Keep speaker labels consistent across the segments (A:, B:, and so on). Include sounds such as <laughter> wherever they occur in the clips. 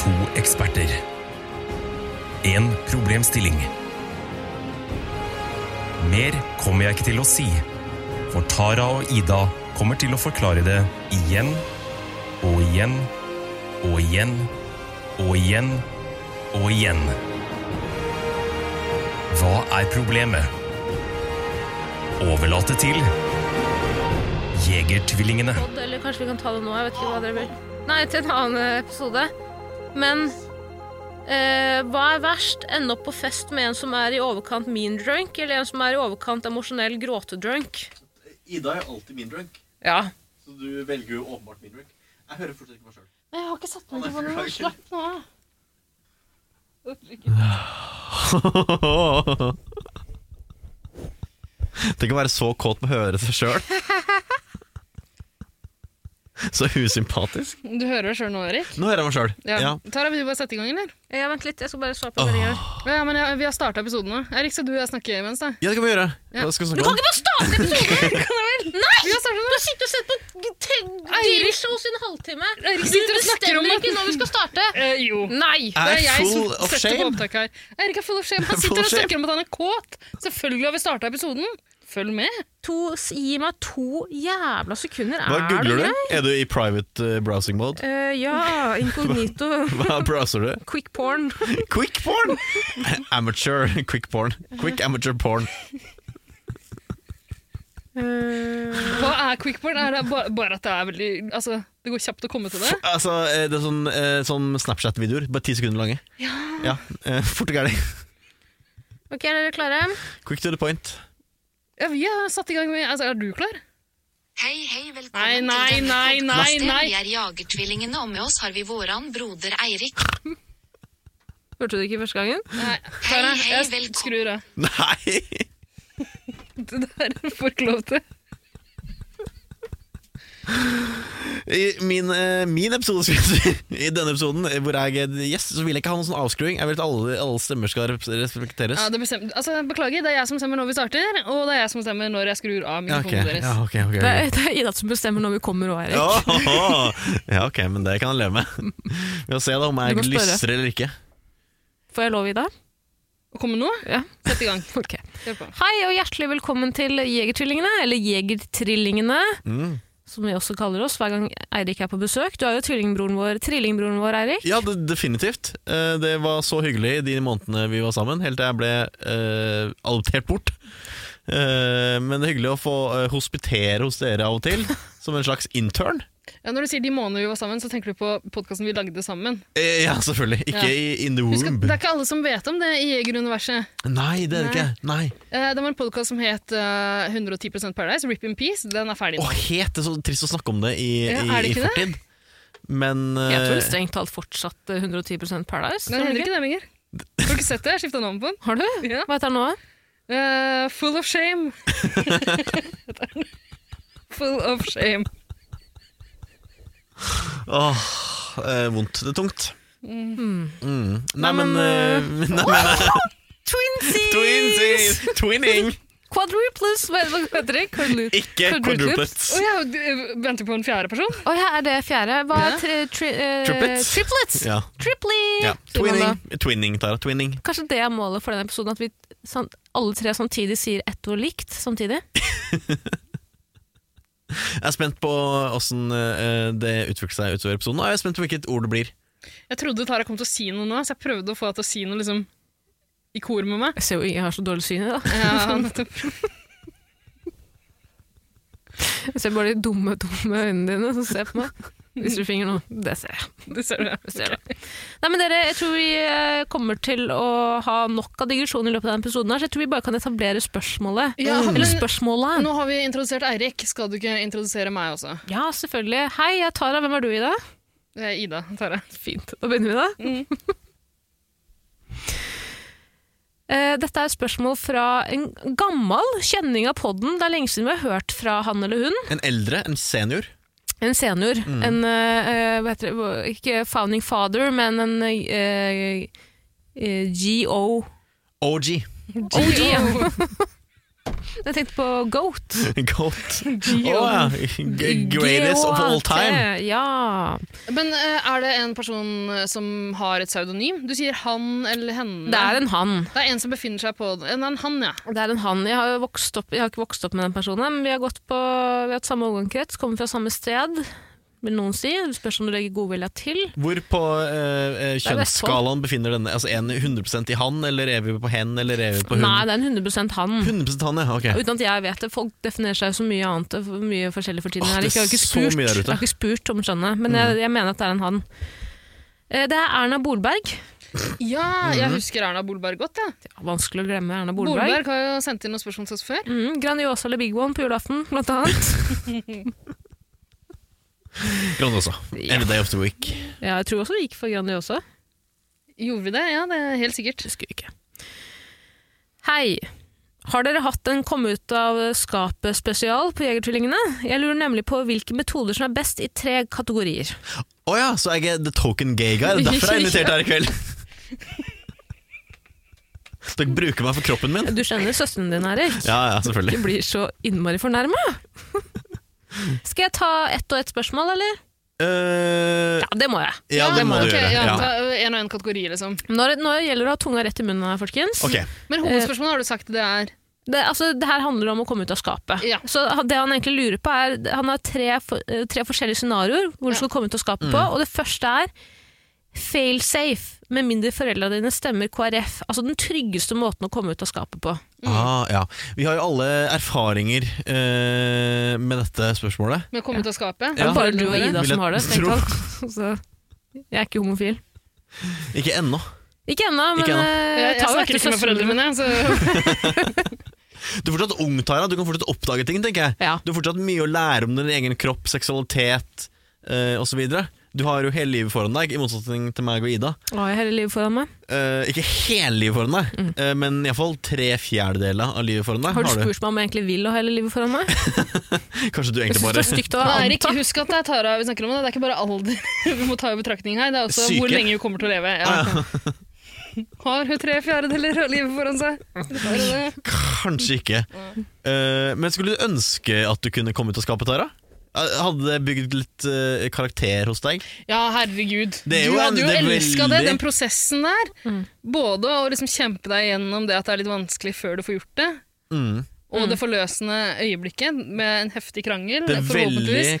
A: To eksperter. En problemstilling. Mer kommer jeg ikke til å si, for Tara og Ida kommer til å forklare det igjen og igjen og igjen og igjen og igjen. Hva er problemet? Overlate til Jegertvillingene.
B: podd, eller kanskje vi kan ta det nå. Jeg vet ikke hva dere vil. Nei, til en annen episode. Men eh, hva er verst? Ende opp på fest med en som er i overkant mean drunk, eller en som er i overkant emosjonell gråtedrunk?
C: Ida er jo alltid min drunk,
B: Ja.
C: så du velger jo åpenbart min drunk. Jeg hører fortsatt ikke meg sjøl.
B: Jeg har ikke satt
C: meg til hvordan jeg slapp
B: nå.
D: Tenk å være så kåt på å høre seg <laughs> sjøl. Så usympatisk.
E: Du hører det sjøl nå, Erik.
D: Nå hører jeg meg sjøl.
E: Ja. Tara, vil du bare sette i gang, eller?
B: Ja, vent litt, jeg skal bare svare på meldingen.
E: Ja, men jeg, Vi har starta episoden nå. Erik, skal du og jeg snakke imens? da?
D: Ja, det kan vi gjøre.
E: Ja.
D: Hva skal
B: Du
D: vi snakke
B: kan
D: om?
B: ikke bare starte episoden! Nei!
E: Vi har startet
B: Du har sittet og sett på te- Daily Shows i en halvtime.
E: Eirik
B: Du
E: sitter og snakker om
B: bestemmer
E: at-
B: ikke når vi skal starte.
E: <laughs> Eh, jo.
B: Nei!
E: Det
D: Er
E: er jeg
D: full
E: som
D: of
E: setter på
D: shame?
E: opptak her. Erik er full of shame. Han
D: Full
E: sitter
D: of
E: og
D: shame.
E: snakker om at han er kåt. Selvfølgelig har vi starta episoden. Følg med.
B: To, gi meg to jævla sekunder.
D: Hva
B: Er du
D: googler
B: grei?
D: du? Er du i private eh, browsing mode?
B: Eh, ja, inkognito.
D: Hva browser du?
B: Quick porn.
D: Quick porn! <laughs> Amateur quick porn. Quick amateur porn.
B: Eh,
E: Hva er quickboard? Er det bare, bare at det er veldig Altså, det går kjapt å komme til det?
D: Altså, eh, det er sånn, eh, sånn Snapchat-videoer, bare ti sekunder lange. Ja. eh, Fort og gærlig.
B: ok, er dere klare?
D: Quick to the point. <laughs>
E: Ja, vi har satt i gang med Altså, er du klar?
F: Hei, hei,
E: Nei,
F: velkommen
E: nei,
F: til denne
E: nei, nei,
F: podcasten.
E: nei.
F: Vi er Jagertvillingene, og med oss har vi våran broder Eirik.
B: Hørte du det ikke første gangen?
E: Nei.
F: Hei,
E: Tara,
F: hei,
E: jeg
F: velkommen.
E: skrur av.
D: Nei!
E: Det der får ikke lov til.
D: I min, eh, min episode, <laughs> skal jeg si, i denne episoden eh, hvor jeg er gjest, så vil jeg ikke ha noen sånn avskruing. Jeg vil at alle, alle stemmer skal rep- respekteres.
E: Ja, det bestem- altså, beklager, det er jeg som stemmer når vi starter, og det er jeg som stemmer når jeg skrur av
D: Ja, ok,
E: mikrofonen deres.
D: ja, ok, ok, ok.
B: Det er, det er Ida som bestemmer når vi kommer og er her.
D: Åhåhå. <laughs> Ja, ok, men det kan jeg leve med. <laughs> Vi får se da om
B: Du
D: jeg
B: må spørre.
D: lystrer eller ikke.
B: Får jeg lov, Ida?
E: Å komme nå?
B: Ja.
E: Sett i <laughs> gang.
B: Ok.
E: Kjør på.
B: Hei og hjertelig velkommen til Jegertvillingene, eller Jegertrillingene,
D: Mm.
B: som vi også kaller oss hver gang Eirik er på besøk. Du er jo tvillingbroren vår, trillingbroren vår, Eirik.
D: Ja, det, definitivt. Eh, Det var så hyggelig de månedene vi var sammen, helt til jeg ble eh, adoptert bort. Eh, men det er hyggelig å få eh, hospitere hos dere av og til, som en slags intern.
E: Ja, når du sier de månedene vi var sammen, så tenker du på podkasten vi lagde sammen.
D: Eh, ja, selvfølgelig. Ikke
E: Ja.
D: i in the
E: Husk at
D: womb.
E: det er ikke alle som vet om det i Jegeruniverset.
D: Nei, det er det ikke. Nei.
E: Eh, Det var en podkast som het eh, 110 Paradise, Rip in Peace. Den er ferdig
D: Å,
E: nå.
D: het! Det er så trist å snakke om det i,
E: Ja,
D: i,
E: er
D: i
E: det ikke det?
D: fortid. Men
B: Jeg tror
D: eh,
B: strengt talt fortsatt eh, 110 Paradise.
E: Den
B: tror du
E: heter
B: ikke?
E: ikke det lenger. Har du ikke sett det? Jeg skifta navn på den.
B: Har du?
E: Ja.
B: Hva heter den nå?
E: Eh, full
D: <laughs>
E: of shame. <laughs> full of shame.
D: åh, eh, vondt. Det er tungt. Mm. Nei,
B: Nei,
D: men,
B: men,
D: eh, <laughs> nei, men
B: Twinsies!
D: Twinsies! Twinning!
B: Quadruplets, hva er det hva heter det? Quadru-
D: Ikke quadruplets.
E: Å ja, du eh, venter på en fjerde person?
B: Å ja, er det fjerde? Hva
E: Ja.
B: er tri, tri, eh,
D: Triplets.
B: Triplets!
D: Ja.
B: Triply!
D: ja.
B: sier man da.
D: Twinning, twinning, Tara. Twinning.
B: Kanskje det er målet for denne episoden, at vi sam- alle tre samtidig sier ett ord likt samtidig?
D: Jeg er spent på åssen eh, det utvikler seg utover episoden, og jeg er spent på hvilket ord det blir.
E: Jeg trodde Tara kom til å si noe nå, så jeg prøvde å få henne til å si noe liksom, i kor med meg.
B: Jeg ser jo jeg har så dårlig syn i det.
E: <laughs> Ja, nettopp.
B: Jeg ser bare de dumme, dumme øynene dine som ser på meg. Viser du fingeren nå? Det ser jeg.
E: Det ser du.
B: Det ser jeg. Nei, men dere, jeg tror vi eh, kommer til å ha nok av digresjon i løpet av denne episoden, her, så jeg tror vi bare kan etablere spørsmålet. Mm.
E: Ja,
B: Eller
E: men-
B: spørsmålet.
E: Nå har vi introdusert Eirik. Skal du ikke introdusere meg også?
B: Ja, selvfølgelig. Hei, jeg er Tara. Hvem er du i dag?
E: Det er Ida, Tara.
B: Fint. Da begynner vi, da.
E: Mm.
B: <laughs> Eh, Dette er et spørsmål fra en gammel kjenning av podden. Det er lenge siden vi har hørt fra han eller hun.
D: En eldre, en senior.
B: En senior.
D: Mm.
B: En eh, hva heter det, ikke founding father, men en eh, eh, GO.
D: OG.
B: OG, ja. <laughs> Jeg tenkte på Goat.
D: <laughs> Goat. Å, ja. G- Greatest of all time.
B: G-O-A-T, Ja.
E: Men eh, er det en person eh, som har et pseudonym? Du sier han eller henne.
B: Det er en han.
E: Det er en som befinner seg på en, en han, ja.
B: Det er en han. Jeg har, jo vokst opp, jeg har ikke vokst opp med den personen, men vi har gått på vi har hatt samme overgangskrets, kommer fra samme sted, vil noen si. Det spørs om du legger godvilja til.
D: Hvor på eh, eh,
B: er Vestfold.
D: kjønnsskalaen befinner denne? Altså en 100 i han, eller er vi på hen, eller er vi på hun?
B: Nei, det er en 100 han.
D: 100 han, ja. Ok.
B: Uten at jeg vet det. Folk definerer seg jo så mye annet og for mye forskjellig for tiden.
D: Åh,
B: her.
D: det
B: Jeg
D: er
B: har ikke
D: så
B: spurt,
D: mye der ute. Mm.
B: jeg har ikke spurt om skjønnet, men jeg, jeg mener at det er en han. Eh, Det er Erna Bolberg.
E: Ja, jeg husker Erna Bolberg godt, ja.
B: Ja, vanskelig å glemme Erna
E: Mhm. Bolberg,
B: Bolberg.
E: har jo sendt inn noen spørsmål til oss før.
B: Mm, Grandiosa eller Big One på julaften, blant annet.
D: Grandiosa. Every day of the
B: <laughs>
D: week.
B: Ja, jeg tror også det gikk for Grandiosa.
E: Gjorde vi det? Ja, det er helt sikkert.
B: Husker vi ikke. Hei. Har dere hatt en kom ut av skapet-spesial på Jegertvillingene? Jeg lurer nemlig på hvilke metoder som er best i tre kategorier.
D: Å ja, så jeg er the token gay guy. Det er derfor jeg er invitert her i kveld. Dere bruker meg for kroppen min.
B: Du skjønner søsteren din, Erik.
D: Ja, ja, selvfølgelig.
B: Du blir så innmari fornærma. Skal jeg ta ett og ett spørsmål, eller?
D: Eh,
B: Ja, det må jeg.
D: ja, det må du
E: ok,
D: gjøre.
E: Ja,
D: Ja.
E: ta En og en kategori, liksom.
B: Når, nå gjelder det å ha tunga rett i munnen her, folkens.
D: Ok,
E: Men hovedspørsmålet har du sagt det er
B: Det, altså, det her handler om å komme ut av skapet.
E: Ja.
B: Så det han egentlig lurer på er Han har tre, for- eh, tre forskjellige scenarioer hvor du skal komme ut av skapet på. Og det første er fail safe, med mindre foreldra dine stemmer KrF. Altså den tryggeste måten å komme ut av skapet på.
D: ah, ja. Vi har jo alle erfaringer eh, med dette spørsmålet.
E: med å komme ut av skapet.
B: Det
D: Ja.
B: er bare du og Ida
D: Vil jeg
B: som har det. strengt
D: tro.
B: tatt. <laughs> Så, jeg er ikke homofil.
D: Ikke ennå.
B: Ikke ennå, men
D: Ikke ennå.
B: eh,
E: Jeg, jeg
B: tar jo
E: snakker
B: etter
E: ikke med
B: søstrene
E: foreldrene mine, så
D: Du er fortsatt ung, Tara. Du kan fortsatt oppdage ting. tenker jeg
B: Ja.
D: Du har fortsatt mye å lære om din egen kropp, seksualitet eh, osv. Du har jo hele livet foran deg, i motsetning til meg og Ida.
B: Å, jeg har hele livet foran meg.
D: Eh, ikke hele livet foran deg, eh, men iallfall tre fjerdedeler av livet foran deg.
B: Mm. Har du spurt meg om jeg egentlig vil å ha hele livet foran meg?
D: Kanskje du
B: Jeg
D: egentlig
B: synes
D: bare
B: det er stygt å
E: Men Eirik,
B: anta.
E: husk at det er Tara vi snakker om. Det Det er ikke bare alder <laughs> vi må ta i betraktning her. Det er også hvor
D: Syke. Ah,
E: lenge hun kommer til å leve. Ja.
D: <laughs>
E: Har hun tre fjerdedeler av livet foran seg? Det er det.
D: Kanskje ikke.
B: Mm.
D: Eh, men skulle du ønske at du kunne komme ut av skapet, Tara? Eh, Hadde det bygd litt eh, karakter hos deg?
E: Ja, herregud. Du
D: Det er jo en-
E: hadde jo
D: det er
E: elska det,
D: veldig-
E: den prosessen der. Både å liksom kjempe deg gjennom det at det er litt vanskelig før du får gjort det,
D: Mm.
E: og det forløsende øyeblikket med en heftig krangel.
D: Det er
E: forhåpentligvis.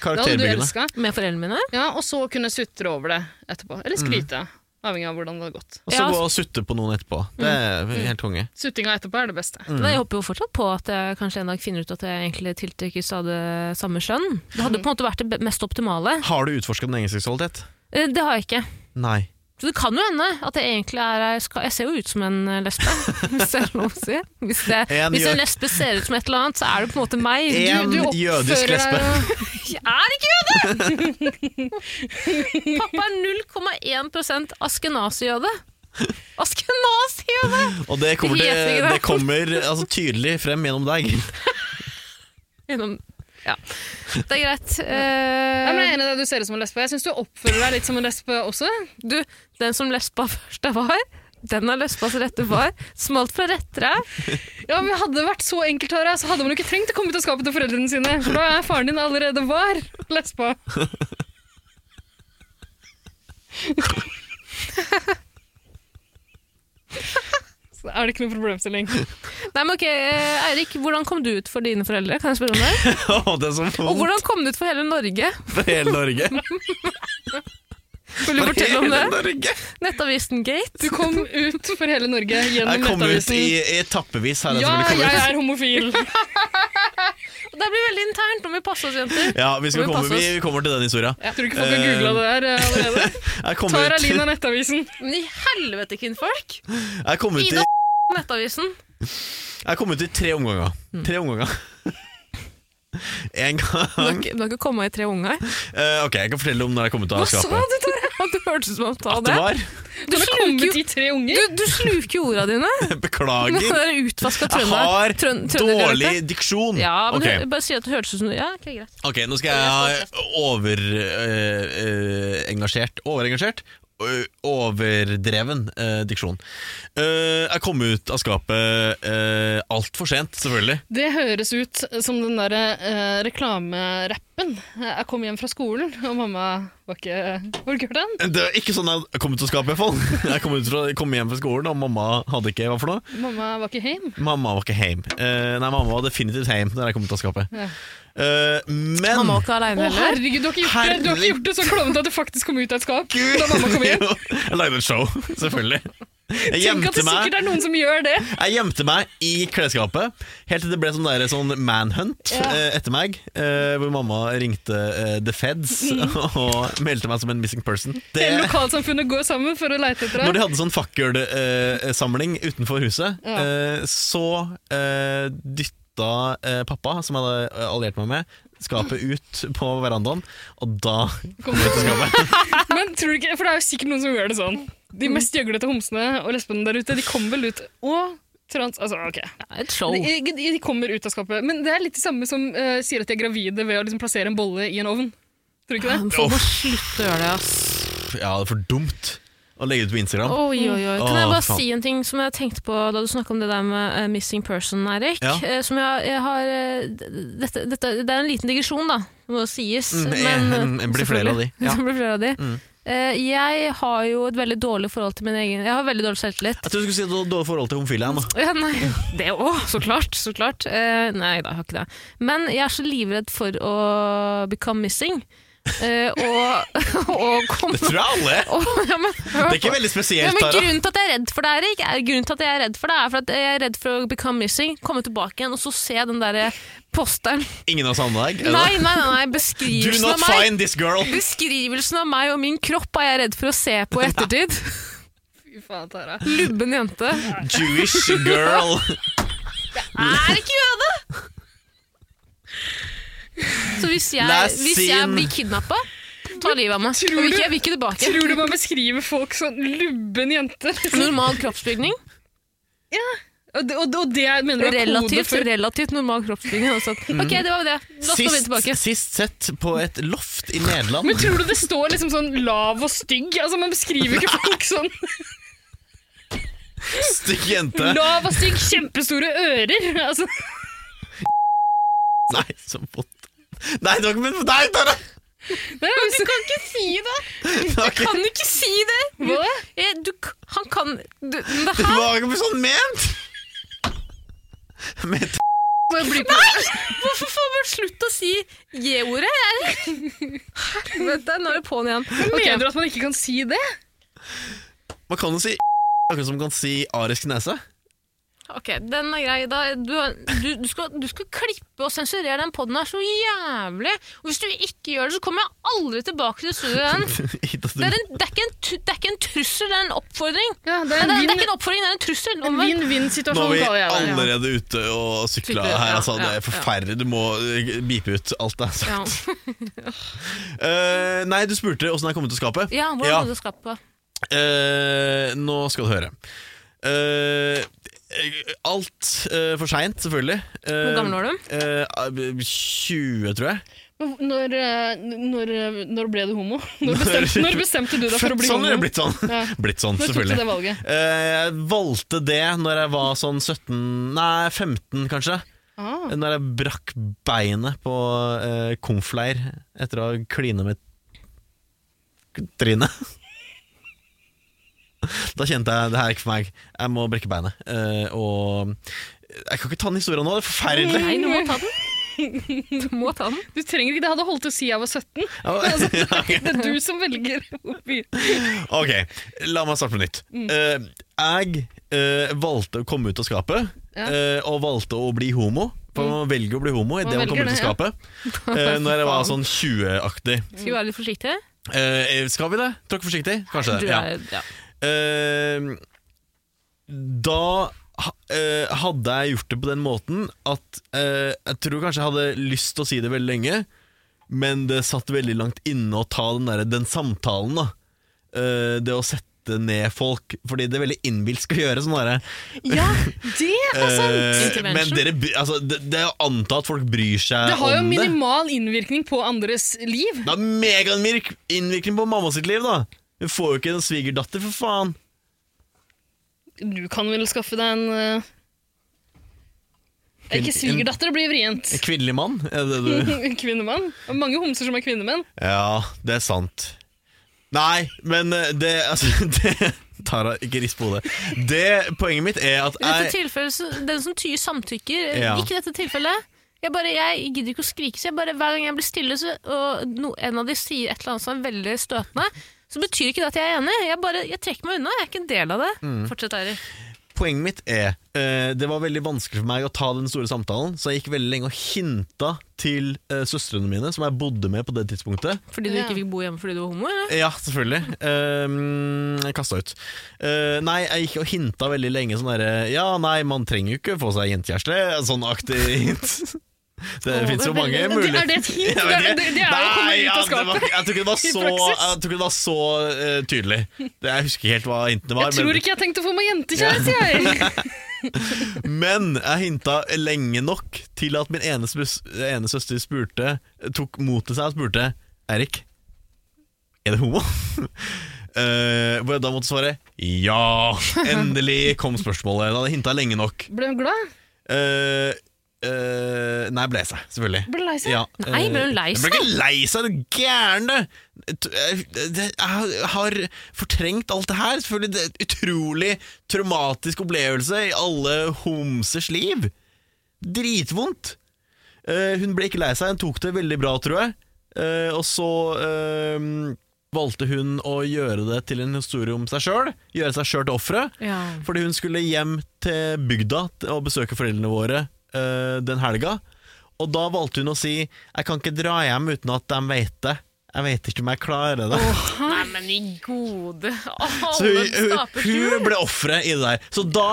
D: veldig
E: Det hadde du
D: karakterbyggende.
E: elsket.
B: Med foreldrene mine?
E: Ja, og så kunne sutre over det etterpå.
D: Mhm.
E: Eller skryte. Avhengig av hvordan det har gått.
D: Og så
B: Ja. Mm.
D: gå og sutte på noen etterpå. Det er helt konge.
E: Suttinga etterpå er det beste.
D: Mm.
B: Nei, jeg håper jo fortsatt på at jeg kanskje en dag finner ut at jeg egentlig tiltrekkes av det samme skjønn. Det hadde på en måte vært det be- mest optimale.
D: Har du utforska din egen seksualitet?
B: Eh, Det har jeg ikke.
D: Nei.
B: Så det kan jo hende at jeg egentlig er ei ska- Jeg ser jo ut som en eh, lesbe, <laughs> hvis det er lov å si. Hvis, det,
D: En
B: hvis
D: gjør-
B: en lesbe ser ut som et eller annet, så er det på en måte meg.
D: En
E: Du
D: jødisk
E: oppfører
D: lesbe.
E: deg jo-
B: Jeg er ikke jøde! Pappa er 0,1 askenasi-jøde. Askenasi-jøde!
D: Og det kommer,
B: Det
D: til,
B: heter ikke det.
D: det kommer altså, tydelig frem gjennom deg. <laughs>
B: Gjennom Ja. Det er greit.
E: Nei, men jeg
B: Eh,
E: er enig i det, du ser ut som en lesbe. Jeg syns du oppfører deg litt som en lesbe også.
B: Eh, du, den som lesba først jeg var, den er lesbas rette far. Smalt fra rettere.
E: Ja, men Hadde det vært så enkelt, Tara, så hadde man jo ikke trengt å komme ut av skapet til foreldrene sine. For da er faren din allerede var lesba. Så er det ikke noen problemstilling.
B: Nei, men ok, eh, Eirik, hvordan kom du ut for dine foreldre? Kan jeg spørre om <laughs> det?
D: Å, det er så
B: Og
D: vondt
B: hvordan kom du ut for hele Norge?
D: for hele Norge.
B: Vil du fortelle
D: <laughs>
B: om det?
D: Norge.
B: Nettavisen Gate?
E: Du kom ut for hele Norge gjennom
D: Jeg kom ut i,
E: Nettavisen.
D: i etappevis. Her, altså,
E: Ja,
D: jeg
E: jeg
D: ja,
E: er homofil!
B: Det blir veldig internt om vi passer oss, jenter.
D: ja, vi, skal
B: Må vi
D: komme,
B: passe
D: vi, vi kommer til den historia.
E: Tror du ikke folk har googla det der eh, allerede?
D: Jeg kom
E: Tara
D: ut,
E: Lina Nettavisen.
B: Men i helvete, kvinnfolk!
D: jeg kom ut i
B: Ida Nettavisen.
D: Jeg kom ut i tre omganger.
B: Mm.
D: Tre omganger. <laughs> En
B: Du har
D: gang
B: ikke, du har ikke kommet i tre unger.
D: Eh, Ok, jeg kan fortelle om når jeg kom ut av
B: Hva sa
D: skapet.
B: du, Tore? At du hørtes ut som han sa
D: At det
B: det.
D: var <laughs>
B: Du
E: Hun har
B: sluker
E: kommet
B: jo
E: i tre unger.
B: du, du sluker jo orda dine. Nå
D: Beklager.
B: er det utvaska
D: Jeg har dårlig diksjon.
B: Ja, men
D: Ok,
B: du, bare si at det hørtes ut som Ja, ok, greit.
D: eh, ok, nå skal jeg ha overengasjert Overengasjert ø, overdreven eh, diksjon. Eh, jeg kom ut av skapet uh, altfor sent, selvfølgelig.
E: Det høres ut som den der eh, reklamerappen. Jeg kom hjem fra skolen, og mamma var ikke Har du ikke hørt den?
D: Det var ikke sånn jeg kom ut av skapet, i hvert fall. <laughs> Jeg kom, ut fra, kom hjem fra skolen, og mamma hadde ikke hva for noe.
E: Mamma var ikke hjem.
D: Mamma var ikke heim. Eh, nei, mamma var definitivt heim da jeg kom ut av skapet.
E: Ja.
D: Eh, men
G: Man må ikke
E: Å,
G: aleine heller.
E: herregud, du har ikke gjort det, du har ikke gjort det så klovnete at du faktisk kom ut av et skap da mamma
D: <laughs>
E: kom hjem.
D: Jeg lagde et show, <laughs> selvfølgelig. Jeg
E: Tenk at
D: gjemte
E: det
D: meg,
E: sikkert er noen som gjør det.
D: jeg gjemte meg i klesskapet, helt til det ble sånn, der, sånn manhunt eh, etter meg, eh, hvor mamma ringte eh, The Feds <laughs> og meldte meg som en missing person. Det,
E: Hele lokalsamfunnet går sammen for å leite etter
D: når
E: deg.
D: de hadde sånn fakkelsamling utenfor huset,
E: Ja.
D: eh, så eh, dytta eh, pappa, som jeg hadde eh, alliert meg med, skapet ut på verandaen, og da
E: Kom.
D: <laughs>
E: Men tror du ikke, for det er jo sikkert noen som gjør det sånn. De mest gjøglete homsene og lesbene der ute, de kommer vel ut og trans... Altså, ok.
G: Et show.
E: De, de, de kommer ut av skapet. Men det er litt det samme som eh, sier at de er gravide ved å liksom plassere en bolle i en ovn. Tror du ikke det?
G: Folk må slutte å gjøre det, ass.
D: Ja, det er for dumt å legge ut på Instagram.
B: Oi, oi, oi. Kan
D: Åh,
B: jeg bare
D: faen.
B: si en ting som jeg tenkte på da du snakket om det der med eh, missing person, Eirik?
D: Ja.
B: Eh, som jeg, jeg har eh, d- dette, dette, Det er en liten digresjon, da, må sies.
D: Mm, eh,
B: men,
D: <laughs> eh, blir flere av de.
B: selvfølgelig.
D: Ja.
B: <laughs> Det blir flere av de.
D: Mm.
B: Eh, jeg har jo et veldig dårlig forhold til min egen Jeg har veldig dårlig selvtillit. <laughs>
D: Jeg tror du skulle si at du hadde dårlig forhold til homofile. Anna.
B: Ja, nei, det òg, så klart. Så klart. Eh, nei da, jeg har ikke det. Men jeg er så livredd for å become missing. Eh, og, <laughs> og komme
D: Det tror jeg alle!
B: og, ja, men,
D: Det er ikke veldig
B: ja,
D: spesielt,
B: men
D: Tara.
B: grunnen til at jeg er redd for det, Erik, er, grunnen til at jeg er redd for det, er for at jeg er redd for å become missing, komme tilbake igjen og så se den derre posteren.
D: Ingen har savna deg. er det?
B: Nei, nei, nei, nei,
D: <laughs> Do
B: beskrivelsen
D: not
B: av meg.
D: find this girl!
B: Beskrivelsen av meg og min kropp er jeg redd for å se på i ettertid.
D: <laughs>
E: Fy faen, Tara.
B: Lubben jente.
D: Jewish girl!
B: Er ikke jøde! Så hvis jeg,
D: Last
B: hvis jeg
D: scene.
B: blir kidnappa, ta livet av meg. Jeg vil ikke, jeg vil ikke tilbake.
E: Tror du man beskriver folk som lubben <laughs> jente? Liksom?
B: Normal kroppsbygning.
E: Og, det- og, og det er- mener du er kode
B: Relativt,
E: for
B: relativt normal kroppsbygning. Altså. Ok, det var det. La oss <laughs> nå vende
D: Mm. Sist,
B: tilbake.
D: sist sett på et loft i Nederland.
E: Men tror du det står liksom sånn lav og stygg? Altså Man beskriver ikke folk sånn. <laughs>
D: Stygg jente.
E: Lav og stygg, kjempestore ører. <laughs> Altså,
D: Nei, som fot. Nei, det var ikke min Nei, Tara!
E: nei, men du kan ikke si det!
D: Det var ikke,
B: Kan du ikke si det?
E: Hva?
B: Eh, Du, k- han kan du, Det
D: det
B: her
D: var ikke sånn ment! Med
E: Må jeg bli på
B: Hvorfor får man slutt å si J-ordet? Erik? Helvete, nå er det på'n igjen. Ok.
E: Mener du at man ikke kan si det?
D: Man kan jo si akkurat som man kan si arisk nese.
B: Ok, den er grei. Da, du, du, du, skal, du skal klippe og sensurere den podden her så jævlig. Og hvis du ikke gjør det, så kommer jeg aldri tilbake til studioet igjen. Det er, en, det, er ikke en, tru- det er ikke en trussel, det er en oppfordring. Nei,
E: Ja, det
B: det, er, det er ikke en oppfordring, det er en trussel.
E: En
B: Omvendt.
D: Nå
E: vinn-vinn-situasjon
D: er vi
E: kaller jeg det.
D: allerede ute og sykla
B: Sykler, ja,
D: her. Altså, det
B: ja,
D: er forferdelig. Du må eh, bipe ut alt det er sagt.
B: Ja.
D: Eh, nei, du spurte åssen jeg kom ut av skapet.
B: ja, hvordan
D: Ja.
B: hadde du skapt på?
D: Eh, nå skal du høre. Eh, alt eh, for seint, selvfølgelig. Eh,
B: Hvor gammel var du?
D: eh, eh, 20, tror jeg.
E: Men Når, eh, når, eh, når ble du homo? <laughs> Når bestemte, når bestemte du deg for å bli
D: sånn
E: homo?
D: eller blitt sånn? <laughs>
E: Ja.
D: Blitt sånn,
E: Når tok du
D: selvfølgelig.
E: det valget?
D: Eh, jeg valgte det når jeg var sånn 17 Nei, 15, kanskje.
E: Ah.
D: Når jeg brakk beinet på eh, komfleir etter å ha klina med trynet. <laughs> Da kjente jeg det her er ikke for meg. Jeg må brekke beinet. Eh, og jeg kan ikke ta den historien nå, det er forferdelig.
B: Nei, du må ta den. <laughs> Du må ta den.
E: Du trenger ikke det. hadde holdt til å si jeg var 17.
D: <laughs> <laughs> Ja,
E: Det er du som velger hvor mye.
D: ok, la meg starte på nytt.
E: Mm.
D: Eh, jeg eh, valgte å komme ut av skapet,
E: Ja. Mm.
D: eh, og valgte å bli homo. For man velger å bli homo idet man
E: velger
D: kommer ut av
E: det, ja. <laughs>
D: skapet. Eh, når jeg var sånn 20-aktig.
B: Skal vi være litt forsiktige?
D: Eh, skal vi det? Tråkk forsiktig, kanskje.
B: Du
D: det, ja.
B: er, ja.
D: Eh, da ha- eh, hadde jeg gjort det på den måten at eh, jeg tror kanskje jeg hadde lyst til å si det veldig lenge, men det satt veldig langt inne å ta den, der, den samtalen. da Eh, Det å sette ned folk, fordi det er veldig innbilsk å gjøre sånn. derre,
E: Ja, det er sant!
D: eh,
B: Intervention.
D: men dere, bry- altså, det, det er å anta at folk bryr seg
E: Det har jo
D: Eh, om det.
E: minimal innvirkning på andres liv.
D: Det har megavirkning på mamma sitt liv, da. Hun får jo ikke en svigerdatter, for faen!
E: Du kan vel skaffe deg en eh, Ikke svigerdatter, det blir vrient.
D: En kvinnelig mann? Er det det du
E: <laughs> En Kvinnemann. Det er mange homser som er kvinnemenn.
D: Ja, det er sant. Nei, men eh, det <laughs> Altså, det Tara, ikke rist på hodet. Det poenget mitt er at
B: I dette
D: jeg
B: tilfellet, så- den som tyr samtykker, eh,
D: Ja.
B: ikke i dette tilfellet. Jeg, bare, jeg gidder ikke å skrike, så jeg bare, hver gang jeg blir stille, så, og no, en av de sier et eller annet som er veldig støtende, så betyr ikke det at jeg er enig. Jeg, bare, jeg trekker meg unna, jeg er ikke en del av det.
D: Mm.
B: Fortsett, Eirik.
D: Poenget mitt er eh, Det var veldig vanskelig for meg å ta den store samtalen, så jeg gikk veldig lenge og hinta til eh, søstrene mine, som jeg bodde med på det tidspunktet.
B: Fordi du
E: Ja.
B: ikke fikk bo hjemme fordi du var homo, eller?
D: Ja, selvfølgelig. Ehm, jeg kasta ut. Eh, nei, jeg gikk og hinta veldig lenge sånn derre Ja, nei, man trenger jo ikke få seg jentekjæreste. Sånn aktig hint. <laughs> Det
B: Å,
D: finnes
B: det er
D: jo mange
B: veldig-
E: Det-
D: muligheter.
E: Er det et hint?
D: Jeg
E: Det
D: vet
E: er,
D: ikke.
E: det, det er å komme
D: Nei,
E: ut av
D: ja, det var
E: skapet.
D: ikke- Jeg tror ikke det var
E: <laughs> i
D: så,
E: praksis.
D: jeg tror ikke det var så eh, tydelig. Det, jeg husker ikke helt hva hintene var.
E: Jeg tror ikke jeg har tenkt å få meg jentekjæreste,
D: <laughs>
E: jeg!
D: Men jeg hinta lenge nok til at min ene, spus- ene søster spurte tok mot til seg og spurte Erik, er det homo? <laughs> Eh, hvor jeg da måtte svare
E: <laughs>
D: ja! Endelig kom spørsmålet. Da hadde jeg hinta lenge nok.
E: Ble hun glad?
D: Eh, eh, nei, ble jeg seg, selvfølgelig.
E: Ble hun lei seg?
D: Ja,
B: Nei, ble hun lei
D: eh, Jeg ble ikke lei seg, er du gæren, du! Et- eh, det- Jeg har fortrengt alt det her. Selvfølgelig det er en utrolig traumatisk opplevelse i alle homsers liv. Dritvondt. Eh, Hun ble ikke lei seg, hun tok det veldig bra, tror jeg. Eh, Og så eh, valgte hun å gjøre det til en historie om seg sjøl, gjøre seg sjøl til offeret. Fordi hun skulle hjem til bygda t- og besøke foreldrene våre eh, den helga. Og da valgte hun å si Jeg kan ikke dra hjem uten at de vet det. Jeg vet ikke om jeg klarer det.
B: Nei, men i gode <laughs>
D: Så hun, hun, hun ble offeret i det der. Så da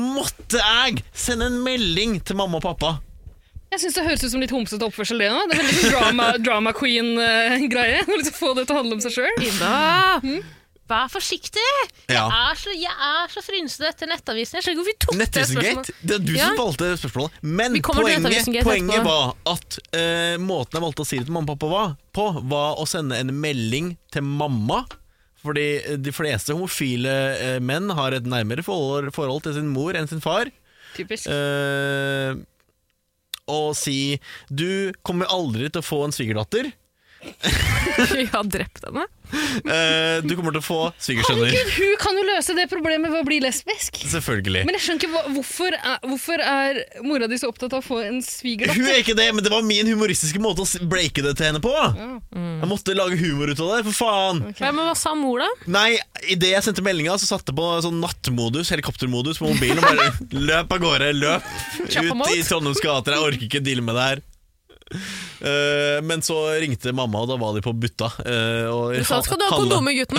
D: måtte jeg sende en melding til mamma og pappa.
E: Jeg syns det høres ut som litt homsete oppførsel, det nå. Det er veldig sånn drama,
D: <laughs>
E: drama queen-greie. Liksom få det til å handle om seg sjøl.
B: Ida! Ah! Vær forsiktig!
D: Ja.
B: Jeg er så, jeg er så frynsete etter Nettavisen. Jeg skjønner ikke hvorfor vi tok det spørsmålet.
D: Nettvisengate? Det er du
B: Ja.
D: som valgte spørsmålet. Men
B: Vi kommer til
D: poenget,
B: Nettavisen-gate
D: poenget
B: etterpå.
D: var at eh, måten jeg valgte å si det til mamma og pappa var, på, var å sende en melding til mamma. Fordi eh, de fleste homofile eh, menn har et nærmere forhold, forhold til sin mor enn sin far.
E: Typisk.
D: Eh, og si 'du kommer aldri til å få en svigerdatter'.
B: <laughs> Jeg har drept henne.
D: Eh, du kommer til å få svigersønner.
E: Herregud, hun kan jo løse det problemet ved å bli lesbisk.
D: Selvfølgelig.
E: Men jeg skjønner ikke hva, hvorfor, er, hvorfor er mora di så opptatt av å få en svigerdatter?
D: Hun er ikke det, men det var min humoristiske måte å s- breake det til henne på.
E: Ja.
D: Jeg måtte lage humor ut av det, for faen!
B: Ja, men hva sa mor, da?
D: Nei, idet jeg sendte meldinga, så satte jeg på sånn nattmodus, helikoptermodus på mobilen og bare <laughs> løp av gårde, løp ut
B: mot.
D: i Trondheims gater, jeg orker ikke deale med det her. Eh, men så ringte mamma, og da var de på butta. eh, og
B: Du sa
D: han-
B: skal du ha
D: handla-
B: kondomer, gutten?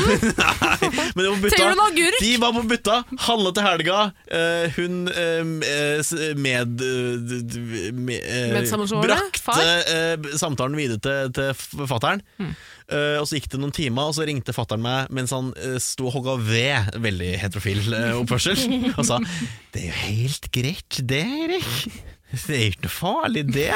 D: Men de var på butta.
B: Trenger du en agurk?
D: De var på butta, handla til helga. Eh, hun eh, s- med, eh, d- d- med eh,
B: Medsammensvorne? Far?
D: Brakte eh, b- samtalen videre til, til f- fatteren. Eh, og så gikk det noen timer, og så ringte fatteren meg mens han eh, sto og hogga ved. Veldig heterofil eh, oppførsel. og sa 'Det er jo helt greit, det, Erik'. Det er ikke noe farlig, det.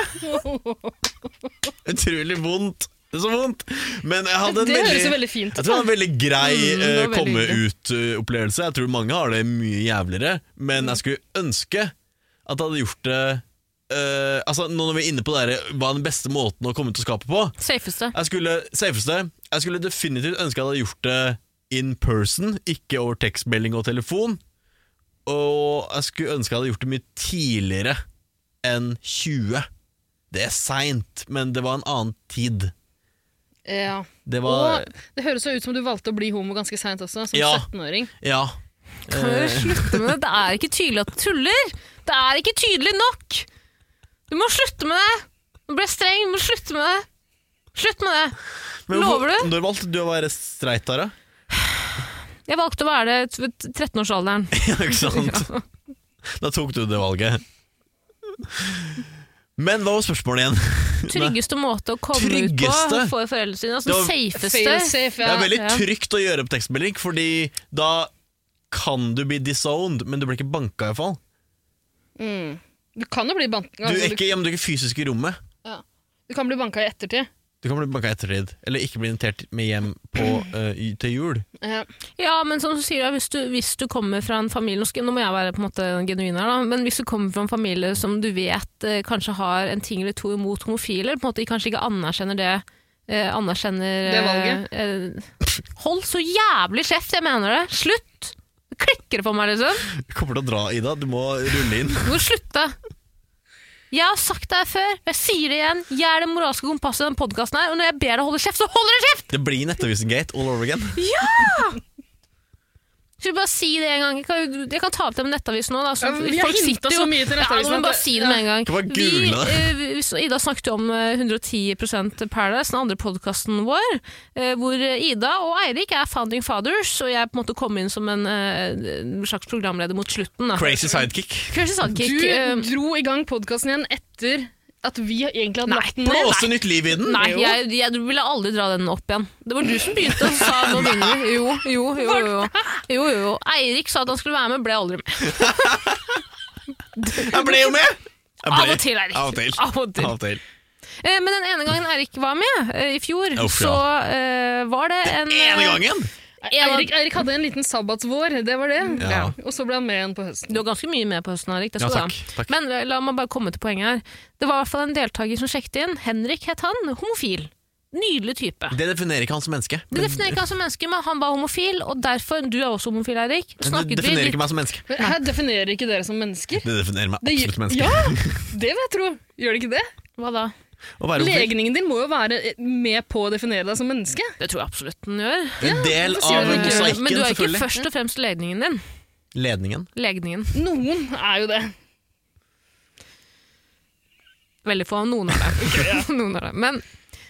D: Utrolig vondt. Så vondt. Men jeg hadde en
E: Det høres
D: veldig-
E: jo veldig fint
D: jeg
E: ut.
D: tror det var en veldig grei
B: Mm, det var
D: eh,
B: veldig
D: komme
B: hyggelig.
D: ut-opplevelse. Jeg tror mange har det mye jævligere, men jeg skulle ønske at jeg hadde gjort det eh, Altså, nå når vi er inne på det her, hva er den beste måten å komme ut av skapet på? <laughs>
B: Safeste.
D: Jeg skulle, safeste, jeg skulle definitivt ønske jeg hadde gjort det in person, ikke over tekstmelding og telefon. Og jeg skulle ønske jeg hadde gjort det mye tidligere enn 20. Det er seint, men det var en annen tid.
E: Ja.
D: Det var
E: Og det høres jo ut som du valgte å bli homo ganske seint også, som
D: Ja.
E: 17-åring.
D: Ja.
B: Kan dere slutte med det? Det er ikke tydelig at du tuller! Det er ikke tydelig nok! Du må slutte med det! Nå ble jeg streng, du må slutte med det! Slutt med det!
D: Men hvorfor-
B: Lover du?
D: Når valgte du å være streit, Tara?
B: Jeg valgte å være det ved 13-årsalderen.
D: Ja, <laughs>
B: <laughs>
D: ikke sant? Da tok du det valget. Men hva var spørsmålet igjen?
B: Tryggeste måte å komme ut
D: Tryggeste?
B: på for foreldrene sine. Altså, den
D: Det
E: Fail
B: safeste.
E: safe,
D: Det er
E: ja.
D: veldig
B: ja.
D: trygt å gjøre opp tekstmelding, fordi da kan du bli disowned, men du blir ikke banka iallfall.
E: Du kan jo bli banka
D: Du, er
E: altså, du,
D: ikke- ja, men du er ikke fysisk i rommet.
E: ja. du kan bli banka i ettertid.
D: Du kan bli banka i ettertid, eller ikke bli invitert med hjem på, eh, i- til jul.
E: Ja.
B: Ja, men som du sier, hvis du, hvis du kommer fra en familie nå, skal, nå må jeg være på en måte genuin her, da, men hvis du kommer fra en familie som du vet eh, kanskje har en ting eller to imot homofile, på en måte kanskje ikke anerkjenner det eh, anerkjenner
E: Det valget.
B: eh, eh, hold så jævlig kjeft, jeg mener det! Slutt! Klikker det på meg, liksom?
D: Jeg kommer til å dra, Ida. Du må rulle inn.
B: Du må slutte! Jeg har sagt det her før, og jeg sier det igjen. Jeg er det moralske kompasset i denne podkasten her, og når jeg ber deg holde kjeft, så holder du kjeft!
D: Det blir Nettavisen-gate all over again.
B: Skal du bare si det en gang? Jeg kan, jeg kan ta opp det med Nettavisen nå, da. Så
E: Ja, vi har
B: folk
E: hintet
B: sitter jo
E: så mye til
B: Ja,
E: Nettavisen.
B: nå må
E: at
B: vi bare si det
E: ja.
B: med en gang.
D: Kan bare google det.
B: Vi, eh, så Ida snakket jo om eh, 110 Paradise, den andre podkasten vår, eh, hvor Ida og Eirik er founding fathers, og jeg på en måte kom inn som en eh, slags programleder mot slutten. Da.
D: Crazy sidekick.
B: Crazy sidekick. eh,
E: Du dro i gang podkasten igjen etter at vi egentlig hadde
B: Nei,
E: lagt den ned.
D: Blåse nytt liv i den.
B: Nei,
E: Jo.
B: jeg, jeg du ville aldri dra den opp igjen. Det var du som begynte og sa nå begynner vi. Jo, jo, jo. jo, jo, jo, jo. Eirik sa at han skulle være med, ble aldri med.
D: Jeg ble jo med! Jeg ble.
B: Av og til, Eirik.
D: Av og til.
B: Av og til.
D: Av og til.
B: Eh, Men den ene gangen Eirik var med, eh, i fjor,
D: Uff, ja.
B: så eh, var det en
D: Ene
B: eh,
D: gangen!
E: Eirik, Eirik hadde en liten sabbatsvår, det var det.
D: Ja.
E: Og så ble han med igjen på høsten.
B: Du har ganske mye med på høsten, Erik. Det
D: Ja,
B: skal
D: takk.
B: du ha.
D: takk.
B: Men eh, la meg bare komme til poenget her. Det var i hvert fall en deltaker som sjekket inn. Henrik het han. Homofil. Nydelig type.
D: Det definerer ikke han som menneske.
B: Det definerer ikke han som menneske, men han var homofil, og derfor Du er også homofil, Eirik.
D: Men det
B: Snakket vi
D: definerer
B: litt
D: ikke meg som menneske.
E: Men Her definerer ikke dere som mennesker.
D: Det definerer meg
E: Det
D: absolutt som menneske.
E: ja,
D: <laughs>
E: det vil jeg tro. Gjør det ikke det?
B: Hva da?
D: Å være homofil.
E: Legningen din må jo være med på å definere deg som menneske.
B: Det tror jeg absolutt den gjør. Eh,
D: Det er En del
E: hvorfor sier
D: av
E: du det?
B: Men
D: mosaikken,
B: du er ikke
D: selvfølgelig.
B: først og fremst legningen din.
D: Ledningen.
B: Legningen.
E: Noen er jo det.
B: Veldig få. Noen av
D: <laughs>
B: dem. <laughs> noen av dem. Men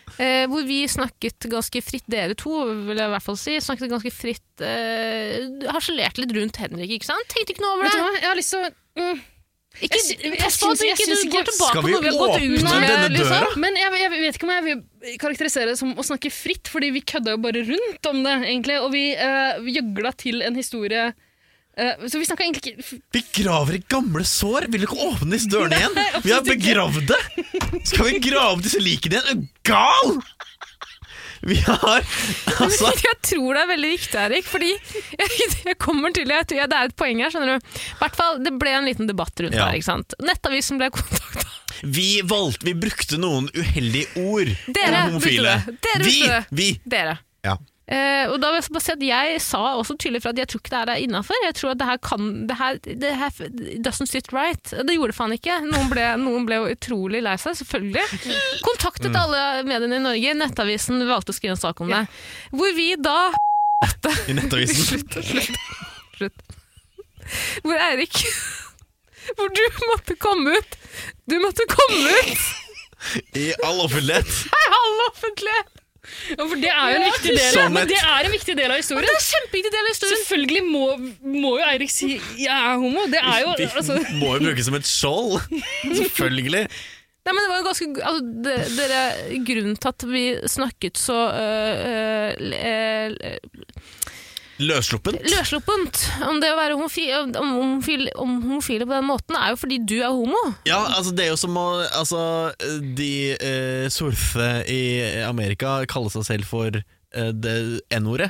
B: eh, hvor vi snakket ganske fritt, dere to, vil jeg i hvert fall si. Snakket ganske fritt eh, Harselerte litt rundt Henrik, ikke sant? Tenkte ikke noe over
E: Vet
B: det.
E: du hva, jeg har lyst til å mm,
B: Ikke,
E: Jeg sy- jeg
B: pass på at
E: syns-
B: du
E: jeg
B: ikke
E: syns
B: du
E: ikke-
B: går tilbake
D: Skal
B: på
D: vi
B: noe vi har gått
D: åpne
B: ut med.
D: denne
B: Liksom.
D: døra?
E: Men jeg, jeg vet ikke om jeg vil karakterisere det som å snakke fritt, fordi vi kødda jo bare rundt om det, egentlig. Og vi eh, vi gjøgla til en historie eh, Så vi snakka egentlig ikke
D: Vi graver i gamle sår! Vil du ikke åpne disse dørene igjen?
E: Nei, absolutt
D: Vi har
E: ikke.
D: begravd det! Skal vi grave opp disse likene igjen? Er du gal?! Vi har <laughs> altså
B: <laughs> Jeg tror det er veldig viktig, Erik, fordi <laughs> jeg, jeg kommer til jeg tror jeg, Det er et poeng her, skjønner du. I hvert fall, Det ble en liten debatt rundt
D: Ja.
B: her. ikke sant? Nettavisen ble kontakta.
D: Vi valgte Vi brukte noen uheldige ord
B: Dere
D: om homofile.
B: brukte det. Dere
D: vi!
B: brukte det.
D: Vi!
B: Dere.
D: Ja.
B: Eh, og da vil Jeg bare si at jeg sa også tydelig fra at jeg tror ikke det her er innafor. Jeg tror at det her kan det her, det her f- doesn't sit right. Det gjorde det faen ikke. Noen ble, noen ble jo utrolig lei seg, selvfølgelig. Kontaktet alle mediene i Norge. Nettavisen valgte å skrive en sak om det. Hvor vi da
D: I Nettavisen.
B: Slutt, slutt, slutt. Hvor Eirik <laughs> Hvor du måtte komme ut. Du måtte komme ut
D: I all offentlighet.
B: i all offentlighet!
E: Ja, For det er jo en viktig del,
D: Som
E: men
D: et-
E: det er en viktig del av
B: Det er
E: historien.
B: en kjempeviktig del av historien.
E: Selvfølgelig må, må jo Eirik si 'jeg er homo'. Det er jo
D: Vi
E: altså,
D: må jo brukes som et skjold. Selvfølgelig.
B: Nei, men det var jo ganske altså, det, dere, Grunnen til at vi snakket så øh, øh, l- eh,
D: Løssluppen.
B: løssluppent om det å være homofi, om, om, homofil, om homofile på den måten, er jo fordi du er homo.
D: Ja, altså det er jo som å altså, De eh, surfe i Amerika kaller seg selv for eh, det N-ordet.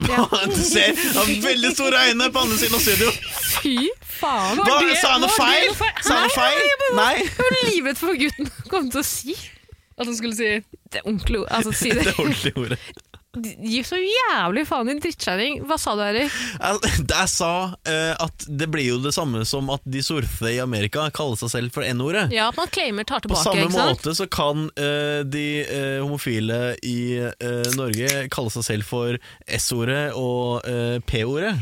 D: <laughs> du ser han har veldig store øyne på andre siden av studio.
B: Fy faen!
D: Hva,
B: Hva er det
D: sa han noe
E: var
D: feil?
E: det noe feil?
D: Sa han noe feil? Nei. <laughs>
B: jeg var livredd for hva gutten <laughs> kom til å si?
E: At han skulle si
B: Det er ordentlig altså, si <laughs> det.
D: Det er ordentlig ordet.
B: Gi så jævlig faen, din drittkjerring. Hva sa du, Erik?
D: Jeg, jeg sa eh, at det blir jo det samme som at de surfe i Amerika kaller seg selv for N-ordet.
B: Ja, at man claimer, tar
D: På
B: tilbake,
D: samme
B: ikke sant?
D: måte så kan eh, de eh, homofile i eh, Norge kalle seg selv for S-ordet og eh, P-ordet.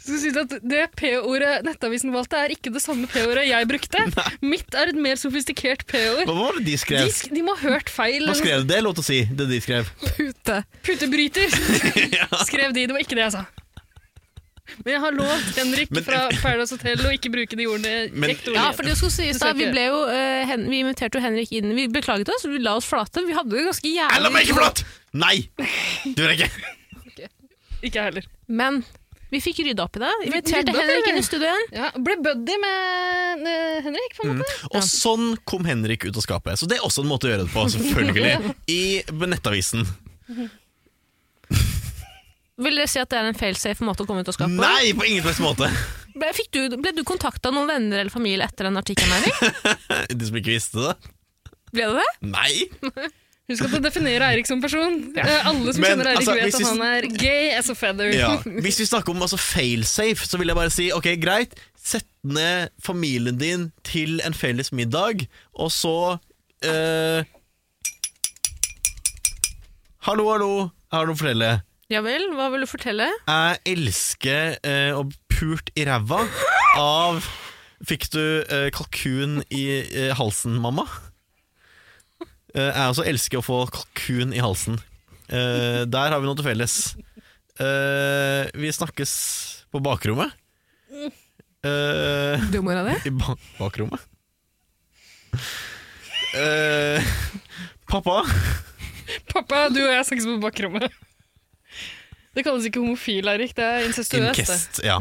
E: Så synes jeg at Det P-ordet Nettavisen valgte, er ikke det samme P-ordet jeg
D: <laughs>
E: brukte. Mitt er et mer sofistikert P-ord.
D: Hva var det de
E: De,
D: skrev?
E: sk- de må ha hørt feil.
D: Hva skrev de? Det er lov til å si, det de skrev.
B: Pute.
E: Putebryter,
D: <laughs>
E: skrev de. Det var ikke det jeg sa. Men jeg har lovt Henrik
D: Men-
E: fra Paradise Hotel å ikke bruke de ordene
D: Men-
E: riktig.
B: Ja, for det skulle sies
E: Det skal
B: da, vi
E: ikke-
B: ble jo eh, hen, Vi inviterte jo Henrik inn. Vi beklaget oss, vi la oss flate. Vi hadde det ganske
D: Jeg la
B: jævlig
D: meg ikke flat! Nei! Du gjør ikke
E: Ikke jeg heller.
B: Men Vi fikk rydda opp i det. Inviterte
E: rydda opp i
B: Henrik
E: det.
B: inn i studio igjen.
E: Ja, ble buddy med eh, Henrik, på en måte.
D: Og sånn kom Henrik ut av skapet. Så det er også en måte å gjøre det på, selvfølgelig. I Nettavisen.
B: Vil dere si at det er en failsafe måte å komme ut av skapet?
D: Nei, på ingen slags måte!
B: Ble, fikk du, ble du kontakta av noen venner eller familie etter den artikkelen, <laughs> Henrik?
D: De som ikke visste det.
B: Ble det det?
D: Nei!
E: Husk at å definere Eirik som person. Eh, alle som
D: Men,
E: kjenner Eirik,
D: altså,
E: vet
D: hvis
E: at
D: vi-
E: han er gay as a <laughs> feather.
D: Ja. Hvis vi snakker om altså, failsafe, så vil jeg bare si ok, greit. Sett ned familien din til en felles middag, og så eh, Hallo, hallo. Jeg har noe å fortelle.
B: Ja vel, hva vil du fortelle?
D: Jeg elsker eh, å bli pult i ræva av Fikk du eh, kalkun i eh, halsen, mamma? Eh, jeg også elsker å få kalkun i halsen. Eh, der har vi noe til felles. Eh, vi snakkes på bakrommet. Eh,
B: Dummora di?
D: I ba bakrommet? Eh, pappa?
E: Pappa, du og jeg snakkes på bakrommet. Det kalles ikke homofil, Eirik. Det er incestuøst. det.
D: Incest, ja.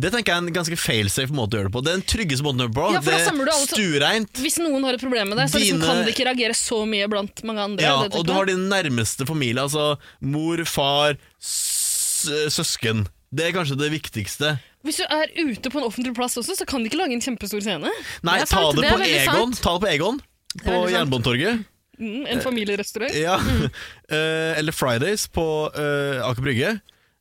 D: Det tenker jeg er en ganske failsafe måte å gjøre det på. Det er den tryggeste måten å gjøre det på.
E: Ja, for da samler du
D: det
E: alle
D: er
E: to-
D: stuereint.
E: Hvis noen har et problem med det, så liksom
D: Dine-
E: kan de ikke reagere så mye blant mange andre.
D: Ja,
E: det tenker
D: og du
E: jeg.
D: har din nærmeste familie, altså mor, far, s- søsken. Det er kanskje det viktigste.
E: Hvis du er ute på en offentlig plass også, så kan de ikke lage en kjempestor scene.
D: Nei,
B: Det er
D: ta
B: sant, det
D: det
B: er
D: på
B: veldig
D: Egon.
B: sant.
D: Ta det på Egon. På
B: veldig sant.
D: Jernbanetorget.
E: Mm, en familierestaurant.
D: Ja. <laughs> Eh, eller Fridays på eh, Aker Brygge.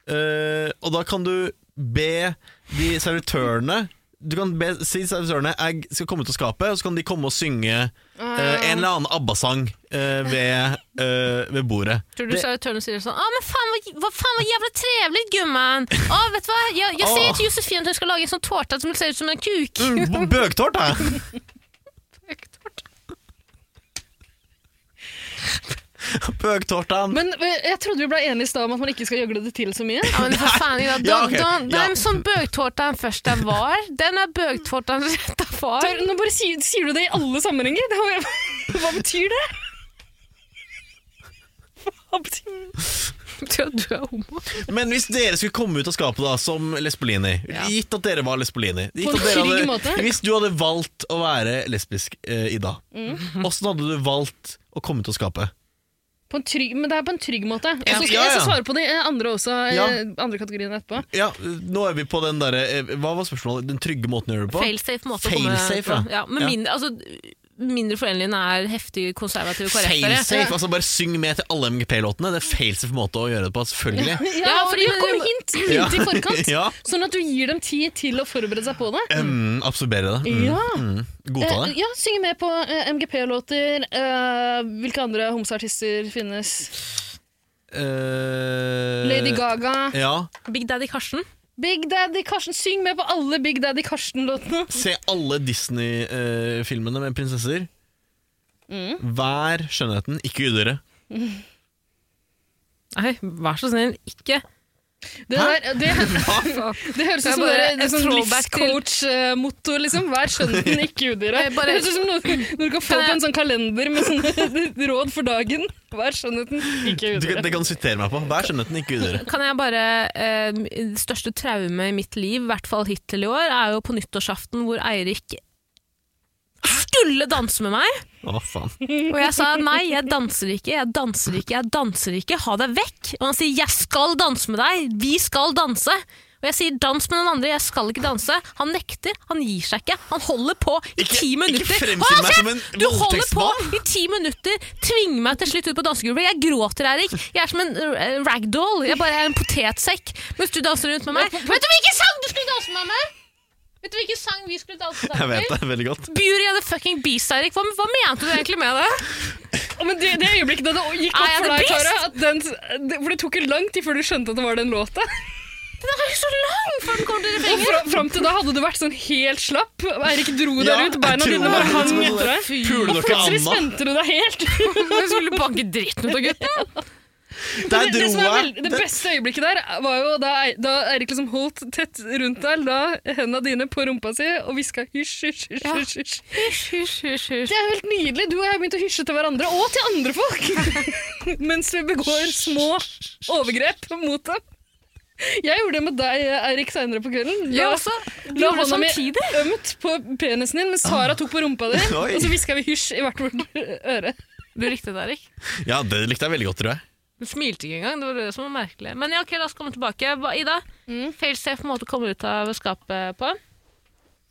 D: Eh, og da kan du be de servitørene Du kan be, si servitørene jeg skal komme ut av skapet, og så kan de komme og synge eh, en eller annen ABBA-sang eh, ved, eh, ved bordet.
B: Tror du
D: Det-
B: Sarah Turner sier sånn Å, men faen, hva, hva faen var jævla trevlig, gumman! Å, vet du hva, jeg, jeg sier
D: Å.
B: til Josefine at hun skal lage en sånn tårte som ser ut som en kuk.
D: Mm, b- Bøktort, da! <laughs> Bøktortan.
E: Men eh, jeg trodde vi ble enige i stad om at man ikke skal gjøgle det til så mye.
B: <laughs> Ja, men for faen, da, da,
D: Ja, ok,
B: da,
D: ja.
B: Den som bøgtårta først der var, den er bøgtårta retta var.
E: Tar- Nå bare sier, sier du det i alle sammenhenger. Det har jeg- <laughs> Hva betyr det? Hva betyr det?
B: Tror du er homo?
D: Men hvis dere skulle komme ut av skapet da som Lesbolini, gitt at dere var Lesbolini gitt
E: en
D: at dere
E: trygg
D: hadde,
E: måte.
D: Hvis du hadde valgt å være lesbisk, eh, Ida,
E: Mm.
D: <laughs> åssen hadde du valgt å komme ut av skapet?
E: På en trygg, men det er på en trygg måte. Og så skal
D: Ja, ja.
E: jeg skal svare på de eh, andre også, eh,
D: Ja.
E: andre kategoriene etterpå.
D: Ja, Nå er vi på den derre eh, Hva var spørsmålet? Den trygge måten å gjøre det på?
B: Failsafe måte
D: Failsafe,
B: å komme
D: ja.
B: ja, men
D: Ja.
B: mindre, altså, mindre forenligende er heftig konservative KrF-ere.
D: Failsafe! Altså bare syng med til alle MGP-låtene. Det er failsafe måte å gjøre det på, selvfølgelig.
E: Ja,
B: Ja,
E: og
B: fordi-
E: jo, kom
D: <laughs>
E: hint, hint i forkant,
D: Ja.
E: sånn at du gir dem tid til å forberede seg på det.
D: Mm, absorbere det. Mm,
E: Ja.
D: mm, godta
E: Eh,
D: det.
E: ja, synge med på eh, MGP-låter. eh, hvilke andre homseartister finnes?
D: Eh,
E: Lady Gaga.
D: Ja.
B: Big Daddy Karsten.
E: Big Daddy Karsten. Syng med på alle Big Daddy Karsten-låtene.
D: Se alle Disney-filmene med prinsesser. Vær skjønnheten, ikke gudere.
B: Nei, vær så snill, ikke.
E: Det, der, det, det høres
B: Det er
E: ut som
B: bare
E: dere,
B: et
E: det er sånn
B: throwback til-
E: livscoach-motto. Liksom. Vær
B: <laughs>
E: skjønnheten, ikke udyret.
B: Jeg bare-
E: Det høres ut som noe når du kan få
B: Kan jeg-
E: på en sånn kalender med sånne <laughs> råd for dagen. Vær skjønnheten, ikke
D: Du, kan-
E: udyret.
D: det kan du sitere meg på. Vær skjønnheten, ikke gudere.
B: Kan jeg bare eh, Det største traumet i mitt liv, i hvert fall hittil i år, er jo på nyttårsaften hvor Eirik skulle danse med meg,
D: Å,
E: <laughs>
D: faen.
B: og jeg sa nei, jeg danser ikke, jeg danser ikke, jeg danser ikke, ha deg vekk. Og han sier jeg skal danse med deg, vi skal danse. Og jeg sier dans med noen andre, jeg skal ikke danse. Han nekter, han gir seg ikke. Han holder på i
D: Ikke-
B: ti
D: ikke
B: minutter.
D: fremstill
B: Hold
D: meg som en
B: kjeft! Du holder på
D: voldtektsmann.
B: i ti minutter, tvinger meg til slutt ut på dansegulvet. Jeg gråter, Erik. Jeg er som en eh, ragdoll. Jeg bare er en potetsekk mens du danser rundt med meg. Vet du hvilken sang du skulle danse med meg? Vet du hvilken sang vi skulle danse
D: Jeg
B: sammen
D: vet
B: til?
D: det veldig godt.
B: Beauty of the fucking beast, Erik. Hva, hva mente du egentlig med det?
E: Å, Men det, det øyeblikket da det
B: Er
E: gikk opp
B: jeg
E: for
B: the
E: deg,
B: beast?
E: Tara at den, det, For det tok jo lang tid før du skjønte at det var den låta.
B: Den er jo så lang før den kommer til
E: Og
B: refrenget.
E: fra, fram til da hadde du vært sånn helt slapp. Eirik dro deg
D: Ja,
E: ut,
D: jeg
E: beina
D: tror
E: dine
D: det
E: bare
D: var
E: hang
D: litt sånn
E: etter deg.
D: Puler
E: Og
D: dere
E: plutselig
D: Anna?
E: spente du deg helt.
B: Jeg skulle banke dritten ut av gutten.
D: Der
E: det, <laughs> det, som er
D: dro
E: vel,
D: jeg!
E: det beste øyeblikket der var jo da, Ei- da Eirik liksom holdt tett rundt deg, la hendene dine på rumpa si og hviska hysj, hysj, hysj.
B: Ja.
E: hysj, hysj. Det er jo helt nydelig. Du og jeg har begynt å hysje til hverandre, og til <laughs> andre folk! Mens vi begår små overgrep mot dem. Jeg gjorde det med deg, Eirik, seinere på kvelden.
B: Jeg
E: Da-
B: også.
E: La
B: Gjorde det
E: hånda mi
B: samtidig.
E: ømt på penisen din, mens Sara tok på rumpa di.
D: Oi.
E: Og så hviska vi hysj i hvert vårt øre.
B: Du likte det, Erik.
D: Ja, det likte jeg veldig godt, tror jeg.
B: Du smilte ikke engang. Det var det som var merkelig. Men ja, ok, la oss komme tilbake. Hva- Ida,
E: Mm.
B: failsafe måte å komme ut av skapet på.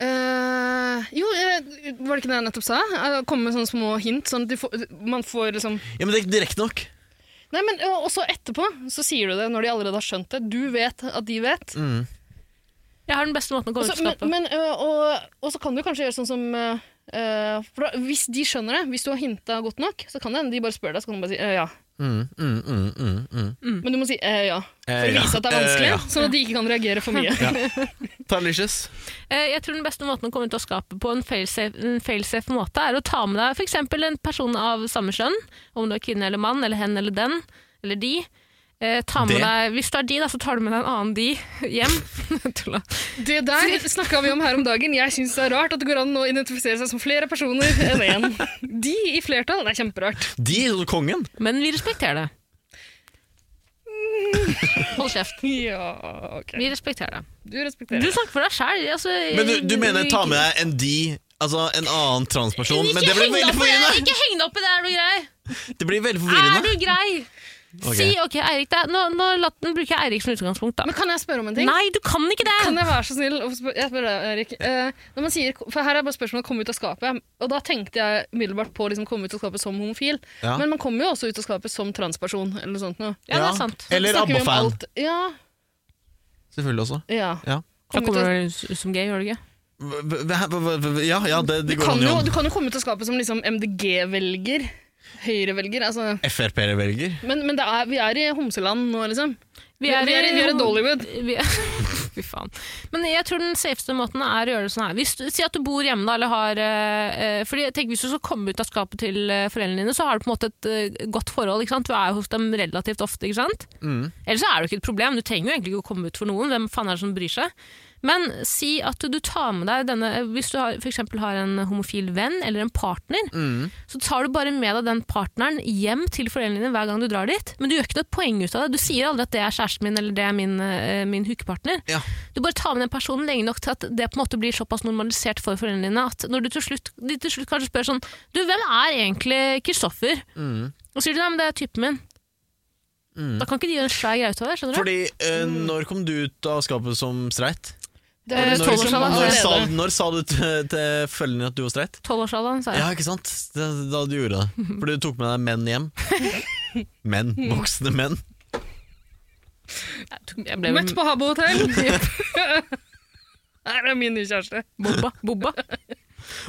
E: Eh, jo, eh, var det ikke det jeg nettopp sa? Eh, Komme med sånne små hint, sånn at de får, man får liksom
D: Ja, Men det er ikke direkte nok.
E: Nei, men eh, og også etterpå så sier du det når de allerede har skjønt det. Du vet at de vet.
D: Mm.
B: Jeg har den beste måten å komme
E: Også,
B: ut av skapet
E: men, men, ø, og, og så kan du kanskje gjøre sånn som ø, ø, for da, Hvis de skjønner det, hvis du har hinta godt nok, så kan det hende de bare spør deg, så kan du bare si ø, ja.
D: Mm, mm, mm, mm, mm.
E: Men du må si ø, ja,
D: Eh,
E: for å
D: ja.
E: vise at det
D: Eh,
E: er vanskelig,
D: ja.
E: sånn at de ikke kan reagere for mye.
D: Talicious.
B: Eh, Jeg tror den beste måten å komme ut av skapet på en failsafe, en failsafe måte, er å ta med deg f.eks. en person av samme kjønn, om du er kvinne eller mann, eller hen eller den, eller de. Eh, ta med
D: Det?
B: deg, hvis det er de, da, så tar du med deg en annen de hjem. <laughs> Tulla.
E: <laughs> Det <laughs> der snakka vi om her om dagen. Jeg syns det er rart at det går an å identifisere seg som flere personer enn én. <laughs> De i flertall. Det er kjemperart.
D: De, kongen.
B: Men vi respekterer det. Hold kjeft.
E: Ja, ok.
B: Vi respekterer det.
E: Du
B: Du
E: respekterer.
B: snakker for deg sjæl. Altså,
D: Men du, du mener ta med deg en de, altså en annen transperson? Men det blir veldig forvirrende!
B: Ikke heng deg opp i det, er du grei?
D: Det blir veldig
B: Er
D: forvirrende.
B: du grei?
D: Ok.
B: Si ok, Eirik. det er- Nå, nå la- nå bruker jeg Eirik som utgangspunkt, da.
E: Men kan jeg spørre om en ting?
B: Nei, du kan ikke det!
E: Kan jeg være så snill å spør- Jeg spør deg, Erik. Eh, når man sier, for her er bare spørsmålet å komme ut av skapet. Og da tenkte jeg umiddelbart på å liksom, komme ut av skapet som homofil.
D: Ja.
E: Men man kommer jo også ut av skapet som transperson. Eller noe sånt noe.
B: Ja, det er sant.
D: Eller
E: Snakker vi om
D: ABBA-fan.
E: alt- Ja,
D: Selvfølgelig også.
E: ja.
B: Da
D: Ja.
E: Komme ut av-
B: kommer du ut som gay, gjør du ikke?
D: V- v- v- v- Ja, ja det,
E: du,
D: det går
E: kan
D: an i
E: jo, du
D: hånd.
E: kan jo komme ut av skapet som liksom MDG-velger. Høyrevelger. Altså.
D: Frp-velger.
E: Men, men det er, vi er i homseland nå, liksom.
B: Vi
E: Vi er i- vi er i Dollywood.
B: Vi <laughs> er- Fy faen. Men jeg tror den safeste måten er å gjøre det sånn her. Hvis du, si at du bor hjemme, da, eller har eh, eh, Fordi jeg tenker Hvis du skal komme ut av skapet til eh, foreldrene dine, så har du på en måte et eh, godt forhold. ikke sant? Du er jo hos dem relativt ofte. ikke sant?
D: Mm.
B: Ellers så er det jo ikke et problem. Du trenger jo egentlig ikke å komme ut for noen. Hvem faen er det som bryr seg? Men si at du tar med deg denne eh, Hvis du har, for eksempel har en homofil venn eller en partner,
D: Mm.
B: så tar du bare med deg den partneren hjem til foreldrene dine hver gang du drar dit. Men du gjør ikke noe poeng ut av det. Du sier aldri at det er kjæresten min eller det er min, eh, min hookepartner.
D: Ja.
B: Du bare tar med den personen lenge nok til at det på en måte blir såpass normalisert for foreldrene dine at når du til slutt, de til slutt kanskje spør sånn Du, hvem er egentlig Kristoffer?
D: Mm.
B: Og sier du nei, men det er typen min.
D: Mm.
B: Da kan ikke de gjøre en svær greie ut av det. skjønner du?
D: Fordi, eh, når kom du ut av skapet som streit?
E: Det
B: Eh,
E: jo
D: Når, liksom-
E: sånn
B: tolv år siden
E: man
D: når,
E: allerede-
D: sa, når sa du til, til følgende at du var streit?
B: Tolvårsalderen, sa jeg.
D: Ja, ikke sant? Det, da du gjorde det. For du tok med deg menn hjem.
E: <laughs>
D: Menn. Voksne menn.
B: Jeg ble
E: Møtt på Habbo hotell. <laughs> Her er min nye kjæreste.
B: bobba. bobba.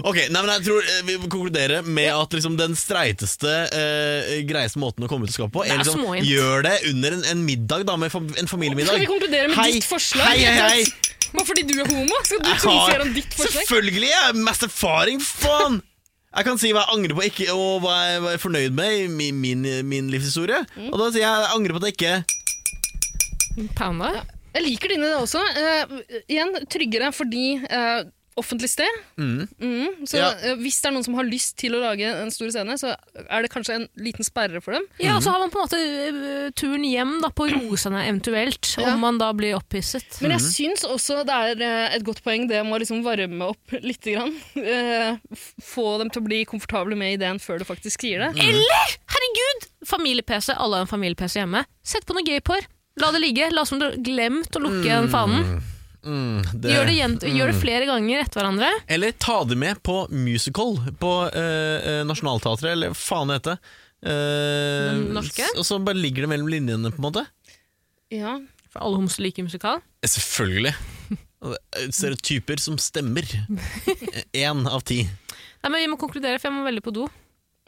D: Ok, nei, men jeg tror eh, Vi må konkludere med at liksom, den streiteste, eh, greieste måten å komme ut av skapet på,
B: Det
D: er
B: er
D: liksom
B: småint.
D: gjør det under en, en middag, da, med fam- en
E: Skal
D: familiemiddag.
E: vi konkludere med
D: Hei,
E: ditt forslag?
D: hei, hei, hei.
E: Hva, fordi du er homo? Skal du
D: Jeg
E: trumfe
D: har-
E: gjennom ditt forslag?
D: Selvfølgelig! Jeg har mest erfaring, faen! Jeg kan si hva jeg angrer på ikke, og hva jeg, hva jeg er fornøyd med i min, min, min livshistorie.
B: Mm.
D: Og da sier jeg jeg angrer på at jeg ikke
B: Pounda.
E: Jeg liker dine det også. Eh, igjen, tryggere fordi eh, offentlig sted.
D: mm.
E: Mhm. så
D: Ja.
E: eh, hvis det er noen som har lyst til å lage en stor scene, så er det kanskje en liten sperre for dem.
B: Ja, og så har man på en måte ø, turen hjem da, på rosene eventuelt,
E: Ja.
B: om man da blir opphisset.
E: Men jeg
D: Mm.
E: syns også det er eh, et godt poeng det med å liksom varme opp litt. Grann. <laughs> Eh, f- få dem til å bli komfortable med ideen før du faktisk sier det.
D: Mm.
B: Eller, herregud! Familie-PC, alle har en familie-PC hjemme. Sett på noe gøy på her. La det ligge. La som du har glemt å lukke igjen fanen.
D: Mm,
B: Gjør det, gjent- gjør det flere ganger etter hverandre.
D: Eller ta det med på musical på eh, eh, Nationaltheatret, eller hva faen det heter. Eh,
B: Den norske?
D: s- Og så bare ligger det mellom linjene, på en måte.
E: Ja.
B: For alle homser liker musikal.
D: Eh, Selvfølgelig. Og det er Stereotyper som
B: <laughs>
D: stemmer. Én av ti.
B: Nei, men Vi må konkludere, for jeg må veldig på do.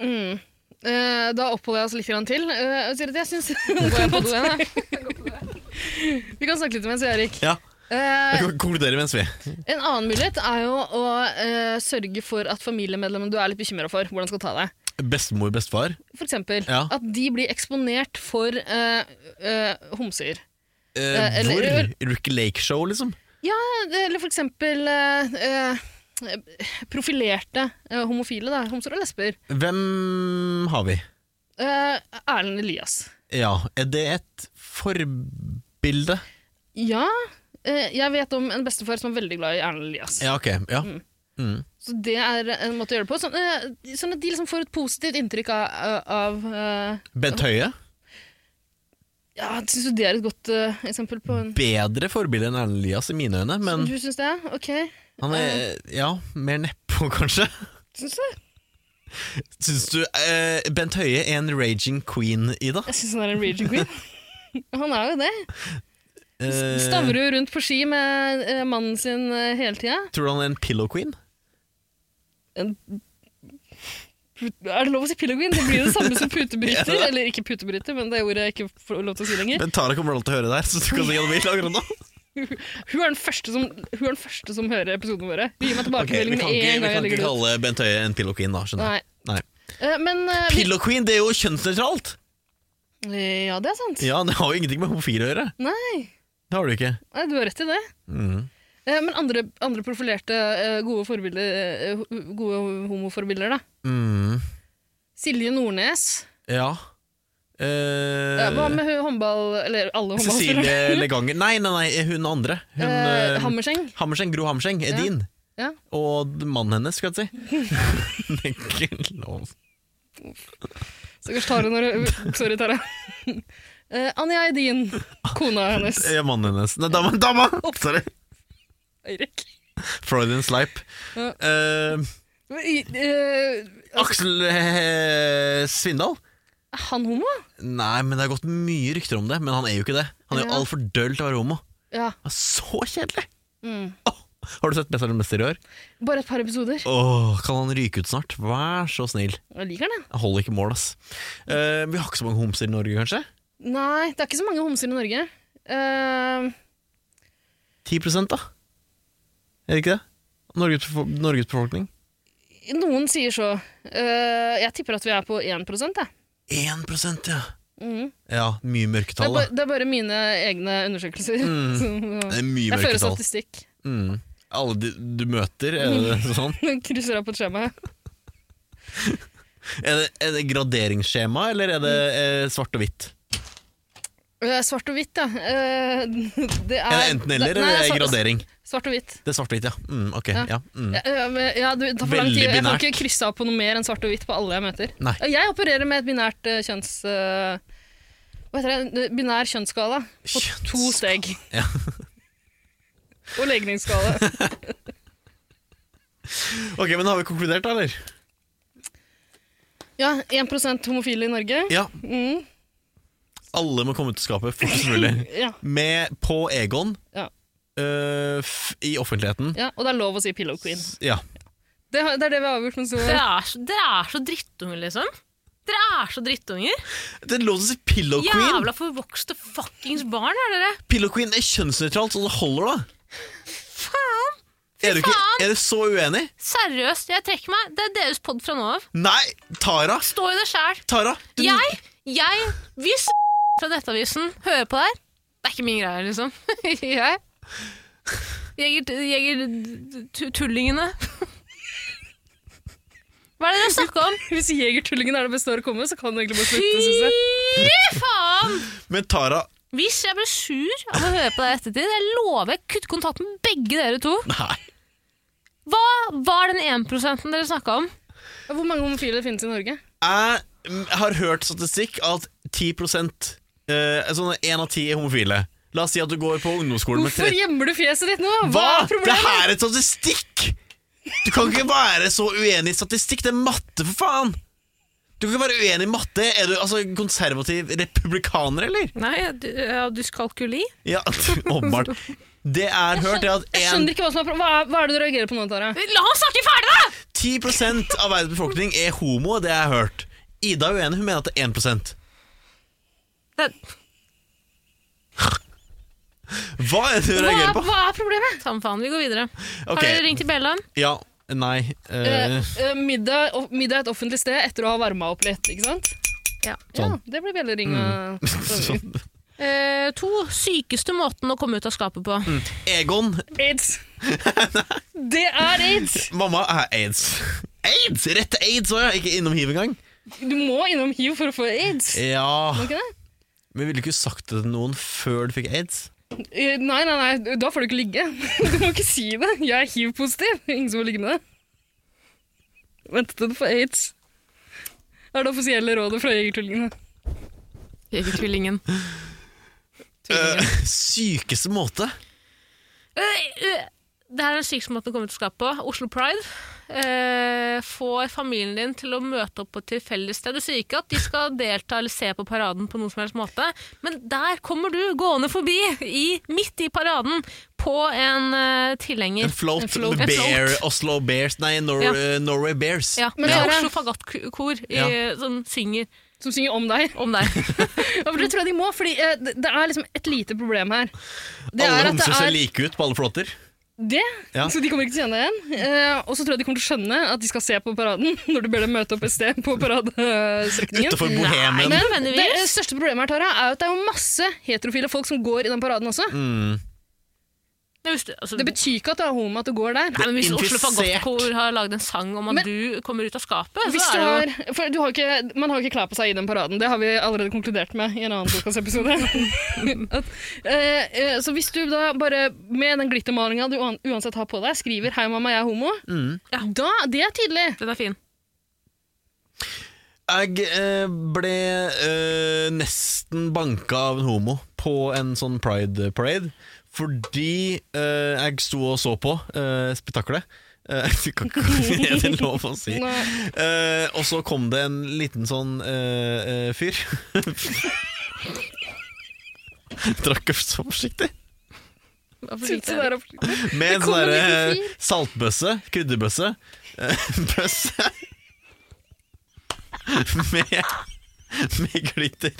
E: Mm. Eh, da oppholder jeg oss litt grann til. Eh, jeg sier at jeg syns
B: <laughs> Går jeg på do igjen, da?
E: <laughs> Vi kan snakke litt mens, Erik.
D: Ja.
E: Eh,
D: Jeg konkluderer mens vi.
E: En annen mulighet er jo å eh, sørge for at familiemedlemmene du er litt bekymra for, hvordan skal ta deg.
D: Bestemor, bestefar.
E: For eksempel
D: Ja.
E: at de blir eksponert for eh, eh, homser.
D: Eh,
E: eller-
D: hvor? Rookie Lake Show, liksom?
E: Eller for eksempel eh, eh, profilerte eh, homofile, da. Homser og lesber.
D: Hvem har vi?
E: Eh, Erlend Elias.
D: Ja, er det et forbilde?
E: Ja, eh, jeg vet om en bestefar som er veldig glad i Erlend Elias.
D: Ja, ok. Ja.
E: Mm. Så det er en måte å gjøre det på. Sånn, eh, sånn at de liksom får et positivt inntrykk av, av eh,
D: Bent Høie,
E: Ja, syns du det er et godt eh, eksempel på en
D: bedre forbilde enn Erlend Elias i mine øyne, men
E: Du syns det? Ok.
D: han er ja, mer nedpå, <laughs> kanskje.
E: Syns du?
D: Syns du eh, Bent Høie er en raging queen, Ida?
E: Jeg syns han er en region queen. <laughs> Han er jo det.
D: Eh,
E: Stavrer jo rundt på ski med eh, mannen sin eh, hele tida.
D: Tror du han er en pillow queen?
E: Er det lov å si pillegrin? Det blir det samme som
D: <laughs>
E: putebryter. Eller ikke putebryter, men det er ordet jeg ikke får lov til å si lenger.
D: Men Tara kommer alltid til å høre det her, så du kan si hva du vil akkurat
E: <laughs>
D: nå.
E: Hun er den første som, hun er den første som hører episodene våre. Gi meg
D: Ok, vi
E: tilbakemelding
D: kan
E: med
D: ikke,
E: en
D: vi
E: gang
D: kan
E: jeg
D: ikke
E: legger det ut.
D: kalle Bent Høie en pillow queen, da. skjønner
E: Nei.
D: jeg. Nei.
E: Eh, Men eh, vi-
D: Pillow queen, det er jo kjønnsnøytralt!
E: eh, Ja, det er sant.
D: Ja, det har jo ingenting med homofile å gjøre.
E: Nei,
D: Det har du ikke.
E: nei, du har rett i det.
D: Mhm.
E: Eh, Men andre, andre profilerte eh, gode, forbilder, eh, ho- gode homoforbilder, da?
D: Mhm.
E: Silje Nordnes.
D: Ja. Eh,
E: Eh, Hva med hun håndball... Eller alle håndballspillere.
D: Cecilie Leganger Nei, nei, nei, hun andre. Hun,
E: Eh,
D: eh,
E: Hammerseng.
D: Hammerseng, Gro Hammerseng, er
E: Ja.
D: din.
E: Ja.
D: Og mannen hennes, skal jeg si.
E: <laughs>
D: det er ikke lov.
E: Stakkars Tara når
D: <laughs>
E: hun Sorry, Tara. Eh, Anja Edin. Kona hennes.
D: Ja, mannen hennes. Nei, dama! dama. Sorry.
E: Eirik.
D: Freudian sleip.
E: Ja.
D: Eh,
E: Eh,
D: Aksel eh, Svindal?
E: er han homo?
D: Nei, men det har gått mye rykter om det. Men han er jo ikke det. Han er jo
E: Ja.
D: altfor døll til å være homo.
E: Ja.
D: Han er Så kjedelig!
E: Mm.
D: Åh, har du sett Mesternes mester i år?
E: Bare et par episoder.
D: Åh, kan han ryke ut snart? Vær så snill.
E: Jeg liker den, jeg.
D: Jeg holder ikke mål, ass. Eh, vi har ikke så mange homser i Norge, kanskje?
E: Nei, det er ikke så mange homser i Norge. Eh,
D: 10 da? Er det ikke det? Norges, befo- Norges befolkning?
E: noen sier så. Eh, jeg tipper at vi er på 1 jeg.
D: 1 ja.
E: Mm.
D: Ja, mye
E: Det, er
D: mørketall,
E: bare,
D: da.
E: det er bare mine egne undersøkelser.
D: Mm.
E: <laughs> som, ja.
D: Det er mye
E: jeg fører
D: mørketall.
E: statistikk. <laughs>
D: Mm. Alle du, du møter, er det
E: Mm.
D: sånn?
E: Krysser av på et skjema.
D: Er det, er det graderingsskjema, eller er det eh, svart og hvitt?
E: Eh, svart og hvitt, ja. Eh, det er,
D: Er det enten eller,
E: Nei,
D: eller er det
E: svart-
D: gradering?
E: Svart og hvitt.
D: Det er svart og hvitt, ja. Mm, ok,
E: Ja.
D: ja. Mm.
E: Ja, ja, men- ja, du, det tar for lang
D: Veldig
E: tid. Jeg kan
D: binært.
E: ikke krysse av på noe mer enn svart og hvitt på alle jeg møter.
D: Nei.
E: Ja, Jeg opererer med et binært eh, kjønns... eh, hva heter det? Binær kjønnsskala på to
D: Kjønnsskala.
E: steg.
D: Ja.
E: <laughs> Og legningsskala.
D: <laughs> Ok, men har vi konkludert, da, eller?
E: Ja, 1 homofile i Norge.
D: Ja.
E: Mm,
D: Alle må komme ut av skapet fortest mulig.
E: ja,
D: Med på Egon
E: Ja.
D: øh, f i offentligheten.
E: ja, og det er lov å si pillow queen.
D: Ja.
E: Det, har- det er det vi har avgjort. Men så,
B: Dere er, så- dere er så drittunger, liksom. Dere er så drittunger.
D: Det er lov til å si Pillow Queen!
B: Jævla forvokste fuckings barn er dere.
D: Pillow Queen er kjønnsnøytralt, så det holder, da! Faen! Er du, ikke,
B: faen!
D: er du så uenig?
B: Seriøst, jeg trekker meg. Det er deres pod fra nå av.
D: Nei! Tara!
B: Stå i det sjæl.
D: Tara! Du,
B: Jeg, jeg, hvis fra Nettavisen hører på der, det er ikke min greie, liksom. <laughs> jeg. Jeger, jeger tu- tullingene. Hva er det dere snakker om?
E: <laughs> hvis Jegertullingen er det beste året å komme, så kan du egentlig bare slutte. Synes jeg.
B: Fy faen!
D: Men Tara
B: Hvis jeg blir sur av å høre på deg i ettertid, jeg lover jeg kutter kontakt med begge dere to.
D: Nei.
B: Hva var den 1 dere snakka om?
E: Ja, Hvor mange homofile finnes i Norge?
D: Jeg mm, har hørt statistikk at 10 uh, Sånn én av ti er homofile. La oss si at du går på ungdomsskolen med
E: Hvorfor gjemmer du fjeset ditt nå?
D: Hva?!
E: Hva er
D: Det
E: problemet?
D: her er statistikk! Du kan ikke være så uenig i statistikk. Det er matte, for faen! Du kan ikke være uenig i matte. Er du altså, konservativ republikaner, eller?
H: Nei, du, ja, dyskalkuli.
D: Ja, <laughs> åpenbart. Det jeg har hørt, er at
E: Jeg
D: en,
E: skjønner ikke hva som er pro- hva, er- hva er det du reagerer på nå, Tara?
B: La han snakke ferdig, da!
D: 10 av verdens befolkning er homo. Det jeg har hørt. Ida er uenig. Hun mener at det er 1 Hva er det du
B: hva,
D: reagerer på?
B: hva er problemet? Samme faen, vi går videre.
D: Ok,
B: Har dere ringt til Bjelland?
D: ja, nei eh,
E: Eh,
D: <laughs>
E: eh, middag, off- middag et offentlig sted etter å ha varma opp litt, ikke sant?
B: Ja.
E: Ja, det blir bjellering. og-
D: sånn.
B: Eh, to sykeste måten å komme ut av skapet på.
D: Mm.
B: <laughs>
D: Egon, <laughs>
E: Aids! det er aids!
D: mamma er aids. Aids! Rett til aids òg, ja! Ikke innom hiv engang.
E: Du må innom hiv for å få aids.
D: Ja.
E: Må ikke det?
D: Men ville du ikke sagt det til noen før du fikk aids?
E: Eh, Nei, nei, nei, da får du ikke ligge. <laughs> Du må ikke si det. Jeg er hiv-positiv. Ingen som vil ligge med det. Vent til du får aids. Det er det offisielle rådet fra Jegertvillingene.
B: Jegertvillingen.
D: Eh, Sykeste måte!
B: Det her er den sykeste måten å komme ut av skapet på. Oslo Pride. Eh, få familien din til å møte opp på et tilfeldig sted. Du sier ikke at de skal delta eller se på paraden på noen som helst måte, men der kommer du gående forbi, i, midt i paraden, på en eh, tilhenger.
D: En float,
E: En float.
D: med
B: En float.
D: Bear, Oslo Bears Nei, Nor
B: Ja.
D: eh, Norway Bears.
B: Ja,
E: Men
B: med
E: dere-
B: Oslo Fagottkor i-
D: Ja.
B: som synger
E: Som synger om deg.
B: om
D: <laughs>
B: deg.
E: Ja, for det tror jeg de må, fordi eh, det det er liksom et lite problem her. Det er
D: alle
E: at det
D: homser ser
E: er
D: like ut på alle flåter.
E: det,
D: Ja.
E: så de kommer ikke til å kjenne deg igjen. Eh, og så tror jeg de kommer til å skjønne at de skal se på paraden <laughs> når du ber dem møte opp et sted på paradestrekningen.
D: Utafor Bohemen.
E: Men
B: nødvendigvis.
E: det eh, største problemet her, Tara, er jo at det er jo masse heterofile folk som går i den paraden også.
D: Mm.
B: Jeg visste- altså,
E: Det betyr ikke at du er homo at du går der.
B: Nei, men hvis Oslo
D: infisert.
B: Fagottkor har lagd en sang om at
E: Men-
B: du kommer ut av skapet,
E: Hvis
B: så
E: du
B: er det jo
E: har, for du har jo ikke, man har jo ikke klær på seg i den paraden. Det har vi allerede konkludert med i en
B: <laughs>
E: annen podkastepisode. eh, eh, så hvis du da bare med den glittermalinga du uan- uansett har på deg, skriver 'Hei, mamma, jeg er homo',
D: Mm.
B: Ja.
E: da, det er tydelig.
B: Den er fin.
D: Jeg eh, ble eh, nesten banka av en homo på en sånn pride parade. Fordi eh, jeg sto og så på eh, spetakkelet. Eh, <laughs> jeg kan ikke- er det lov å si.
E: Nå-
D: Eh, og så kom det en liten sånn eh, eh, fyr. <laughs> Drakk så forsiktig.
E: Syns du det er oppsiktig?
D: Med en
E: kom
D: sånn
E: en
D: derre
E: liten fyr.
D: saltbøsse, krydderbøsse, eh, bøsse med, med glitter.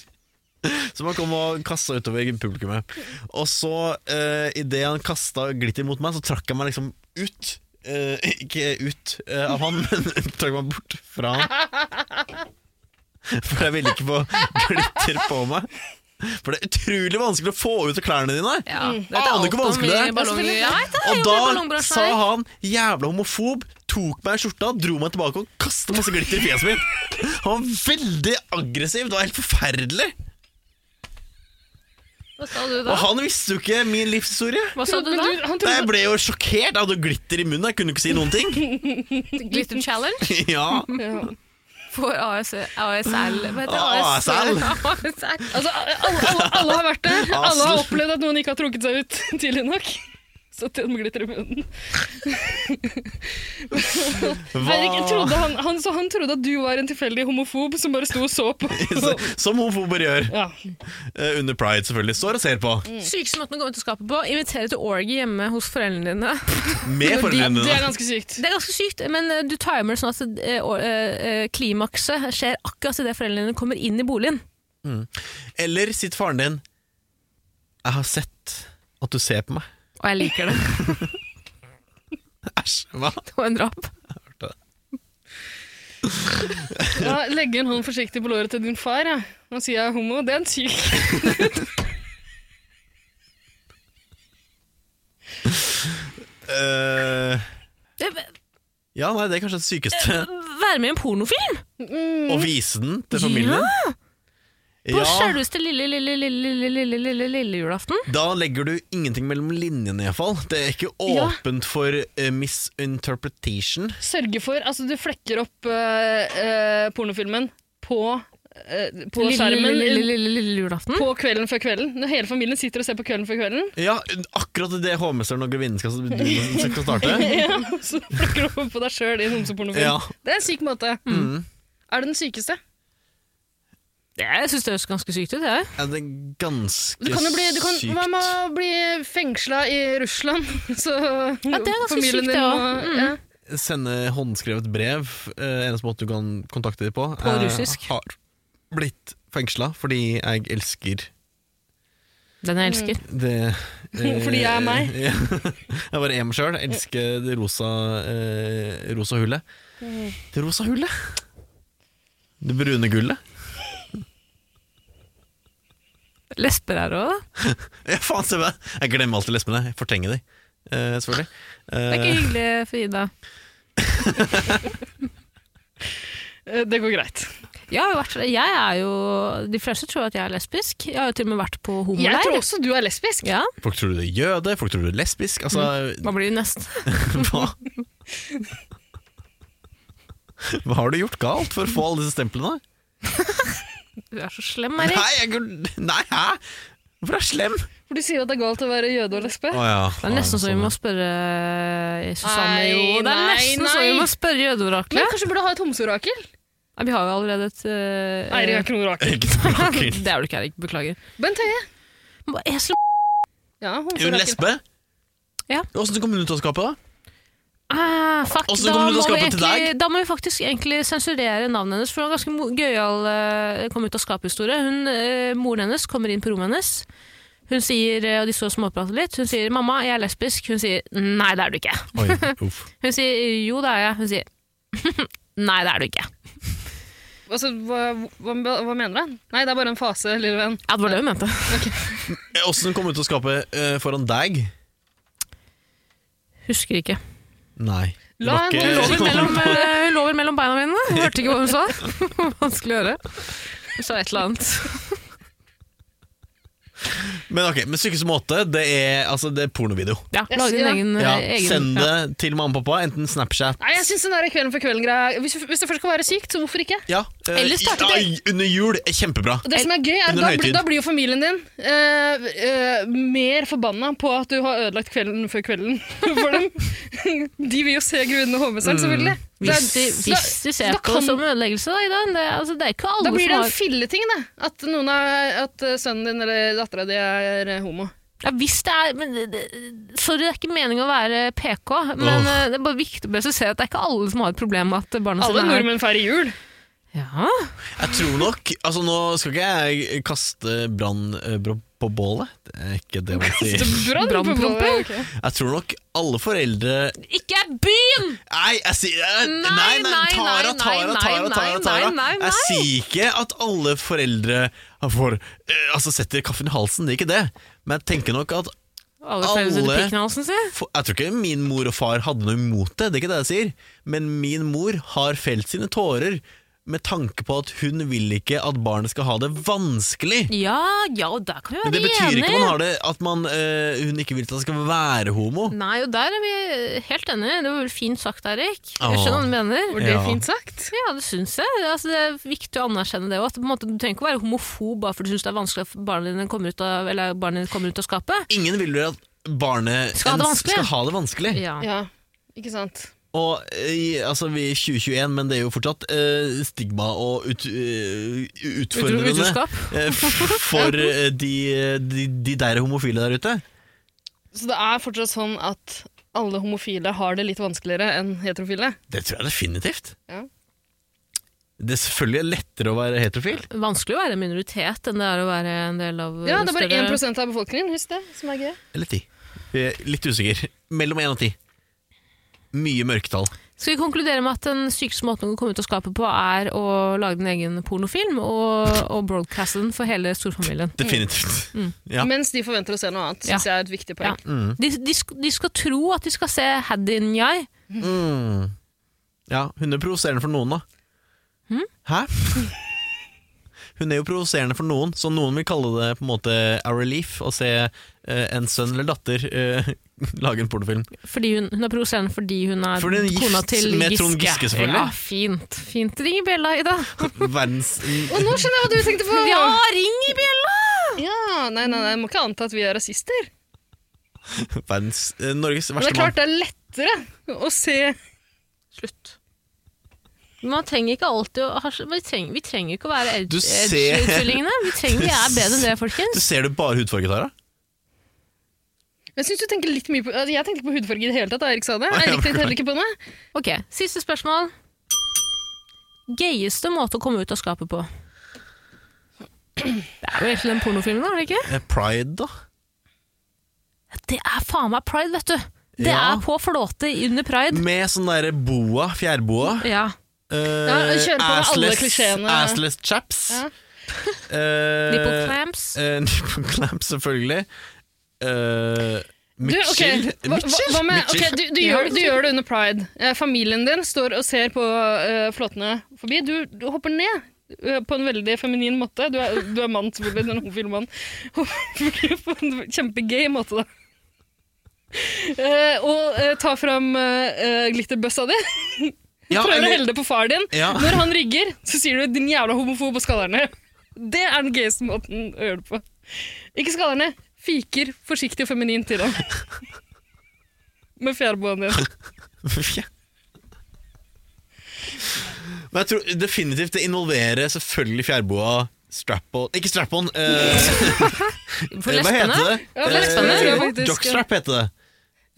D: Som han kom og kasta utover publikummet. Og så, eh, idet han kasta glitter mot meg, så trakk jeg meg liksom ut. Eh, ikke ut eh, av han, <laughs> men trakk meg bort fra han. For jeg ville ikke få glitter på meg. For det er utrolig vanskelig å få ut av klærne dine.
B: Ja. Mm.
D: Aner ikke hvor vanskelig det er. Og da sa han jævla homofob, tok meg i skjorta, dro meg tilbake og kastet masse glitter i fjeset mitt. Han var veldig aggressiv, det var helt forferdelig.
B: Hva sa du
D: Og
B: da?
D: han visste jo ikke min livshistorie.
B: Hva sa du
E: Men
B: da?
E: du- han
D: Nei,
E: trodde-
D: jeg ble jo sjokkert, jeg hadde jo glitter i munnen, jeg kunne ikke si noen
E: <laughs>
D: ting.
B: Glitter Challenge
D: Ja,
E: Ja.
B: <laughs> for AS, ASL Hva heter det?
D: Ah, ASL.
B: <laughs> ASL.
E: Altså, alle, alle, alle har vært der. Alle
D: altså.
E: har opplevd at noen ikke har trukket seg ut <laughs> tidlig nok. Så til med glitter i munnen. Eirik, trodde han, han, så han trodde at du var en tilfeldig homofob som bare sto og så på.
D: Som homofober gjør,
E: Ja.
D: eh, under pride selvfølgelig. Står og ser på,
B: Sykeste måten å komme ut av skapet på. Invitere til orgie hjemme hos foreldrene dine. <laughs>
D: med foreldrene
E: Det er
D: dine.
E: ganske sykt.
B: Det er ganske sykt, men eh, du timer det sånn at eh, or- eh, eh, klimakset skjer akkurat idet foreldrene dine kommer inn i boligen.
D: Eller sitt faren din, jeg har sett at du ser på meg.
B: Og jeg liker <laughs> det.
D: Æsj, hva?
B: Og en drap.
E: Da legger en hånd forsiktig på låret til din far ja. og sier jeg er homo. Det er en syk
D: Eh,
B: Det-
D: ja, nei, det er kanskje det sykeste.
B: Være med i en pornofilm!
D: Og vise den til familien?
B: På selveste lille, lille, lille, lille, lille, lille, lille julaften.
D: Da legger du ingenting mellom linjene, iallfall. Det er ikke
E: Ja.
D: åpent for eh, misinterpretation.
E: Sørge for Altså, du flekker opp eh, eh, pornofilmen på, eh, på
B: Lille,
E: skjermen eh,
B: lille, lille, lille, lille julaften.
E: på kvelden før kvelden. Når hele familien sitter og ser på Kvelden før <laughs> kvelden.
D: Ja, akkurat det hovmesteren og grevinnen skal,
E: <laughs>
D: du skal starte.
E: Ja, og så flekker du opp på deg sjøl i en homsepornofilm.
D: Ja. mm.
E: Det er en syk måte. Er det den sykeste?
B: Det, jeg syns det høres ganske sykt ut. Jeg.
D: Er det er ganske
E: Du kan jo bli, du kan,
D: sykt.
E: man må bli fengsla i Russland, <laughs> så
B: Ja, det er ganske sykt, det også. Mm.
E: ja.
D: Sende håndskrevet brev, eh, eneste måte du kan kontakte dem på.
B: På russisk.
D: Jeg har blitt fengsla fordi jeg elsker
B: Den jeg elsker. <laughs>
D: det eh, <laughs>
E: Fordi jeg er meg.
D: ja. Jeg bare er meg sjøl. Elsker det rosa, eh, rosa hullet. Det rosa hullet! Det brune gullet.
B: Mm. Lesber her òg, da.
D: Ja, faen, se på det! Jeg glemmer alltid lesbene. Jeg fortrenger de, eh, selvfølgelig.
B: Det er ikke
D: Eh,
B: hyggelig for Ida.
E: Eh, Det går greit.
B: Jeg, har jo vært, jeg er jo De fleste tror at jeg er lesbisk. Jeg har jo til og med vært på homoleir.
E: Jeg tror også du er lesbisk.
B: ja.
D: Eh, Folk tror du er jøde, folk tror du er lesbisk. Altså,
B: Mm. Hva blir det neste?
D: hva Hva har du gjort galt for å få alle disse stemplene?
B: Du er så slem,
D: Nei,
B: Erik.
D: jeg, gul- nei, hæ? Hvorfor er jeg slem?
E: For du sier at det er galt å være jøde og lesbe.
D: Ah,
B: Det er nesten så
D: sånn,
B: vi må spørre eh, Susanne
E: Nei,
B: Jo. Det er
E: nei,
B: nesten så vi
E: nei.
B: må spørre
E: Men
B: jødeoraklet.
E: kanskje du burde ha et homseorakel?
D: Eh.
B: Nei, Vi har jo allerede et eh,
E: Eirik er ikke noe orakel.
D: sånn. <laughs> Ikke
B: <laughs>
D: noe
B: det
D: orakel.
B: er du ikke, Erik. Beklager.
E: Bent Høie.
B: Hva- jeg slem-
D: Er
E: Ja,
D: Hun
B: Altså,
E: homseorakel.
D: lesbe?
B: Ja.
D: Åssen kom hun ut av skapet, da?
B: Ah, fuck,
D: Og så
B: da,
D: kommer hun til å
B: må vi
D: skape til
B: egentlig, da må vi faktisk egentlig sensurere navnet hennes, for det var ganske mo- gøyal eh, kom ut av skaphistorie. Hun, eh, moren hennes kommer inn på rommet hennes. Hun sier, eh, og de står og småprater litt, hun sier 'mamma, jeg er lesbisk'. Hun sier 'nei, det er du ikke'.
D: Oi, uff.
B: Hun sier 'jo, det er jeg'. Hun sier <laughs> 'nei, det er du ikke'.
E: Altså, hva, hva, hva mener du? Nei, det er bare en fase, lille venn.
B: Ja, det var det hun mente.
D: Åssen kom hun ut av skapet eh, foran deg?
B: Husker ikke.
D: Nei. Det
E: La
D: var
E: en
D: ikke-
E: hånd
B: Hun mellom, eh, hun lover mellom beina mine. Hun hørte ikke hva hun sa. <laughs> Vanskelig å høre. Hun sa et eller annet.
D: Men ok, men sykeste måte, det er, altså, det er pornovideo.
B: Ja, Lage din
E: Ja.
B: egen,
D: Ja,
B: eh, egen
D: send det til mamma og pappa, enten Snapchat
E: Nei, jeg syns den der Kvelden for kvelden-greia hvis, hvis det først skal være sykt, så hvorfor ikke?
D: ja, eh,
B: Eller starte
D: ja, Under jul er kjempebra.
E: Og Det som er gøy, er
D: Under
E: da,
D: høytid.
E: da blir jo familien din eh, eh, mer forbanna på at du har ødelagt kvelden før kvelden <laughs> for dem. De vil jo se Grunnen og Hovmesteren,
D: Mm.
E: selvfølgelig. Da-
B: Hvis de,
E: da-
B: hvis de ser
E: da
B: på
E: kan-
B: det som ødeleggelse, da, Ida. Det, altså, det er ikke alle
E: Da blir det
B: som
E: en
B: har
E: filleting, da. At, noen er, at eh, sønnen din eller dattera di er eh, homo.
B: ja, Hvis det er men, det- det- Sorry, det er ikke meningen å være PK, men
D: Åh.
B: eh, det er bare viktig å presisere at det er ikke alle som har et problem med at barna
E: Alle
B: sine Altså, er
E: nordmenn feirer jul.
B: Ja,
D: Jeg tror nok altså, Nå skal ikke jeg kaste brann eh, bra- på bålet. Det er ikke det man sier.
B: <laughs>
E: Brann på
B: Brannpumpe?
E: bålet, ok.
D: Jeg tror nok alle foreldre
B: Ikke er byen!
D: Nei, jeg sier eh,
B: Nei,
D: Nei, nei,
B: nei,
D: Tara,
B: nei, nei,
D: Tara, Tara.
B: nei,
D: Tara, Tara.
B: nei, nei,
D: Jeg sier ikke at alle foreldre får, eh, altså, setter kaffen i halsen, det er ikke det. Men jeg tenker nok at
B: Alle føler seg til
D: Alle-
B: pikken i halsen sin.
D: For, jeg tror ikke min mor og far hadde noe imot det, det er ikke det jeg sier. Men min mor har felt sine tårer med tanke på at hun vil ikke at barnet skal ha det vanskelig.
B: Ja, ja, og der kan vi
D: Men det
B: være
D: betyr ikke man
B: enige.
D: har det, at man, øh, hun ikke vil at det skal være homo.
B: Nei, og der er vi helt enige. Det var vel fint sagt, Erik. Jeg
D: Åh.
B: skjønner hva du mener.
E: Var det
D: Ja.
E: fint sagt?
B: Ja, det syns jeg. Altså, det er viktig å anerkjenne det òg. Du trenger ikke å være homofob bare fordi du syns det er vanskelig at barna dine kommer ut av, eller barna dine kommer ut av skapet.
D: Ingen vil vel at barnet
B: Skal ha det
D: ens
B: vanskelig.
D: skal ha det vanskelig.
B: Ja.
E: Ja, ikke sant.
D: Og øh, i, altså, vi er i 2021, men det er jo fortsatt øh, stigma og ut, øh, utfordrende <laughs>
B: Utroskap.
D: øh, f- for øh, de, de, de der homofile der ute.
E: Så det er fortsatt sånn at alle homofile har det litt vanskeligere enn heterofile?
D: Det tror jeg definitivt.
E: Ja.
D: Det er selvfølgelig lettere å være heterofil.
B: Vanskelig å være en minoritet enn det er å være en del av
E: Ja, det er
B: større-
E: bare 1 av befolkningen, husk det, som er gøy.
D: Eller ti. Vi er Litt usikker. Mellom én og ti. Mye mørketall.
B: Skal vi konkludere med at den sykeste måten å komme ut av skapet på, er å lage din egen pornofilm og, og broadcaste den for hele storfamilien?
D: Definitivt. Ja.
E: Mens de forventer å se noe annet, syns jeg er et viktig poeng.
B: De, de, sk- de skal tro at de skal se Haddy in Yai.
D: Mm. Ja, hun er provoserende for noen, da.
E: Hm?
D: Hæ? <laughs> Hun er jo provoserende for noen, så noen vil kalle det på en måte a relief å se eh, en sønn eller datter eh, <laughs> lage en
E: <laughs>
D: pornofilm.
B: Fordi hun, hun er provoserende fordi hun er
D: Fordi hun er
B: kona
D: gift
B: til Giske.
D: med Trond Giske, selvfølgelig.
B: Ja, fint. Fint. Ring i bjella, Ida.
D: Verdens
E: Og nå skjønner jeg hva du tenkte på!
B: Ja, ring i bjella!
E: Ja, nei, nei, nei, må ikke anta at vi er rasister.
D: <laughs> Verdens eh, Norges
E: Men
D: verste
E: det er
D: mann.
E: klart det er lettere å se
B: Slutt. Man trenger ikke alltid å ha Vi trenger, vi trenger ikke å være edge-
D: Du ser-
B: edge-utvillingene. Vi trenger vi er bedre enn det, folkens.
D: Du ser det bare hudfarge, Tara.
E: Jeg syns du tenker litt mye på altså, Jeg tenkte ikke på hudfarge i det hele tatt da Eirik sa det. Eirik tenkte heller ikke på det.
B: Ok, siste spørsmål. Gøyeste måte å komme ut av skapet på? Det er jo egentlig den pornofilmen, er det ikke?
D: Eh, Pride, da?
B: Det er faen meg pride, vet du! Det
D: Ja.
B: er på flåte under pride.
D: Med sånn der boa, fjærboa.
B: Ja.
D: Uh,
E: kjør på med alle klisjeene.
D: Assless chaps.
E: Ja.
D: Eh,
E: <laughs>
B: Nipple clamps.
D: <laughs> eh, nipple clamps, selvfølgelig. Eh,
E: Du,
D: Mitchell.
E: ok, hva, hva, hva med, ok, du, du, gjør, du gjør det under pride. Eh, familien din står og ser på eh, flåtene forbi. Du, du hopper ned. eh, på en veldig feminin måte. Du er, du er mann, selvfølgelig. Du er en homofil mann. <laughs> på en kjempegay måte, da. Eh, og eh, ta fram eh, eh, glitterbøssa di.
D: Ja,
E: Prøver å
D: eller-
E: helle det på far din. <laughs>
D: Ja.
E: Når han rygger, så sier du 'din jævla homofob' og skaller ned. Det er den gøyeste måten å gjøre det på. Ikke skaller ned. Fiker forsiktig og feminin til ham. Med fjærboaen din.
D: Ja. Men jeg tror definitivt det involverer selvfølgelig fjærboa, strap-on Ikke strap-on!
E: <laughs>
D: Eh,
B: For
D: hva
B: lesbene?
D: heter det? Eh,
E: Ja, lesbene, tror jeg faktisk.
D: Jockstrap heter det.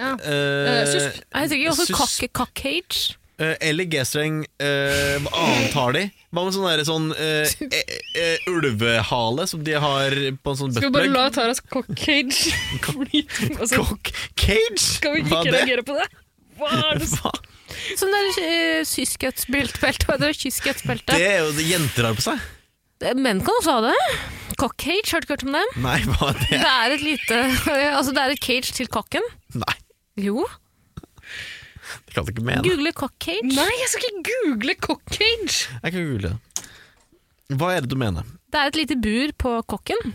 E: Ja. Eh,
D: Eh,
E: susp.
B: Jeg tenker også
D: Sus-
B: cock- cockcage.
D: eh, eller G-streng. eh, hva annet har de? Hva med sånn derre sånn eh,
E: <laughs>
D: eh, eh, ulvehale som de har på en sånn
E: Skal vi bare la
D: buttplug?
E: Taras cockcage flyte? Altså,
D: Cock-cage?
E: skal vi
D: Hva er
E: ikke
D: det?
E: reagere på det? Hva er det?
D: Hva?
B: Som det er uh, syskhetbelte. Hva heter det? Kyskhetbelte.
D: Det er jo det jenter har på seg.
B: Menn kan også ha det. Cockcage, har du ikke hørt om dem?
D: Nei, hva er det?
B: Det er et lite <laughs> Altså, det er et cage til kokken.
D: Nei,
B: Jo.
D: det kan du ikke mene.
B: Google cockcage.
E: Nei, jeg skal ikke google cockcage!
D: Jeg kan google det. Hva er det du mener?
B: Det er et lite bur på kokken,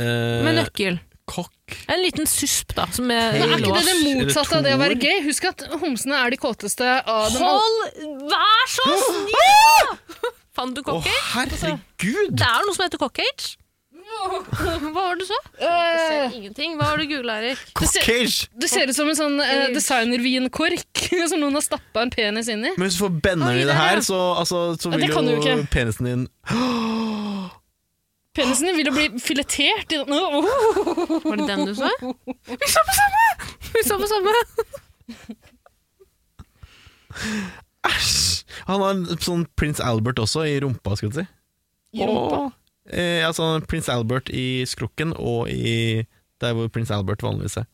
D: Eh,
B: med nøkkel.
D: kokk
B: En liten susp, da, som er
E: Men er
D: Eller
E: ikke det det
D: lås,
E: motsatte av det
D: eller
E: å være
D: toer.
E: gay? Husk at homsene er de kåteste av dem alle.
B: Hold Vær så snill! Fant du
D: Å,
B: cockcage?
D: herregud!
B: Det er noe som heter cockcage. Hva var det du så? Jeg
E: Øh,
B: ser ingenting. Hva har du googla, Erik?
D: Cockcage!
E: Det ser ut som en sånn eh, designervinkork <laughs> som noen har stappa en penis inn i.
D: Men hvis du får benderen i
B: Oi,
D: det her,
B: der, ja.
D: så, altså, så
E: Ja,
D: vil
E: det kan du jo
D: jo
E: ikke.
D: penisen din
E: Penisen din vil jo bli filetert i den. Åh,
B: Var det den du så? <laughs> Vi så på samme! Vi så på samme.
D: Æsj! Han har en sånn prins Albert også i rumpa, skal du si.
E: I rumpa.
D: Og, eh, altså prins Albert i skrukken og i der hvor prins Albert vanligvis er.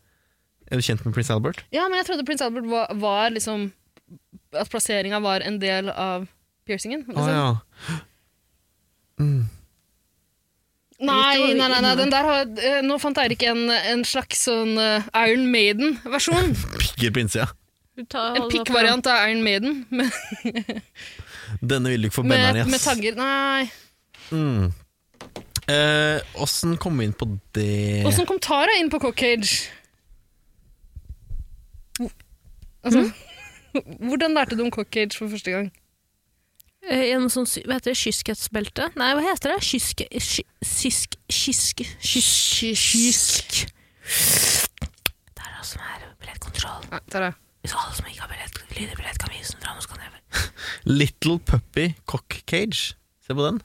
D: Er du kjent med prins Albert?
E: Ja, men jeg trodde prins Albert var, var liksom At plasseringa var en del av piercingen.
D: Å
E: Liksom.
D: ja.
E: Nei, nei, nei, nei, den der har eh, Nå fant Eirik en, en slags sånn eh, Iron <laughs> Maiden-versjon.
D: Pigger prinse, ja.
B: Du tar-
E: En pikkvariant av Iron Maiden med,
D: Denne vil du ikke få
E: med,
D: benderen i,
E: med
D: ass.
E: tagger. Nei.
D: Mm. Eh, Åssen kom vi inn på det
E: Åssen kom Tara inn på Cockcage? Altså, <laughs> Hvordan lærte du om Cockcage for første gang?
B: Eh, i en sånn, sy- hva heter det, kyskhetsbelte? Nei, hva heter det? Kyske... ky- Sysk... Kysk... Kysk... Kysk... Det er det som er billettkontroll.
E: Nei, Tara.
B: Hvis alle som ikke har billett, lydbillett, kan vise den fram, så kan jeg
D: Little Puppy Cock Cage? Se på den.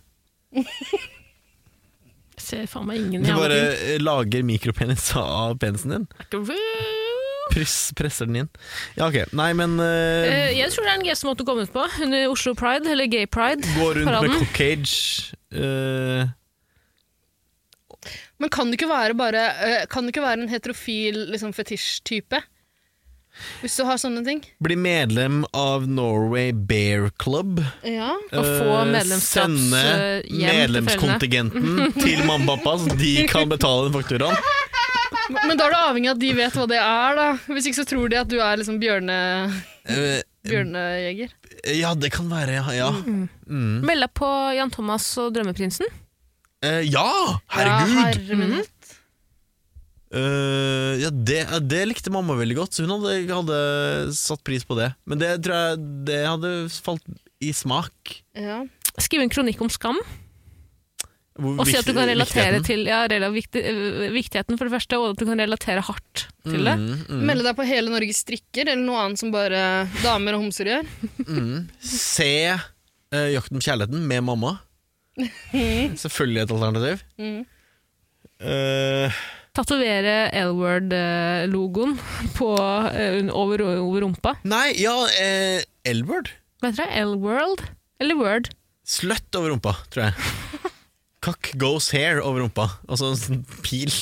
B: Jeg ser faen meg ingen
D: Du
B: jævla
D: bare
B: ting.
D: eh, lager mikropenis av penisen din.
B: Er ikke rude.
D: Press, presser den inn. Ja, ok. Nei, men eh,
B: Eh, Jeg tror det er den gøyeste måten å komme ut på. Under Oslo Pride, eller Gay Pride.
D: gå rundt med
B: paraden.
D: cock cage eh,
E: Men kan det ikke være, bare, eh, kan det ikke være en heterofil liksom, fetisj-type? Hvis du har sånne ting?
D: Bli medlem av Norway Bear Club.
E: Ja.
B: Og få
D: Eh,
B: medlemskaps,
D: Sende
B: eh, hjem til
D: medlemskontingenten til mamma og pappa, så de kan betale den
B: <laughs>
D: fakturaen.
E: Men da er du avhengig av at de vet hva det er, da. Hvis ikke så tror de at du er liksom bjørne,
D: Eh,
E: bjørnejeger.
D: ja, det kan være, ja. Ja,
B: Mm. Meld deg på Jan Thomas og Drømmeprinsen.
D: Eh, ja herregud!
E: Ja, herre min hatt.
D: Eh, ja, det, ja, det likte mamma veldig godt, så hun hadde, hadde satt pris på det. Men det tror jeg det hadde falt i smak.
E: ja.
B: Skriv en kronikk om skam,
D: Hvor
B: og si at du
D: viktig-
B: kan relatere
D: viktigheten.
B: til ja, rela- vikti- øh, viktigheten, for det første, og at du kan relatere hardt til det.
D: Mm, mm.
E: Melde deg på Hele Norges strikker, eller noe annet som bare damer og homser gjør.
D: Se eh, Jakten på kjærligheten med
B: <laughs>
D: mamma. Selvfølgelig et alternativ.
E: Mm.
D: Eh,
B: Tatovere L-word-logoen <laughs> på, øh, over, over rumpa.
D: nei, ja uh, Elbert.
B: Hva heter det? L-world? Eller Word?
D: Sløtt over rumpa, tror
B: <laughs>
D: jeg. Cock goes hair over rumpa. Altså en sånn pil.
B: <laughs>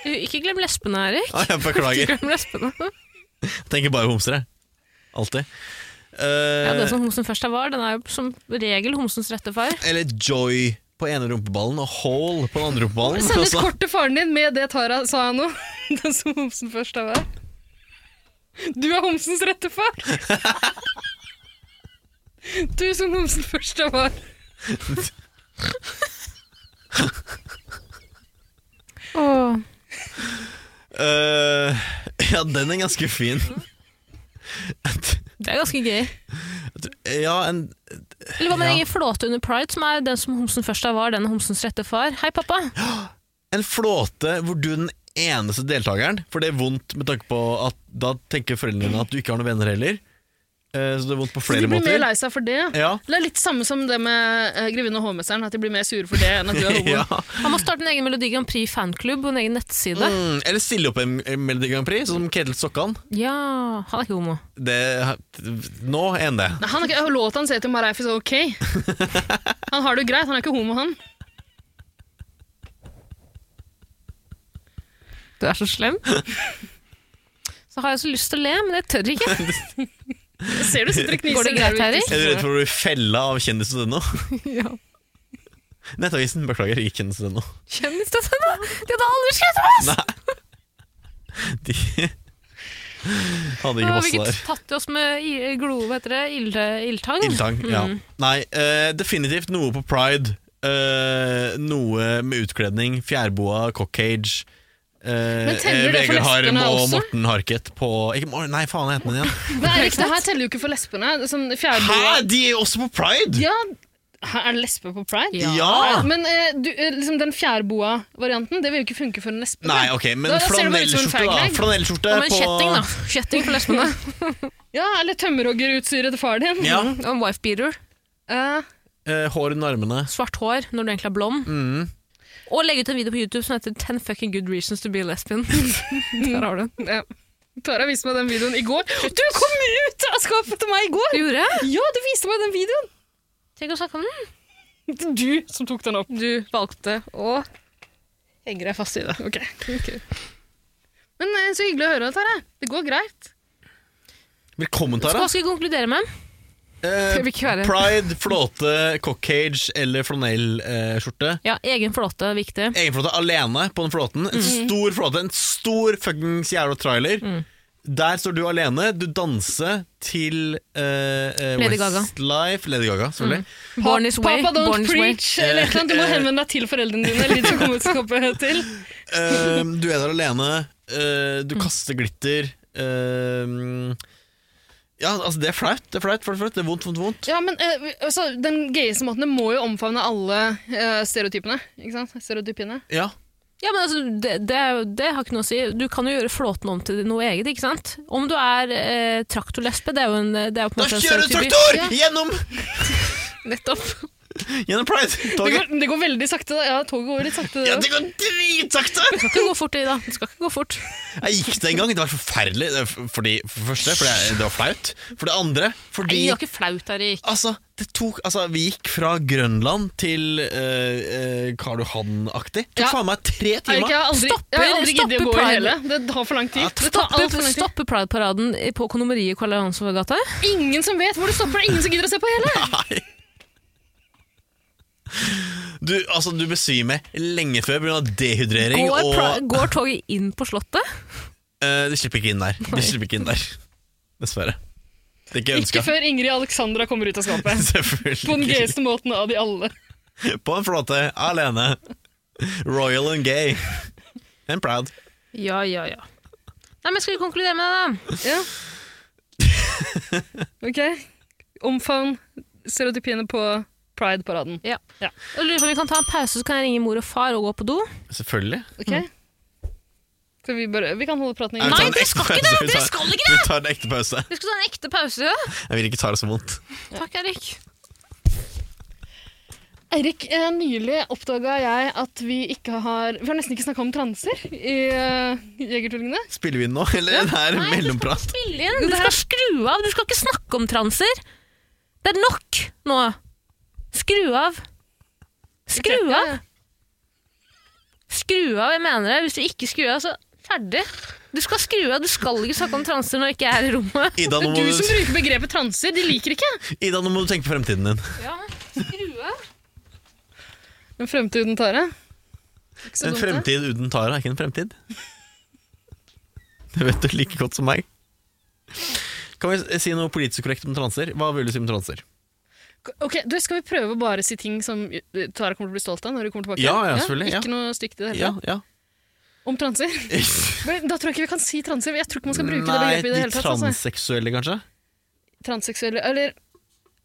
B: Eh, Ikke glem lesbene, Erik.
D: Ah, jeg beklager.
B: <laughs> Ikke glem lesbene.
D: Tenker bare homser, jeg. Alltid. Eh,
B: Ja, den
E: sånn.
B: som homsen først er var, den er jo som regel homsens rette far.
D: Eller Joy på ene rumpeballen og Hole på den andre rumpeballen. Altså,
E: Send et
D: Også-
E: kort til faren din med det Tara sa nå. <laughs> Den som homsen først har vært. Du er homsens
D: <laughs>
E: rette far! Du som homsen først har vært.
B: Åh.
D: Eh, ja, den er ganske fin.
B: Det er ganske gøy.
D: Ja, en
B: Eller hva med
D: Ja.
B: den egen flåte under pride, som er den som homsen først av var, den homsens rette far. Hei, pappa!
D: En flåte hvor du er den eneste deltakeren, for det er vondt med tanke på at da tenker foreldrene dine at du ikke har noen venner heller. Eh, Så det er vondt på
E: Så de
D: flere
E: blir mer
D: måter.
E: lei seg for det.
D: Ja.
E: Det er litt samme som det med eh, grevinne og hovmesteren, at de blir mer sure for det enn at du
D: <laughs>
E: er homo.
D: ja.
B: Han må starte en egen Melodi Grand Prix fanklubb og en egen nettside.
D: Mm, eller stille opp i en en Melodi Grand Prix, sånn som Ketil Stokkan.
B: Ja, han er ikke homo.
D: Det, nå er han det.
E: Nei, han er ikke, låten sier til Mareifi så ok.
D: <laughs>
E: Han har det jo greit, han er ikke homo, han.
B: Du er så slem. <laughs> Så har jeg så lyst til å le, men jeg tør <laughs> ikke.
E: Jeg ser du sitter og kniser.
B: Går det greit,
E: der,
B: Eirik?
E: Victor.
D: Er du redd for å bli fella av
E: <laughs>
D: kjendis.no?
B: Ja.
D: Nettavisen, beklager, ikke kjendis.no.
B: Kjendis.no! De hadde aldri skrevet om oss!
D: <laughs> De
B: Nå
D: hadde ikke
B: har vi
D: passet
B: ikke
D: der.
B: tatt i oss med i- glo, hva heter det, ilde, ildtang.
D: Ildtang, ja.
E: Mm.
D: Nei, eh, definitivt noe på pride. eh, noe med utkledning. Fjærboa, cockcage. Uh,
E: Men teller det for
D: Vegard Harm
E: lesbene
D: og
E: også?
D: Morten Harket på ikke, Mor- Nei, faen, jeg heter den igjen.
E: <laughs> Nei, Eirik, det her teller jo ikke for lesbene. Det er Sånn
D: Hæ,
E: fjærboa.
D: de er også på pride?!
E: Ja, her er det lesbe på pride?
D: Ja!
E: Men eh, du, eh, liksom den fjærboa-varianten, det vil jo ikke funke for en lesbe.
D: Nei, ok, men
E: Da- da ser det bare ut som en
D: flanellskjorte, da.
E: fag-leg.
D: Flanellskjorte
B: Om en
D: på
B: kjetting, da. Kjetting for lesbene.
E: Ja, eller tømmerhoggerutstyret til faren din.
D: Ja,
B: Og en wife beater.
E: Eh,
D: eh, Hår under armene. Mm.
B: Svart hår når du egentlig er blond. Og legge ut en video på YouTube som heter 10 fucking good reasons to be a <laughs> lesbian. Der har du den.
E: ja. Tara viste meg den videoen i går. Du kom ut av skapet til meg i går!
B: Det gjorde jeg.
E: Ja, du viste meg den videoen!
B: Tenk å snakke om den.
E: Du som tok den opp.
B: Du valgte å
E: Henger deg fast i det. Ok. ok. Men eh, så hyggelig å høre, Tara. Det går greit.
D: Velkommen,
B: Hva
D: Tara.
B: skal vi konkludere med?
D: Eh,
B: Det vil ikke være
D: pride, flåte, cockcage eller flanellskjorte.
B: Ja, egen flåte er viktig.
D: egenflåte alene på den flåten. En
B: Mm.
D: stor flåte, en stor fuckings jævla trailer. Der står du alene, du danser til eh, eh,
B: Lady Gaga. Mm.
D: Westlife Lady Gaga, selvfølgelig.
B: Born this way.
E: Papa don't
B: Born this way.
E: preach! Eller et eller annet. Du må henvende deg til foreldrene dine. Eller de som kommer ut skapet til.
D: Eh, du er der alene, eh,
B: Mm.
D: du kaster glitter. eh, ja, altså, det er flaut. Det er flaut, flaut, flaut. Det er vondt, vondt, vondt.
E: Ja, men eh, vi- altså, Den gayeste måten det må jo omfavne alle eh, stereotypene. Ikke sant? Stereotypene.
D: Ja.
B: Ja, men altså, det, det, er jo- det har ikke noe å si. Du kan jo gjøre flåten om til noe eget, ikke sant? Om du er eh, traktorlesbe, det er jo en det er jo på en måte
D: Da
B: en
D: kjører du
B: stereotypi.
D: traktor
B: Ja,
D: gjennom,
B: nettopp.
D: gjennom
E: Det
D: Pride-toget!
E: går, det går veldig sakte. da. Ja, toget går litt sakte.
D: Ja,
E: det
D: det går dritsakte!
B: Det skal ikke gå fort, Ida. Det skal ikke gå fort.
D: Jeg gikk det en gang, det var forferdelig. Det er f- Fordi, for det første, fordi jeg, det var flaut. For det andre,
B: Nei,
D: fordi
B: det var ikke flaut, Erik.
D: Altså, det tok, altså, vi gikk fra Grønland til eh, eh, Karl Johan-aktig. Det tok
E: Ja.
D: faen meg tre
E: Erik,
D: timer.
E: jeg har aldri,
B: Stopper-
E: jeg har aldri giddet å
B: stopper
E: gå i
B: Pride.
E: hele. Det tar for lang tid.
D: Ja,
E: Det tar alt
B: Stoppe,
E: for lang tid.
B: stoppe Pride-paraden i- på kondomeriet i Karl Johansson-gata.
E: Ingen som vet hvor det stopper, det er ingen som gidder å se på hele.
D: Nei. Du, altså, du besvimer lenge før pga. dehydrering
B: Går,
D: og
B: pra- går toget inn på Slottet?
D: eh, De slipper ikke inn der. De slipper ikke inn der. Dessverre. Det er ikke
E: Ikke
D: ønska.
E: før Ingrid Alexandra kommer ut av skapet. På den
D: <laughs> Selvfølgelig.
E: gøyeste måten av de alle.
D: På en flåte, alene. Royal and gay. And proud.
B: Ja, ja, ja. Nei, men Skal vi konkludere med det, da?
E: Ja. Ok. Omfavn stereotypiene på Pride-paraden.
B: Jeg lurer på om vi kan ta en pause, så kan jeg ringe mor og far og gå på do.
D: Selvfølgelig.
E: Ok? Skal vi, bare, vi kan holde praten i
D: vi tar
B: Nei,
D: en
B: dere
D: ekte
B: skal
D: pause.
B: ikke det!
D: Vi
B: Dere
D: tar-
B: skal ikke
D: Vi tar en ekte pause.
B: Vi skal ta en ekte pause.
D: Jeg vil ikke ta det så vondt.
B: Takk, Erik.
E: Eirik, eh, nylig oppdaga jeg at vi ikke har Vi har nesten ikke snakka om transer i eh, Jegertvillingene.
D: Spiller vi inn nå, eller det er
B: Nei,
D: mellomprat?
B: Spille inn. Du skal skru av. Du skal ikke snakke om transer. Det er nok nå. Skru av. Skru
E: Ok, ja, ja.
B: av. Skru av, jeg mener det. Hvis du ikke skrur av, så ferdig. Du skal skru av. Du skal ikke snakke om transer når jeg ikke er i rommet.
D: Ida
E: Det
D: nå,
E: er
D: må
E: du som
D: du,
E: bruker begrepet transer. De liker ikke.
D: Ida, nå må du tenke på fremtiden din.
B: Ja, skru av.
E: Men fremtiden, Tare. Ikke så
D: En
E: dumt, det.
D: fremtid uten Tara er ikke en fremtid. Det vet du like godt eh, som meg. Kan vi si noe politisk korrekt om transer? Hva vil du si om transer?
E: Ok, du, Skal vi prøve å bare si ting som eh, Tara kommer til å bli stolt av når hun kommer tilbake?
D: Ja, ja, selvfølgelig, ja.
E: Ikke noe stygt i det hele
D: Ja,
E: tatt.
D: ja.
E: Om
D: <laughs>
E: transer? Men Da tror jeg ikke vi kan si transer. Jeg tror ikke man skal bruke det
D: Nei,
E: begrepet i det
D: de
E: hele tatt. Altså.
D: transseksuelle, kanskje?
E: Transseksuelle, eller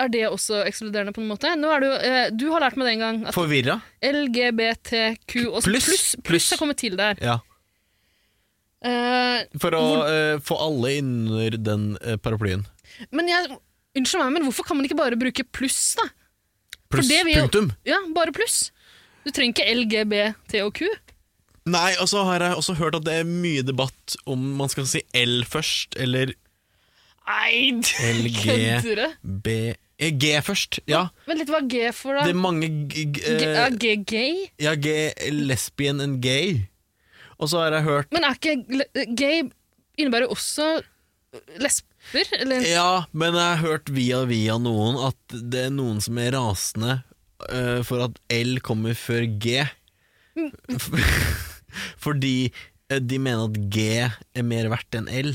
E: er det også ekskluderende på en måte? Nå er det jo, eh, du har lært meg det en gang, at
D: Forvirra?
E: LGBTQ og så
D: Pluss,
E: pluss,
D: pluss.
E: pluss er kommet til der.
D: Ja.
E: Eh,
D: For å eh, få alle innunder den eh, paraplyen.
E: men jeg, unnskyld meg, men hvorfor kan man ikke bare bruke pluss, da?
D: Pluss,
E: det vil jo-
D: punktum.
E: Ja, bare pluss. Du trenger ikke LGBT og Q.
D: Nei, og så har jeg også hørt at det er mye debatt om man skal si L først, eller
E: Nei, du
D: LG
E: <laughs> kødder! du?
D: B eh, G først. Ja,
E: Vent litt, hva er G for, da?
D: det er mange g... g
E: G-
D: eh,
E: er G gay?
D: ja, G lesbian and gay. Og så har jeg hørt
E: Men er ikke le- eh, gay innebærer jo også eh, lesber? Eller
D: Ja, men jeg har hørt via via noen at det er noen som er rasende eh, for at L kommer før G. <laughs> Fordi eh, de mener at G er mer verdt enn L.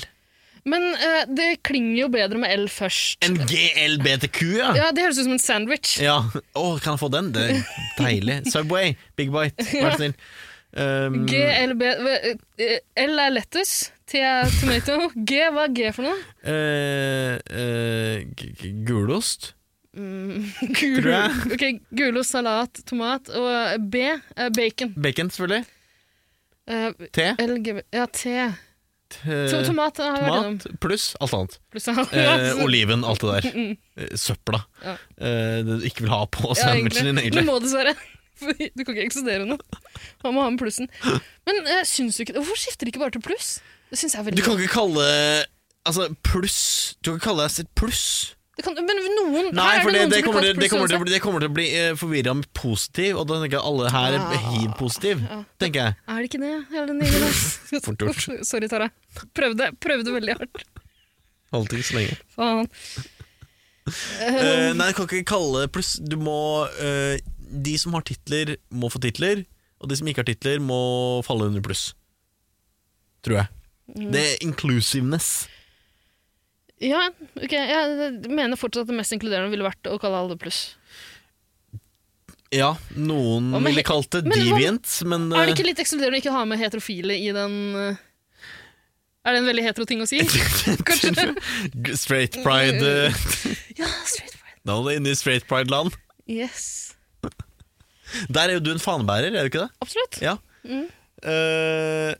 E: Men eh, det klinger jo bedre med L først.
D: En GLBTQ, ja!
E: Ja, Det høres ut som en sandwich.
D: Ja, Å, kan jeg få den? Det er deilig. Subway, Big Bite, vær så snill. Um,
E: G, L, B eh, L er lettuce, T er tomato. G, hva er G for noe?
D: eh, eh, g- g- gulost?
E: Mm, <laughs> Gul,
D: Tror jeg.
E: ok, Gulost, salat, tomat. Og eh, B er bacon.
D: Bacon, selvfølgelig.
E: Eh,
D: Te.
E: L, G, ja, T.
D: eh,
E: To, tomat har jeg vært innom.
D: tomat pluss alt annet.
E: Pluss <laughs> alt.
D: Eh, oliven, alt det der. Eh, Søpla.
E: Ja.
D: Eh, det du ikke vil ha på
E: Ja,
D: sandwichen din,
E: Du
D: egentlig.
E: må dessverre. <laughs> Fordi du kan ikke eksistere nå. Man må ha med plussen. Men eh, syns du ikke Hvorfor skifter de ikke bare til pluss? Det syns jeg er
D: Du
E: veldig
D: kan ikke kalle Altså, pluss Du kan ikke kalle deg et pluss.
E: det kan, Men noen
D: Nei,
E: her er
D: for det,
E: noen
D: det,
E: som
D: kommer,
E: blir
D: til,
E: kalt
D: det, kommer, til, å
E: pluss
D: bli- det kommer til å bli eh, forvirra med positiv, og da tenker jeg alle her er
E: Ah.
D: hiv-positiv, tenker jeg.
E: Er det ikke det? Hele den gjengen, ass.
D: <laughs> Fort gjort.
E: Sorry, Tara. Prøvde, prøvde veldig hardt.
D: Holdt ikke så lenge.
E: Faen.
D: Eh, nei, du kan ikke kalle Pluss, du må eh, De som har titler, må få titler, og de som ikke har titler, må falle under pluss. Tror jeg.
E: Mm.
D: Det er inclusiveness.
E: Ja, ok. Jeg mener fortsatt at det mest inkluderende ville vært å kalle alle pluss.
D: Ja, noen
E: Hva med
D: ville
E: he-
D: kalt det
E: Men hva-
D: deviant, men eh, <laughs>
E: Er det ikke litt ekskluderende å ikke ha med heterofile i den eh, Er det en veldig hetero
D: <laughs>
E: ting å si? Kanskje?
D: eh, Straight pride eh, <laughs>
E: Ja, straight pride.
D: Da er du inne i straight pride-land.
E: Yes.
D: Der er jo du en fanebærer, er du ikke det?
E: Absolutt.
D: Ja.
E: Mm.
D: Eh,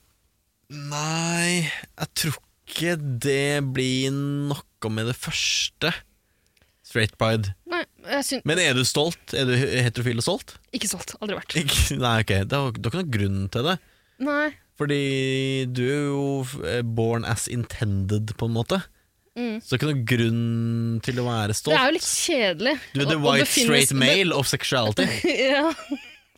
D: nei, jeg tror ikke det blir noe med det første. Straight pride.
E: Nei, jeg syns
D: Men er du stolt? Er du heterofil og stolt?
E: Ikke solgt. Aldri vært.
D: Ikke, nei, ok. Det er jo det er ikke noen grunn til det.
E: Nei.
D: Fordi du er jo eh, born as intended, på en måte.
E: Mm.
D: Så det er ikke noen grunn til å være stolt.
E: Det er jo litt kjedelig.
D: Du er the
E: å- å
D: white
E: befinne
D: straight
E: seg-
D: male of sexuality.
E: <laughs> Ja,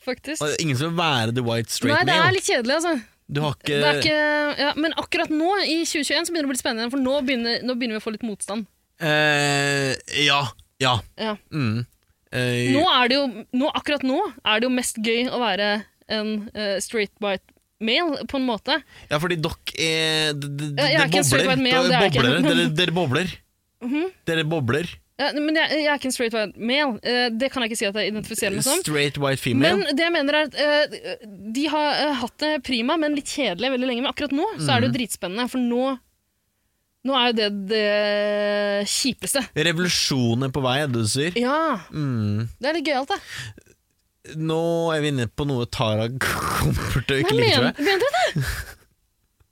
E: faktisk.
D: Og det er Ingen som vil være the white straight
E: Nei, det er
D: male.
E: litt kjedelig, altså.
D: Du har ikke,
E: Det er ikke, ja, men akkurat nå, i 2021, så begynner det å bli spennende, for nå begynner, nå begynner vi å få litt motstand.
D: eh, Ja. Ja.
E: Ja.
D: Mm. Eh,
E: Nå er det jo, nå, akkurat nå er det jo mest gøy å være en eh, straight white male, på en måte.
D: ja, fordi dere er d- d- d-
E: Ja, jeg er
D: Dere
E: ikke en straight
D: bobler.
E: white male,
D: Dere
E: det er jeg
D: bobler.
E: ikke. Mhm.
D: Dere,
E: <laughs>
D: dere bobler. Dere bobler.
E: Ja, men jeg, jeg er ikke en straight white male. Eh, det kan jeg ikke si at jeg identifiserer meg som.
D: Straight white female.
E: Men det jeg mener er at eh, de har eh, hatt det prima, men litt kjedelig veldig lenge. Men akkurat nå så
D: Mhm.
E: er det jo dritspennende, for nå, nå er jo det det kjipeste.
D: Revolusjonen er på vei, er det du sier.
E: Ja,
D: Mm.
E: det er litt gøyalt, det.
D: Nå er vi inne på noe Tara kommer til å ikke
E: Nei,
D: like, tror
E: men,
D: jeg.
E: mener du det?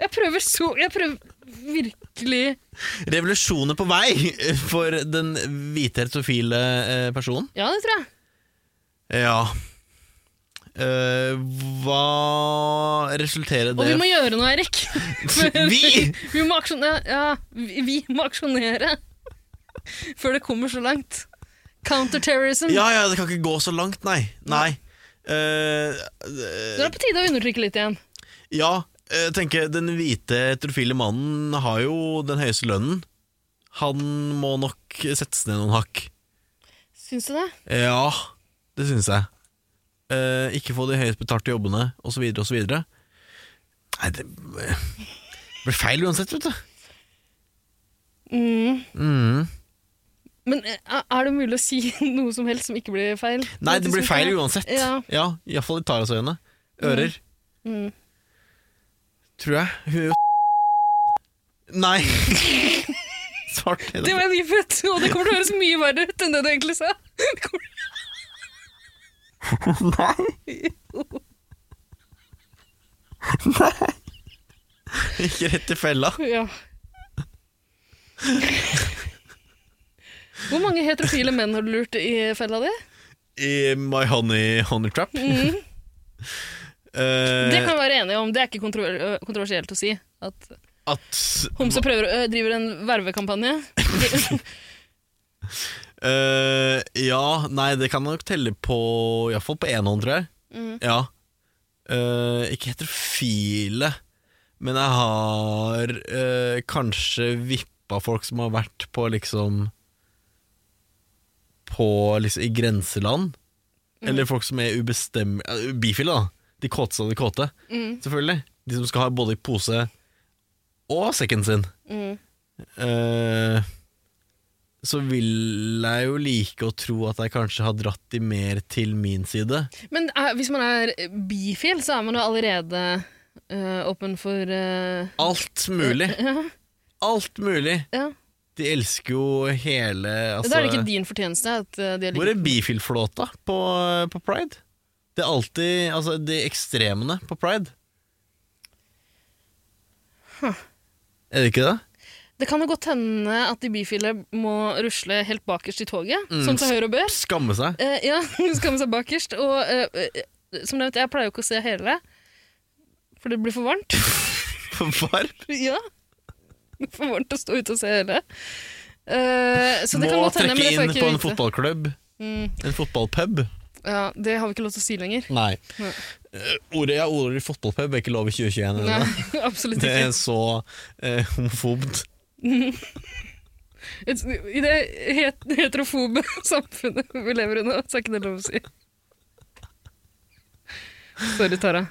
E: Jeg prøver så Jeg prøver virkelig
D: Revolusjonen er på vei for den hvite heterofile eh, personen.
E: Ja, det tror jeg.
D: Ja Eh, Hva resulterer
E: Og
D: det
E: vi
D: <laughs>
E: må gjøre noe, Eirik. Men-
D: Vi?
E: vi må aksjonere. Ja, vi, vi må aksjonere. Før det kommer så langt. Counterterrorism.
D: Ja, ja, det kan ikke gå så langt, nei. Nei. Eh,
E: Det er på tide å undertrykke litt igjen.
D: ja, jeg tenker den hvite heterofile mannen har jo den høyeste lønnen. Han må nok settes ned noen hakk.
E: Syns du det?
D: Ja, det syns jeg. Eh, ikke få de høyest betalte jobbene, osv., osv. Nei, det blir feil uansett, vet du.
E: Mm.
D: Mm.
E: Men eh, er det mulig å si <laughs> noe som helst som ikke blir feil?
D: Nei, det blir feil uansett. Ja,
E: Ja.
D: Iallfall i Taras-øyene. Ører,
E: Mm.
D: tror jeg. Hun er jo Nei! <laughs> Svart. er
E: Det
D: det.
E: var nyfødt, og det kommer til å høres mye verre ut enn det du egentlig sa. <laughs> Det kommer-
D: Ikke rett i fella. <laughs>
E: Ja. Hvor mange heterofile menn har du lurt i fella di?
D: I My Honey Honey Trap. Mhm. Eh,
E: <laughs> Det kan vi være enige om, det er ikke kontro- eh, kontroversielt å si. At
D: Eh, at
E: Homse prøver, å- ø, driver en vervekampanje.
D: <laughs> Eh, Ja, nei, det kan nok telle på Iallfall på én hånd, tror jeg. Ja. Eh, ikke heterofile, men jeg har eh, kanskje vippa folk som har vært på liksom På liksom i grenseland. Eller folk som er ubestem... eh, Bifile, da. De kåteste av de kåte, selvfølgelig. De som skal ha både i pose og sekken sin. Eh, så vil jeg jo like å tro at jeg kanskje har dratt de mer til min side.
E: Men er, hvis man er bifil, så er man jo allerede ø, åpen for ø,
D: Alt mulig. Alt mulig.
E: <laughs> Ja.
D: De elsker jo hele altså,
E: Da er det ikke din fortjeneste at ø, de er
D: Hvor
E: like
D: er bifilflåta på, på Pride? Det er alltid altså, de ekstremene på Pride. Er det ikke det?
E: Det kan jo godt hende at de bifile må rusle helt bakerst i toget,
D: Mm.
E: sånn til høyre og bør.
D: Skamme seg.
E: Eh, ja, <laughs> hun skammer seg bakerst. Og eh, eh, som nevnt, jeg pleier jo ikke å se hele, for det blir for varmt. <laughs>
D: Var.
E: ja. Det er For varmt å stå ute og se hele. Eh, så det
D: Må
E: kan godt
D: trekke
E: hende, men det får
D: inn
E: jeg
D: på
E: ikke
D: en
E: vite.
D: fotballklubb.
E: Mm,
D: En fotballpub.
E: ja, det har vi ikke lov til å si lenger.
D: Nei.
E: Nei.
D: Eh, ordet ja, ordet fotballpub er ikke lov i 2021. er det
E: Nei, <laughs>
D: det?
E: absolutt
D: Det
E: ikke.
D: er så eh, homofobt. <laughs>
E: Et, I det het, heterofobe <laughs> samfunnet vi lever i nå, så er ikke det lov å si. Sorry, Tara.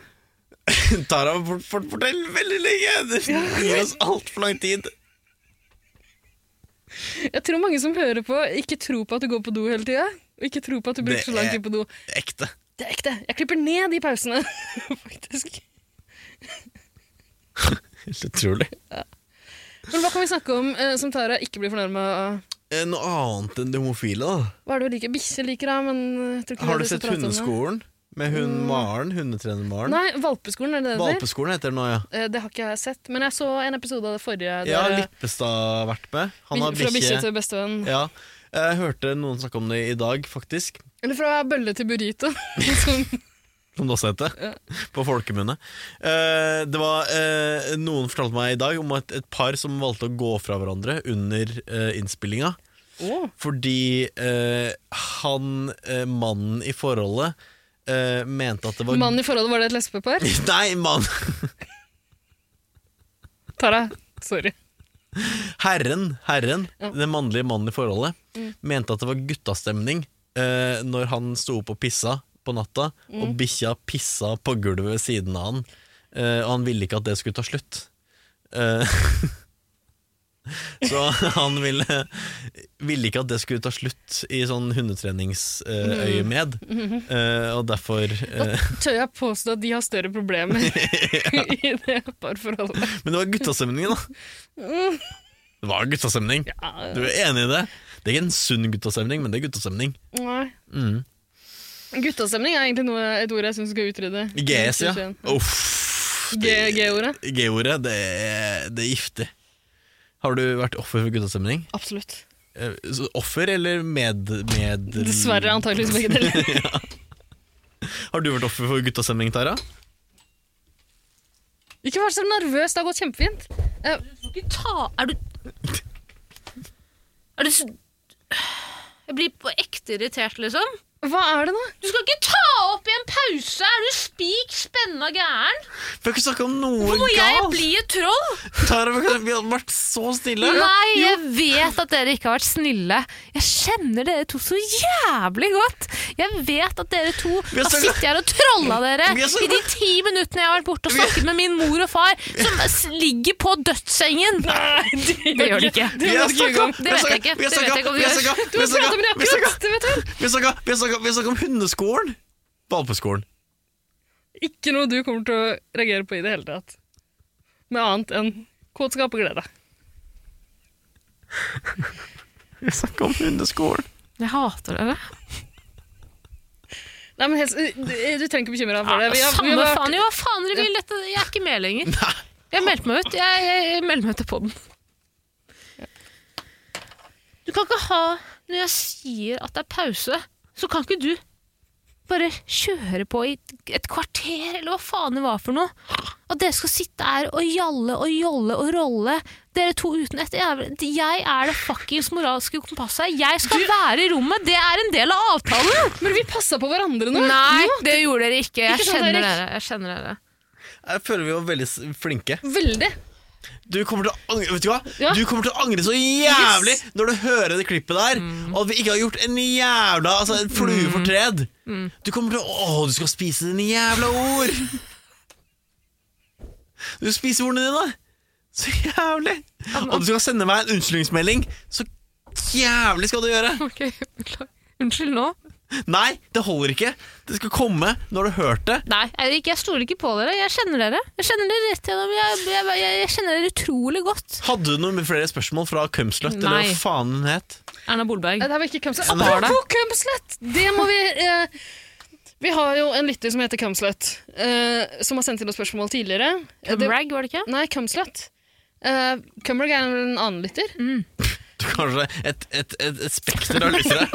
D: Tara har fort- fort- fortell veldig lenge! Det gir oss altfor lang tid.
E: Jeg tror mange som hører på, ikke tror på at du går på do hele tida. Og ikke tror på at du bruker
D: Det
E: så lang
D: er-
E: tid på do.
D: Ekte.
E: Det er ekte. Jeg klipper ned de pausene, <laughs> faktisk.
D: Helt utrolig.
E: Men hva kan vi snakke om eh, som Tara ikke blir fornærma av?
D: Eh, Noe annet enn det homofile, da.
E: Hva er det du liker? Bikkjer liker deg, men jeg tror ikke
D: Har
E: det
D: du
E: er det
D: sett
E: som prater om det. Mm.
D: Hundeskolen? Med hun Maren, hundetrener Maren?
E: Nei, Valpeskolen, er det det heter?
D: Valpeskolen heter den nå, ja.
E: Eh, Det har ikke jeg sett, men jeg så en episode av det forrige.
D: Ja,
E: der-
D: Lippestad har vært med. Han har
E: Fra bikkje
D: bikkje.
E: til bestevenn.
D: Ja. Jeg hørte noen snakke om det i dag, faktisk.
E: Eller fra bølle til burrito. <laughs> Sånn. som,
D: Som det også heter. På folkemunne. Eh, det var eh, Noen fortalte meg i dag om et, et par som valgte å gå fra hverandre under eh, innspillinga.
E: Å.
D: Fordi eh, han eh, mannen i forholdet eh, mente at det var
E: Mannen i forholdet, var det et lesbepar?
D: <laughs> Nei, mann!
E: Tara, sorry.
D: Herren, herren
E: Ja.
D: den mannlige mannen i forholdet, mente at det var guttastemning eh, når han sto opp og pissa på natta, og bikkja pissa på gulvet ved siden av han. Eh, og han ville ikke at det skulle ta slutt. Eh, <laughs> så han ville, ville ikke at det skulle ta slutt i sånn hundetreningsøyemed. Eh, og derfor eh,
E: Tør jeg påstå at de har større
D: <laughs>
E: problemer <laughs> i det parforholdet?
D: Men det var guttastemningen, da. Det var guttastemning. Du er enig i det? Det er ikke en sunn guttastemning, men det er guttastemning.
E: Nei.
D: Mm.
E: Guttastemning er egentlig noe, et ord jeg syns vi skal utrydde.
D: GS, ja. Uff. det-
E: G-ordet?
D: G-ordet, det, er- det er giftig. Har du vært offer for guttastemning?
E: Absolutt.
D: Eh, så Offer eller med... med
E: Dessverre antakeligvis begge deler.
D: <laughs> Har du vært offer for guttastemning, Tara?
E: Ikke vær så nervøs, det har gått kjempefint.
B: Du ta... Er du Er du så Jeg blir på ekte irritert, liksom.
E: Hva er det,
D: <laughs>
E: da?
H: Du skal ikke ta opp i en pause! Er du spik spenna gæren?
D: Får ikke snakke om noe
H: Må jeg
D: galt!
H: bli et troll?
D: Tara, vi kan- vi har vært så snille!
B: Nei, jeg vet at dere ikke har vært snille. Jeg kjenner dere to så jævlig godt. Jeg vet at dere to
D: har
B: har
D: snakket-
B: sittet her og trolla dere
D: Vi har
B: i
D: snakket-
B: de ti minuttene jeg har vært borte og snakket med min mor og far, som s- ligger på dødssengen. Det gjør de ikke.
D: Vi
E: Det
D: har
E: vet ikke
D: snakket om-
E: engang.
B: Det vet jeg ikke.
D: vi
B: Det
D: har
B: vet jeg
D: snakket-
B: ikke om
D: vi
B: de
D: har
B: gjør.
D: snakket-
E: Du
D: vi har
E: har pratet
D: snakket- vi
E: om det
D: har snakket-
E: akkurat, det vet hun.
D: Vi har snakket- vi har snakket- vi har snakket om hundeskolen! Valpeskolen.
E: Ikke noe du kommer til å reagere på i det hele tatt. Med annet enn kåtskap og glede.
D: Vi snakka om hundeskolen.
B: Jeg hater dere.
E: Nei, men helt, du, du trenger ikke bekymre deg for det. Vi har, vi
B: Samme
E: har vært-
B: faen, jo, hva faen dere vil. Dette, jeg er ikke med lenger. Jeg meldte meg ut. Jeg, jeg, jeg melder meg til podden. Du kan ikke ha Når jeg sier at det er pause, så kan ikke du bare kjøre på i et kvarter, eller hva faen det var for noe. At dere skal sitte her og jalle og jolle og rolle, dere to uten et jævlig Jeg er det fuckings moralske kompasset. Jeg skal være i rommet! Det er en del av avtalen!
E: Men vi passa på hverandre nå.
B: Nei, det gjorde dere ikke. sånn, Jeg
E: Ikke sant,
B: kjenner
E: Erik?
B: dere. Jeg kjenner dere.
D: Jeg føler vi var veldig s- flinke.
E: Veldig.
D: Du kommer til å angre Vet du hva?
E: Ja.
D: Du kommer til å angre så jævlig når du hører det klippet der, og at vi ikke har gjort en jævla altså, en flue for tred. Du kommer til å Å, du skal spise dine jævla ord! Du spiser ordene dine! Så jævlig! Og du skal sende meg en unnskyldningsmelding. Så jævlig skal du gjøre!
B: <laughs> Ok, beklager. Unnskyld nå.
D: Nei, det holder ikke. Det skal komme når du har hørt det.
B: Nei, Eirik, jeg stoler ikke på dere. Jeg kjenner dere. Jeg kjenner dere rett gjennom. Jeg, jeg, jeg, jeg kjenner dere utrolig godt.
D: Hadde du noen med flere spørsmål fra Cumslut, eller
B: Nei.
D: hva faen hun het?
B: Erna Bolberg.
E: Nei, Det her var ikke Kumslet.
D: Nei.
E: Apropos Kumslet! Det må vi eh, Vi har jo en lytter som heter Kumslet, eh, som har sendt inn noen spørsmål tidligere. Eh, det-
B: Bragg, var det ikke?
E: Nei, Kumslet. Eh, Kumberg er en annen lytter.
B: Mm.
D: Du, Kanskje et, et, et, et spekter av
E: <laughs>
D: lyttere.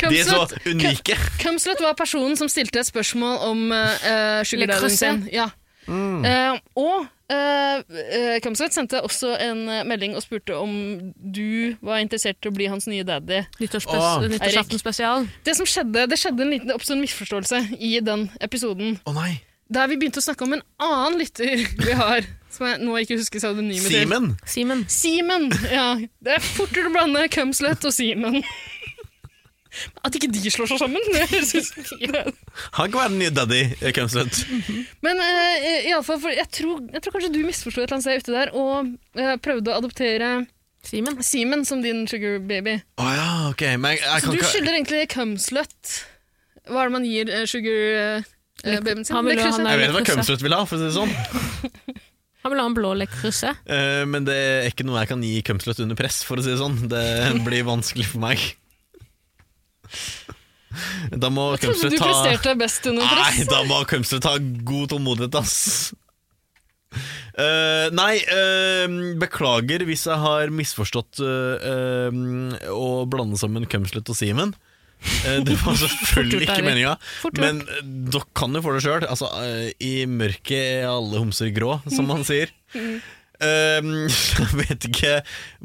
D: De er så
E: Kumslet,
D: unike.
E: Kumslet var personen som stilte et spørsmål om uh,
B: Le
E: sugardadden
B: creuset.
E: sin. Ja. Eh, og uh, Kumslet sendte også en eh, melding og spurte om du var interessert i å bli hans nye daddy.
D: Åh.
B: Nyttårsaften spesial.
E: Det som skjedde, det skjedde en liten det oppstod en misforståelse i den episoden.
D: Å nei,
E: Der vi begynte å snakke om en annen lytter <laughs> vi har, som jeg nå ikke husker pseudonymet til.
D: Simen!
B: Simen.
E: Simen! Ja, det er fortere å blande Cumslet og Simen. At ikke de slår seg sammen! det høres ut-
D: Han kan være den nye daddy eh, Cumslut.
E: Men eh, i alle fall, for jeg, tror, jeg tror kanskje du misforsto et eller annet sted ute der, og eh, prøvde å adoptere
B: Simen.
E: Simen som din sugar baby.
D: Å ja, ok. Men jeg, jeg
E: Så
D: kan
E: du
D: ikke
E: skylder egentlig Cumslut Hva er det man gir eh, sugar eh, babyen sin?
B: Han vil
E: Det
B: jo ha
E: krysset.
B: den
D: Jeg vet hva Cumslut vil ha, for å si det sånn.
B: Han vil ha en blå lekrusse.
D: Eh, men det er ikke noe jeg kan gi Cumslut under press, for å si det sånn. Det
E: <laughs>
D: blir vanskelig for meg. Da må
E: Jeg trodde
D: Cumslut
E: du
D: ta
E: presterte best under press.
D: Nei, da må Cumslet ha god tålmodighet, ass. Eh, nei, eh, beklager hvis jeg har misforstått eh, eh, å blande sammen Cumslet og Simen. Eh, det
B: <laughs>
D: var selvfølgelig
B: Fort gjort,
D: ikke
B: Eirik.
D: meninga,
B: Fort gjort.
D: men eh, dere kan jo få det sjøl. Altså, eh, I mørket er alle homser grå, som man
B: <laughs>
D: sier. Eh, jeg vet ikke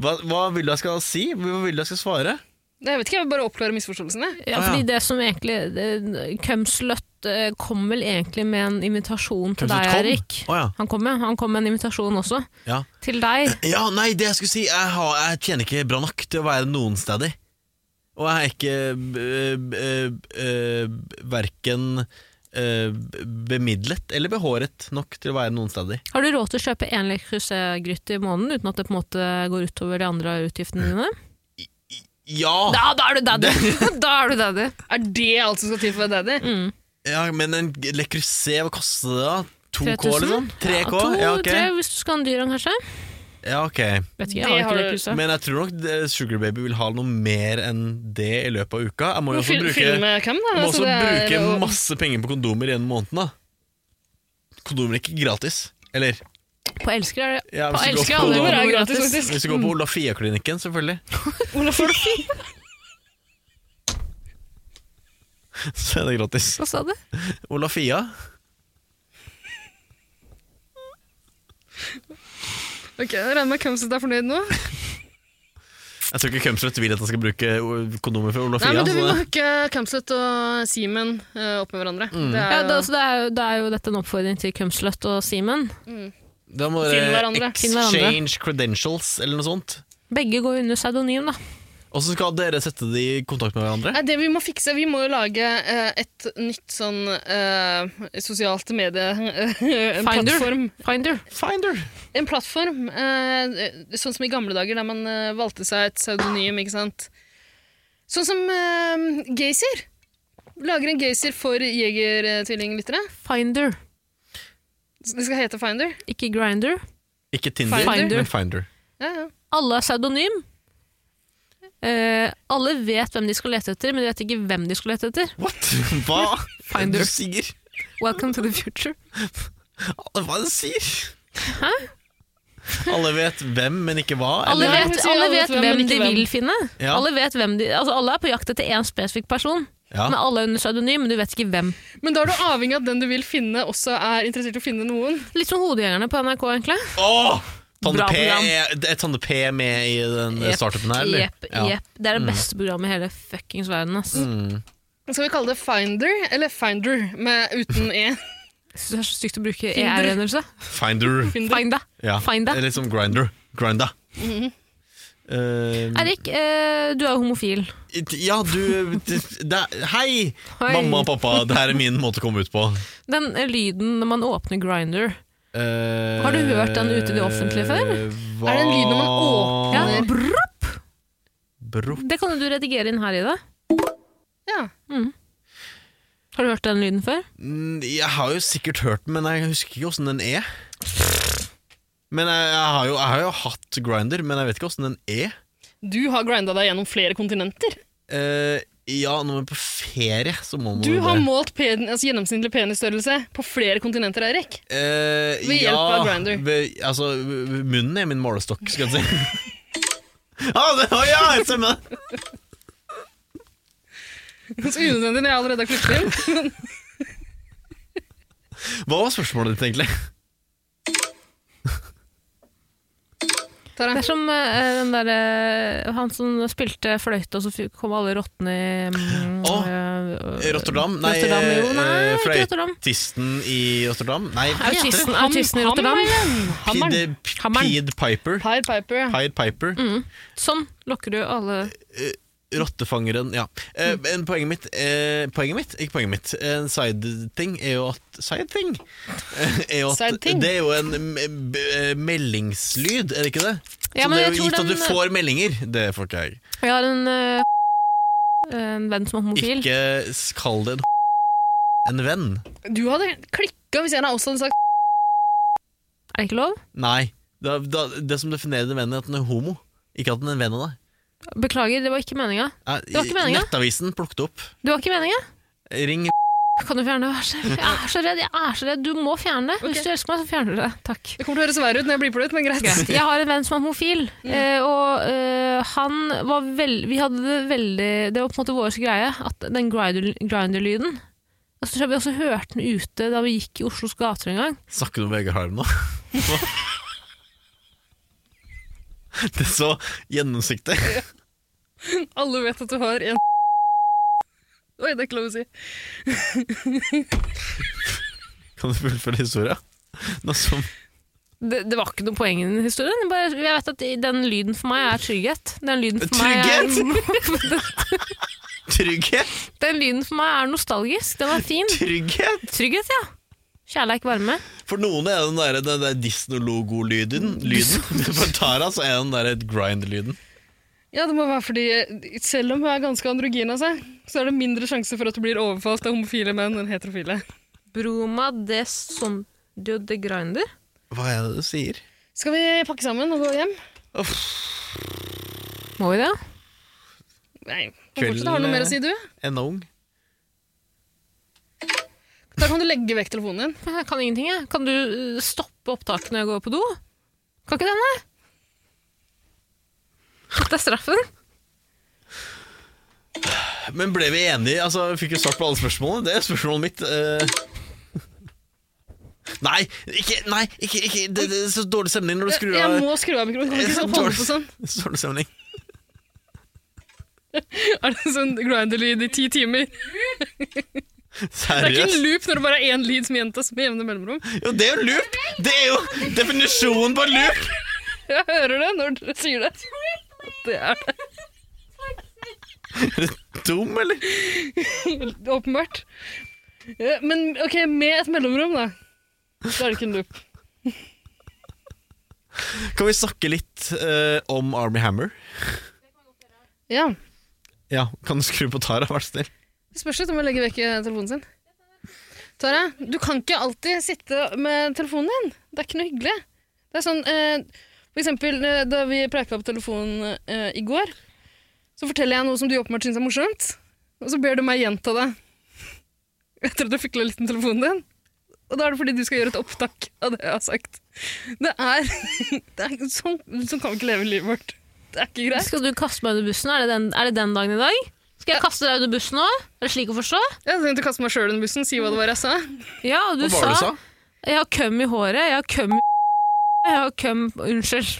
D: hva, hva vil du jeg skal si? Hva vil du jeg skal svare?
E: Jeg vet ikke, jeg vil bare oppklare misforståelsene.
B: Ja,
D: Ah, ja.
B: fordi det som egentlig det- Cumslut eh, kom vel egentlig med en invitasjon til
D: Cumslut
B: deg,
D: kom?
B: Erik.
D: Å ja.
B: Han kom, ja. Han kom med en invitasjon også.
D: Ja.
B: Til deg.
D: Ja, nei, det jeg skulle si Jeg, har, jeg tjener ikke bra nok til å være noen steder Og jeg er ikke øh, øh, øh, Verken øh, Bemidlet eller behåret Nok til å være noen steder
B: Har du råd til å kjøpe én lekrusegryte i måneden uten at det på en måte går utover de andre utgiftene dine?
D: Ja,
B: Da, da er du daddy! <laughs> da er du daddy.
E: Er det alt som skal til for å være daddy?
D: ja men en Le Creuset, hva koster det da? 2K
B: 3000?
D: liksom? 3K?
B: Ja, to,
D: Ja, ok,
B: tre, hvis du skal ha en dyr en, kanskje.
D: ja, ok.
B: Vet ikke, jeg
E: Det
B: har
E: har
B: ikke
E: du-
B: lekruse.
D: Men jeg tror nok det- Sugar Baby vil ha noe mer enn det i løpet av uka Jeg må jo også
E: Fyll- fyll
D: bruke,
E: med hvem, da?
D: jeg må
E: så
D: også
E: Altså, det er
D: bruke
E: jo-
D: masse penger på kondomer gjennom måneden da Kondomer er ikke gratis Eller
B: På elsker er det
D: Ja,
B: På
D: hvis, du
B: elsker
D: går
B: alle
E: Kondomer
D: på,
E: er gratis,
B: gratis.
E: faktisk.
D: hvis du går på Olafia-klinikken, selvfølgelig, <laughs>
E: Olav Olafia.
D: så er det gratis.
B: Hva sa du?
D: Olafia?
E: Ok, jeg regner med Kamset er fornøyd nå.
D: Jeg tror ikke Cumslet vil at jeg skal bruke o- kondomer for Olafia.
E: Nei, men du, Vi
D: så
E: må
D: det-
E: hooke Campslet og Simen eh, opp med hverandre.
D: Mm.
E: Det er
B: Ja,
E: jo-
B: da, så det er jo, da er jo dette en oppfordring til Cumslut og Simen.
D: da må
E: Finn
D: dere
E: hverandre.
B: Finn hverandre.
D: exchange credentials eller noe sånt.
B: Begge går under pseudonym, da.
D: Og så skal dere sette de i kontakt med hverandre.
E: Nei, det vi må fikse, vi må jo lage eh, et nytt sånn eh, sosialt medie eh, En
B: Finder.
E: plattform.
B: Finder.
D: Finder!
E: En plattform eh, sånn som i gamle dager, der man eh, valgte seg et pseudonym, ikke sant. Sånn som eh, Gaysir. Lager en Gaysir for Jegertvillinglyttere.
B: Finder.
E: Det skal hete Finder.
B: Ikke Grinder.
D: Ikke Tinder,
E: Finder.
D: men Finder.
E: Ja, ja.
B: Alle er pseudonym. Eh, alle vet hvem de skal lete etter, men de vet ikke hvem de skal lete etter.
E: <laughs>
D: What? Hva
B: Finder.
D: du sier?
B: Welcome to the future.
D: Hva er det du sier? Hæ? Alle vet hvem, men ikke hva.
B: Alle
D: eller?
E: Nei,
B: vet,
E: hun sier
B: alle vet
E: men
B: hvem
E: ikke
B: de vil finne.
D: Ja.
B: Alle, vet hvem de, altså alle er på jakt etter én spesifikk person.
D: Ja.
B: Men alle er under pseudonym, men du vet ikke hvem.
E: Men da er du avhengig av at den du vil finne, også er interessert i å finne noen.
B: Litt som Hodejegerne på NRK, egentlig.
D: Åh! Tande
B: Bra
D: P,
B: program.
D: er, er Tande P med i den eh,
B: Jepp,
D: startupen her, eller?
B: Jepp, jepp. Det
D: Mm.
B: er det beste programmet i hele fuckings verden. Ass.
E: Skal vi kalle det Finder eller Finder med uten E?
B: Jeg synes det er så stygt å bruke ER-endelse.
D: Finder.
E: Finder.
B: Find deg.
D: Ja.
B: Finder. Mhm.
D: Det er Litt som Grinder. Grinder. Eh,
B: Erik, eh, du er jo homofil.
D: ja, du det, er- hei!
B: Hei.
D: Mamma og pappa, det her er min måte å komme ut på.
B: Den eh, lyden når man åpner Grinder
D: Eh,
B: Har du hørt den ute i det offentlige før?
D: Hva?
E: Er det en lyd når man åpner?
B: ja,
E: Nei.
B: brr,
D: Bro.
B: Det kan jo du redigere inn her i det.
E: Ja.
B: Har du hørt den lyden før?
D: Mm, Jeg har jo sikkert hørt den, men jeg husker ikke åssen den er. Men jeg, jeg, har jo, jeg har jo hatt Grinder, men jeg vet ikke åssen den er.
E: Du har grinda deg gjennom flere kontinenter.
D: Eh, ja, når man er på ferie, så må man
E: Du
D: jo
E: har
D: det.
E: målt pen, altså gjennomsnittlig penisstørrelse på flere kontinenter, Eirik.
D: Eh,
E: Ved hjelp av Grindr.
D: ved- altså, v- v- munnen er min målestokk, skal jeg si. <laughs> ah, det, å ja, jeg stemmer det!
E: Så unødvendig når jeg allerede har klippet inn.
D: Hva var spørsmålet ditt, egentlig?
E: Tara.
B: Det er som eh, den der, eh, han som spilte fløyte, og så fikk- kom alle rottene i mm,
D: Åh,
B: eh,
D: Rotterdam? Nei,
B: Rotterdam, jo. Nei,
D: eh,
B: ikke Rotterdam.
D: fløytisten i Rotterdam? Nei, hva heter det?
B: Autisten, autisten i Rotterdam.
D: P-
E: Hammeren.
D: det- P-
B: Hammeren.
D: Pied Piper.
E: Pied Piper. ja.
D: Pied Piper.
B: Sånn lokker du alle
D: Eh, Rottefangeren, ja. Eh,
B: Mm.
D: men poenget mitt, eh, poenget mitt, ikke poenget mitt, en side-ting er jo at Side-ting? Eh, er jo at
E: Side thing.
D: Det er jo en m- b- eh, meldingslyd, er det ikke det?
B: Ja,
D: så
B: men
D: det er
B: jeg
D: jo
B: tror
D: gitt at du
B: den-
D: får meldinger. Det får ikke jeg.
B: Jeg har en, eh, en venn som er homofil.
D: Ikke s- kall det en en venn.
E: Du hadde klikka hvis jeg hadde også hadde sagt
B: Er det ikke lov?
D: Nei. Da, da, det som definerer en venn, er at den er homo. Ikke at den er en venn av deg.
B: Beklager, det var ikke meninga.
D: Eh,
B: var ikke meningen.
D: Nettavisen plukket opp.
B: Det var ikke meninga!
D: Ring
B: Kan du fjerne det? Vær så- Jeg er så redd! jeg er så redd Du må fjerne det! Hvis du elsker meg, så fjerner du det. Takk.
E: Det kommer til å høres verre ut når jeg blir på det ut, men greit.
B: Greit. Jeg har en venn som er homofil, eh, og eh, han var veld... Vi hadde det veldig Det var på en måte vår greie, at den grinder- grinder-lyden Og så tror jeg vi også hørte den ute da vi gikk i Oslos gater en gang.
D: Snakker du om Vegard Harm nå? <laughs> Det er så gjennomsiktig.
E: <laughs> Alle vet at du har en Oi, det er ikke lov å si.
D: Kan du fullføre historia? Noe som
B: Det, det var ikke noe poeng i den historien. Jeg, bare, jeg vet at den lyden for meg er trygghet. Den lyden for Meg er,
D: trygghet,
B: <laughs> den lyden for meg er nostalgisk. Den er fin.
D: trygghet!
B: Trygghet, ja. Kjærleik, varme.
D: For noen er den der, den der Disney-logo-lyden. lyden. Men For Tara så er den der et grind-lyden.
E: Ja, det må være fordi eh, Selv om hun er ganske androgyn av seg, så er det mindre sjanse for at du blir overfalt av homofile menn enn heterofile.
B: Broma de son de, de grinder.
D: Hva er det du sier?
E: Skal vi pakke sammen og gå hjem?
B: Må vi det?
E: Nei. kan fortsette. Har du noe mer å si, du?
D: Enda ung.
E: Da kan du legge vekk telefonen din.
B: Jeg kan ingenting, jeg. Kan du øh, stoppe opptaket når jeg går på do? Kan ikke det, nei? Dette er straffen.
D: Men ble vi enige? Altså, vi Fikk jo svart på alle spørsmålene? Det er spørsmålet mitt. eh. Nei, ikke, nei, ikke, ikke. Det, det er så dårlig stemning når du
E: Jeg,
D: skrur
E: jeg
D: av
E: må skru av mikrofonen. Kan vi ikke
D: Så
E: holde på sånn? <laughs>
D: dårlig stemning.
E: Er det sånn grinder-lyd i ti timer? Det er ikke en
D: Seriøst?
E: loop når det bare er én lyd som gjentas med jevne mellomrom.
D: Jo, det er jo loop! Det er jo definisjonen på loop!
E: Jeg hører det når dere sier det. Det er det.
D: Dum, eller?
E: Åpenbart. Ja, Men ok, med et mellomrom, da. Da er det ikke en loop.
D: Kan vi snakke litt eh, om Army Hammer?
E: Ja.
D: Ja, kan du skru på Tara, vær så snill?
E: Det spørs litt om jeg legger vekk eh, telefonen sin. Tara, du kan ikke alltid sitte med telefonen din. Det er ikke noe hyggelig. Det er sånn, eh, for eksempel eh, da vi preika på telefonen eh, i går, så forteller jeg noe som du åpenbart syns er morsomt, og så ber du meg gjenta det. <laughs> Etter at jeg fikla litt med telefonen din. Og da er det fordi du skal gjøre et opptak av det jeg har sagt. Det er, <laughs> det er sånn, sånn kan vi ikke leve livet vårt. Det er ikke greit.
B: Skal du kaste meg under bussen? Er det den, er det den dagen i dag? Skal jeg kaste deg under bussen nå? Er det slik å forstå?
E: Jeg tenkte å kaste meg sjøl under bussen, si hva det var jeg sa.
B: Ja, og du
D: Hva var det du sa?
B: Jeg har køm i håret, jeg har køm i <laughs> Jeg har køm Unnskyld.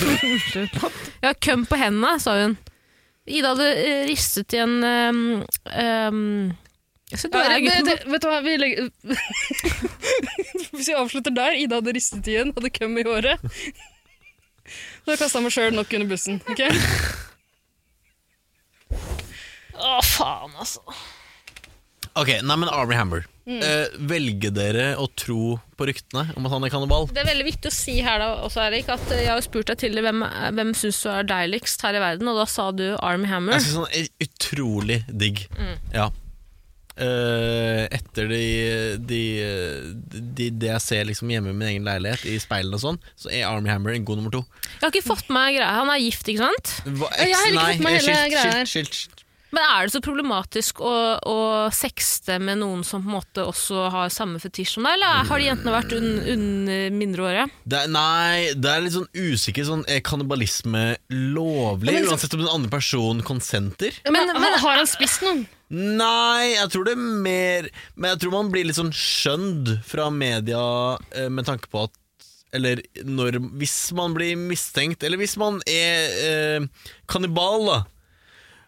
B: Unnskyld. <laughs> Jeg har køm på hendene, sa hun. Ida hadde eh, ristet i en um, um, Se, du
E: Ja,
B: er
E: det,
B: gutten.
E: det, vet du hva, vi legger <laughs> Hvis vi avslutter der Ida hadde ristet i en, hadde køm i håret. Så kasta jeg meg sjøl nok under bussen. ok?
B: Å, faen, altså.
D: Ok, nei, men Army Hammer.
E: Mm.
D: Eh, velger dere å tro på ryktene om at han er kannibal?
B: Det er veldig viktig å si her da også, Erik, at eh, jeg har spurt deg tidligere hvem, er- hvem syns du er deiligst her i verden, og da sa du Army <laughs>
D: Jeg
B: Hammer.
D: synes han er utrolig digg.
E: Mm.
D: Ja. Eh, etter de, de, de, det jeg ser liksom hjemme i min egen leilighet, i speilene og sånn, så er Army Hammer en god nummer to.
B: Jeg har ikke fått med meg greia. Han er gift, ikke sant?
D: Hva,
E: Jeg har heller ikke fått med
D: eh,
E: hele greia her.
D: skilt, skilt.
B: Men er det så problematisk å, å sexte med noen som på en måte også har samme fetisj som deg, eller har de jentene vært un, un mindreårige?
D: Det er, nei, det er litt sånn usikker sånn, Er kannibalisme lovlig?
E: Ja, men så-
D: uansett om den andre personen konsenter?
E: Ja, Men, men har han spist noen?
D: Nei, jeg tror det er mer Men jeg tror man blir litt sånn skjønd fra media eh, med tanke på at Eller når, hvis man blir mistenkt Eller hvis man er eh, kannibal, da.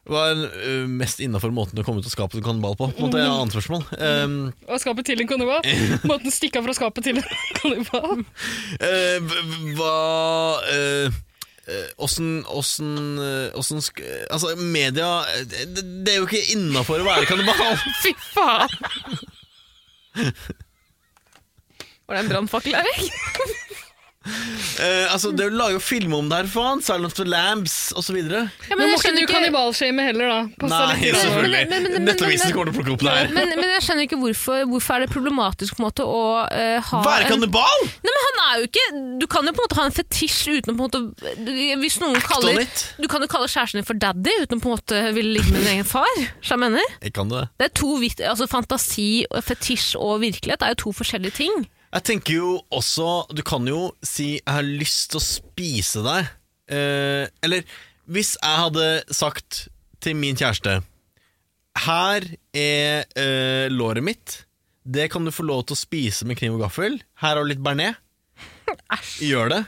D: Hva er eh, mest innafor måten å komme ut av skapet som kannibal på? på en måte, er et annet spørsmål um,
E: Og skapet til en kannibal? Måten å stikke av fra skapet til en kannibal?
D: Eh, v- v- Hva eh, eh, Åssen Åssen eh, åssen sk- eh, Altså, media eh, Det, det er jo ikke innafor å være
B: <laughs>
D: kannibal!
E: Fy faen!
B: Var det en brannfakkel, Erik?
D: Eh, altså, det er jo laget film om det her, faen. Silent of the Lambs osv.
B: Ja,
E: Men
B: men,
E: må
B: jeg
E: ikke du
B: skjønner ikke,
E: kannibalshame heller, da. Pass deg litt.
B: så-
E: grann.
B: Men- men- men- men-
D: Nettavisen kommer til å plukke opp det her.
B: <laughs> men, men jeg skjønner ikke hvorfor, hvorfor er det problematisk på en måte å eh, ha
D: Være
B: en,
D: kannibal!
B: Nei, men han er jo ikke Du kan jo på en måte ha en fetisj uten å på en måte Hvis noen
D: on
B: kaller
D: it.
B: Du kan jo kalle kjæresten din for daddy uten å på en måte ville ligge med din egen far. skjønner du hva Jeg mener.
D: Jeg kan det.
B: Det er to vidt, altså Fantasi, fetisj og virkelighet er jo to forskjellige ting.
D: Jeg tenker jo også Du kan jo si 'jeg har lyst til å spise deg'. Eh, eller hvis jeg hadde sagt til min kjæreste 'Her er eh, låret mitt. Det kan du få lov til å spise med kniv og gaffel. Her har du litt bearnés. Gjør det.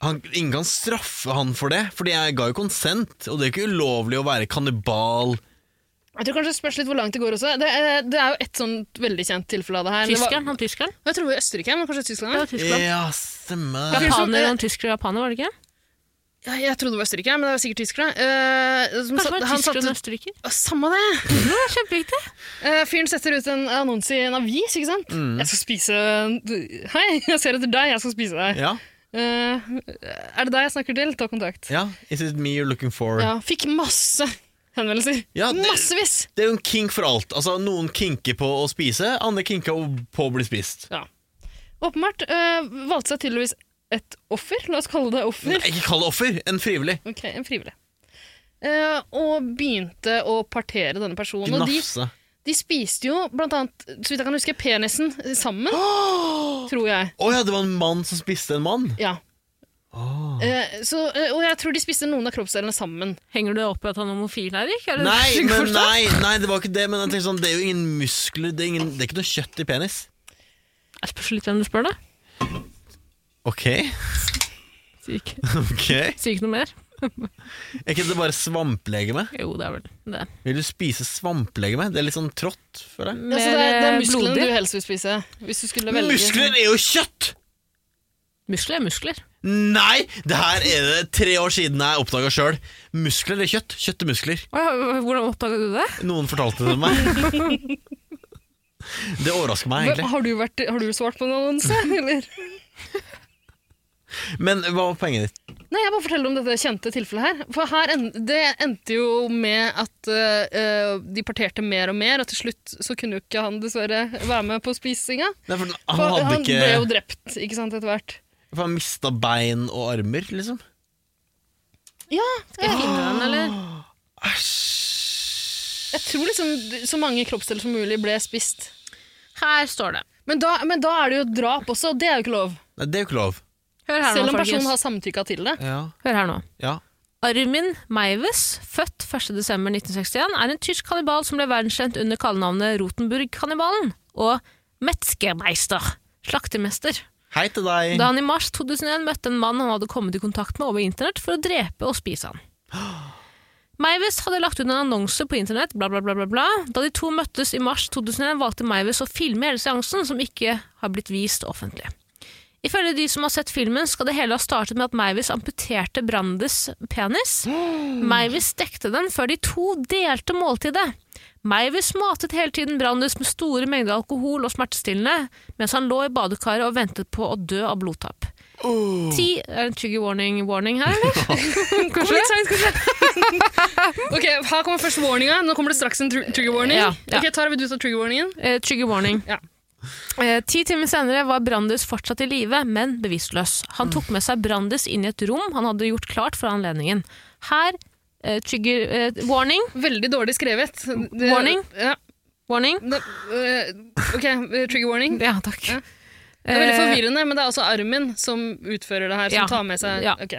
D: Han, ingen kan straffe han for det, Fordi jeg ga jo konsent. Og det er ikke ulovlig å være kannibal.
E: Jeg tror kanskje det spørs litt hvor langt det går også. Det, er- det er jo et sånn veldig kjent tilfelle av det her. Det var-
B: Tyskeren, han tyskeren?
E: Jeg tror det var i Østerrike, men kanskje Tyskland?
B: Det var Tyskland.
D: Ja, stemmer det.
B: Japaner og en tysker og japaner, var det ikke?
E: Ja, Jeg trodde det var Østerrike, men det var sikkert tyskere. Eh, som
B: Kanskje det
E: satt-
B: var
E: han
B: tysker og en
E: satte-
B: østerriker? <clears throat>
E: Å, Samme det!
B: Det er kjempeviktig.
E: Eh, fyren setter ut en annonse i en avis, ikke sant?
D: Mm.
E: 'Jeg skal spise du- Hei, jeg ser etter deg, jeg skal spise deg'.
D: Ja,
E: Eh, er det deg jeg snakker til? Ta kontakt.
D: ja. Is it me you're looking for?
E: Ja, fikk masse henvendelser.
D: Ja, det-
E: Massevis!
D: Det er jo en kink for alt. Altså, Noen kinker på å spise, andre kinker på å bli spist.
E: Ja. Åpenbart eh, valgte seg tydeligvis et offer. La oss kalle det offer.
D: Nei, ikke kall det offer, en frivillig.
E: Ok, En frivillig. Eh, og begynte å partere denne personen. Og de
D: Gnafse.
E: De spiste jo blant annet, så vidt jeg kan huske, penisen
D: <gasps>
E: sammen. Tror jeg.
D: Å ja, det var en mann som spiste en mann?
E: Ja.
D: Ah.
E: Eh, så, eh, og jeg tror de spiste noen av kroppsdelene sammen.
B: Henger du deg opp i at han er homofil, Erik? Er det <laughs>
D: Nei,
B: slik å
D: men
B: forstå?
D: nei, nei, det var ikke det. Men jeg tenker sånn, det er jo ingen muskler, det er, ingen, det er ikke noe kjøtt i penis.
B: Jeg spørs litt hvem du spør, da.
D: Ok, <laughs>
B: Sier ikke,
D: ok
B: sier ikke noe mer.
D: Er ikke det bare svamplegeme?
B: Jo, det er vel det.
D: Vil du spise svamplegeme? Det er litt sånn trått, føler jeg.
E: Altså, det, er, det er musklene
B: eh, blodig.
E: du helst vil spise. Hvis du skulle velge
D: Muskler er jo kjøtt!
B: Muskler er muskler.
D: Nei! Det her er det tre år siden jeg oppdaga sjøl. Muskler er kjøtt. Kjøtt er muskler.
B: Hvordan oppdaga du det?
D: Noen fortalte det meg. Det overrasker meg,
E: Hva-
D: egentlig.
E: Har du, vært, har du svart på en
D: <laughs>
E: annonse, eller?
D: Men hva var poenget ditt?
E: Nei, jeg bare forteller om dette kjente tilfellet her. For her en, det endte jo med at eh, de parterte mer og mer, og til slutt så kunne jo ikke han dessverre være med på spisinga.
D: Nei, for Ah, han,
E: For han,
D: hadde
E: ble jo
D: ikke
E: drept, ikke sant, etter hvert.
D: For han mista bein og armer, liksom.
E: Ja,
B: Skal jeg finne den, eller?
D: Æsj.
E: jeg tror liksom så mange kroppsdeler som mulig ble spist.
B: Her står det.
E: Men da, men da er det jo drap også, og det er jo ikke lov.
D: Nei, det er jo ikke lov.
B: Hør her
E: Selv
B: nå,
E: om personen
B: folkens.
E: har samtykka til det.
D: Ja.
B: Hør her nå.
D: ja.
B: Armin Meiwes, født 1.12.1961, er en tysk kannibal som ble verdenskjent under kallenavnet Rotenburg-kannibalen og Metzgermeister, slaktermester,
D: Hei til deg.
B: da han i mars 2001 møtte en mann han hadde kommet i kontakt med over internett for å drepe og spise han. Meiwes hadde lagt ut en annonse på internett, bla, bla, bla, bla, bla. Da de to møttes i mars 2001, valgte Meiwes å filme hele seansen, som ikke har blitt vist offentlig. Ifølge de som har sett filmen, skal det hele ha startet med at Meiwis amputerte Brandes penis. Meiwis stekte den før de to delte måltidet. Meiwis matet hele tiden Brandes med store mengder alkohol og smertestillende, mens han lå i badekaret og ventet på å dø av blodtap. Ti Er det en trigger warning, warning her, <laughs> eller? Kanskje?
E: Ok, Her kommer først warninga. Nå kommer det straks en tr trigger warning.
B: Ja, ja.
E: Ok, Tara, vil du ta trigger warningen?
B: Eh, trigger warning.
E: Ja.
B: Eh, ti timer senere var Brandes fortsatt i live, men bevisstløs. Han tok med seg Brandes inn i et rom han hadde gjort klart for anledningen. Her eh, trigger eh, warning.
E: Veldig dårlig skrevet. Det-
B: Warning?
E: Ja.
B: Warning.
E: Det, øh, ok, øh, trigger warning.
B: Ja, takk.
E: Ja. Det er veldig
B: Eh,
E: forvirrende, men det er også Armin som utfører det her, som
B: Ja.
E: tar med seg
B: Ja.
E: ok.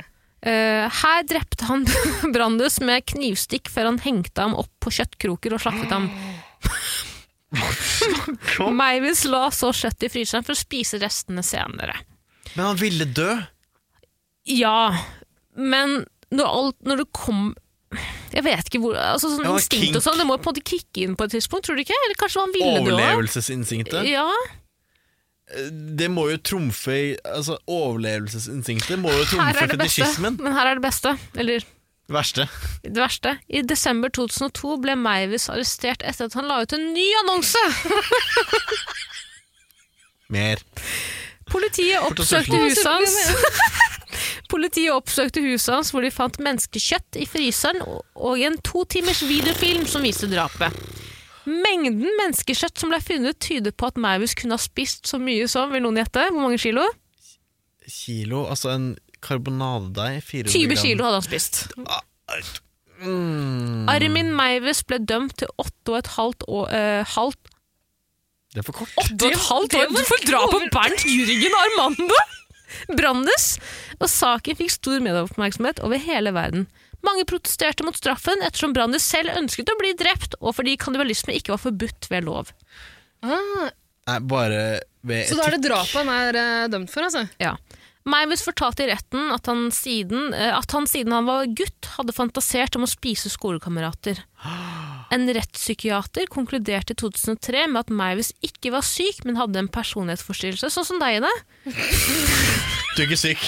B: Eh, her drepte han <laughs> Brandes med knivstikk før han hengte ham opp på kjøttkroker og slaktet ham. Meivis la så kjøttet i fryseren for å spise restene senere.
D: Men han ville dø.
B: Ja, men når, alt, når det kom Jeg vet ikke hvor altså sånn
D: Ja,
B: Instinkt og
D: kink.
B: sånn, det må på en måte kicke inn på et tidspunkt, tror du ikke? Eller kanskje han ville dø? også?
D: Overlevelsesinstinktet.
B: Ja,
D: Det må jo trumfe i- altså, Overlevelsesinstinktet må jo
B: her
D: trumfe
B: er det beste.
D: fetisjismen.
B: Men her er det beste. Eller
D: Det verste.
B: Det verste, i desember 2002 ble Meivis arrestert etter at han la ut en ny annonse.
D: Mer.
B: Politiet
D: å
B: oppsøkte huset hans. <laughs> Politiet oppsøkte huset hans hvor de fant menneskekjøtt i fryseren og- og en to timers videofilm som viste drapet. Mengden menneskekjøtt som ble funnet, tyder på at Meivis kunne ha spist så mye som, vil noen gjette, hvor mange kilo?
D: Kilo, altså en karbonadedeig 400
B: 20
D: gram.
B: kilo hadde han spist.
D: Mm.
B: Armin Meivis ble dømt til åtte og et halvt år, eh, halvt
D: Det er for kort.
B: Du et halvt år for drap på Bernt Jürgen Armando Brandes, og saken fikk stor medieoppmerksomhet over hele verden. Mange protesterte mot straffen ettersom Brandes selv ønsket å bli drept, og fordi kannibalisme ikke var forbudt ved lov.
E: Ah,
D: Nei, bare ved
E: så da er det drapet han er øh, dømt for,
D: Eh.
E: altså?
B: Ja. Meiwes fortalte i retten at han, siden, eh, at han siden han var gutt, hadde fantasert om å spise skolekamerater. En rettspsykiater konkluderte i 2003 med at Meiwes ikke var syk, men hadde en personlighetsforstyrrelse, sånn som deg, Ine.
D: etikk. Du er ikke syk.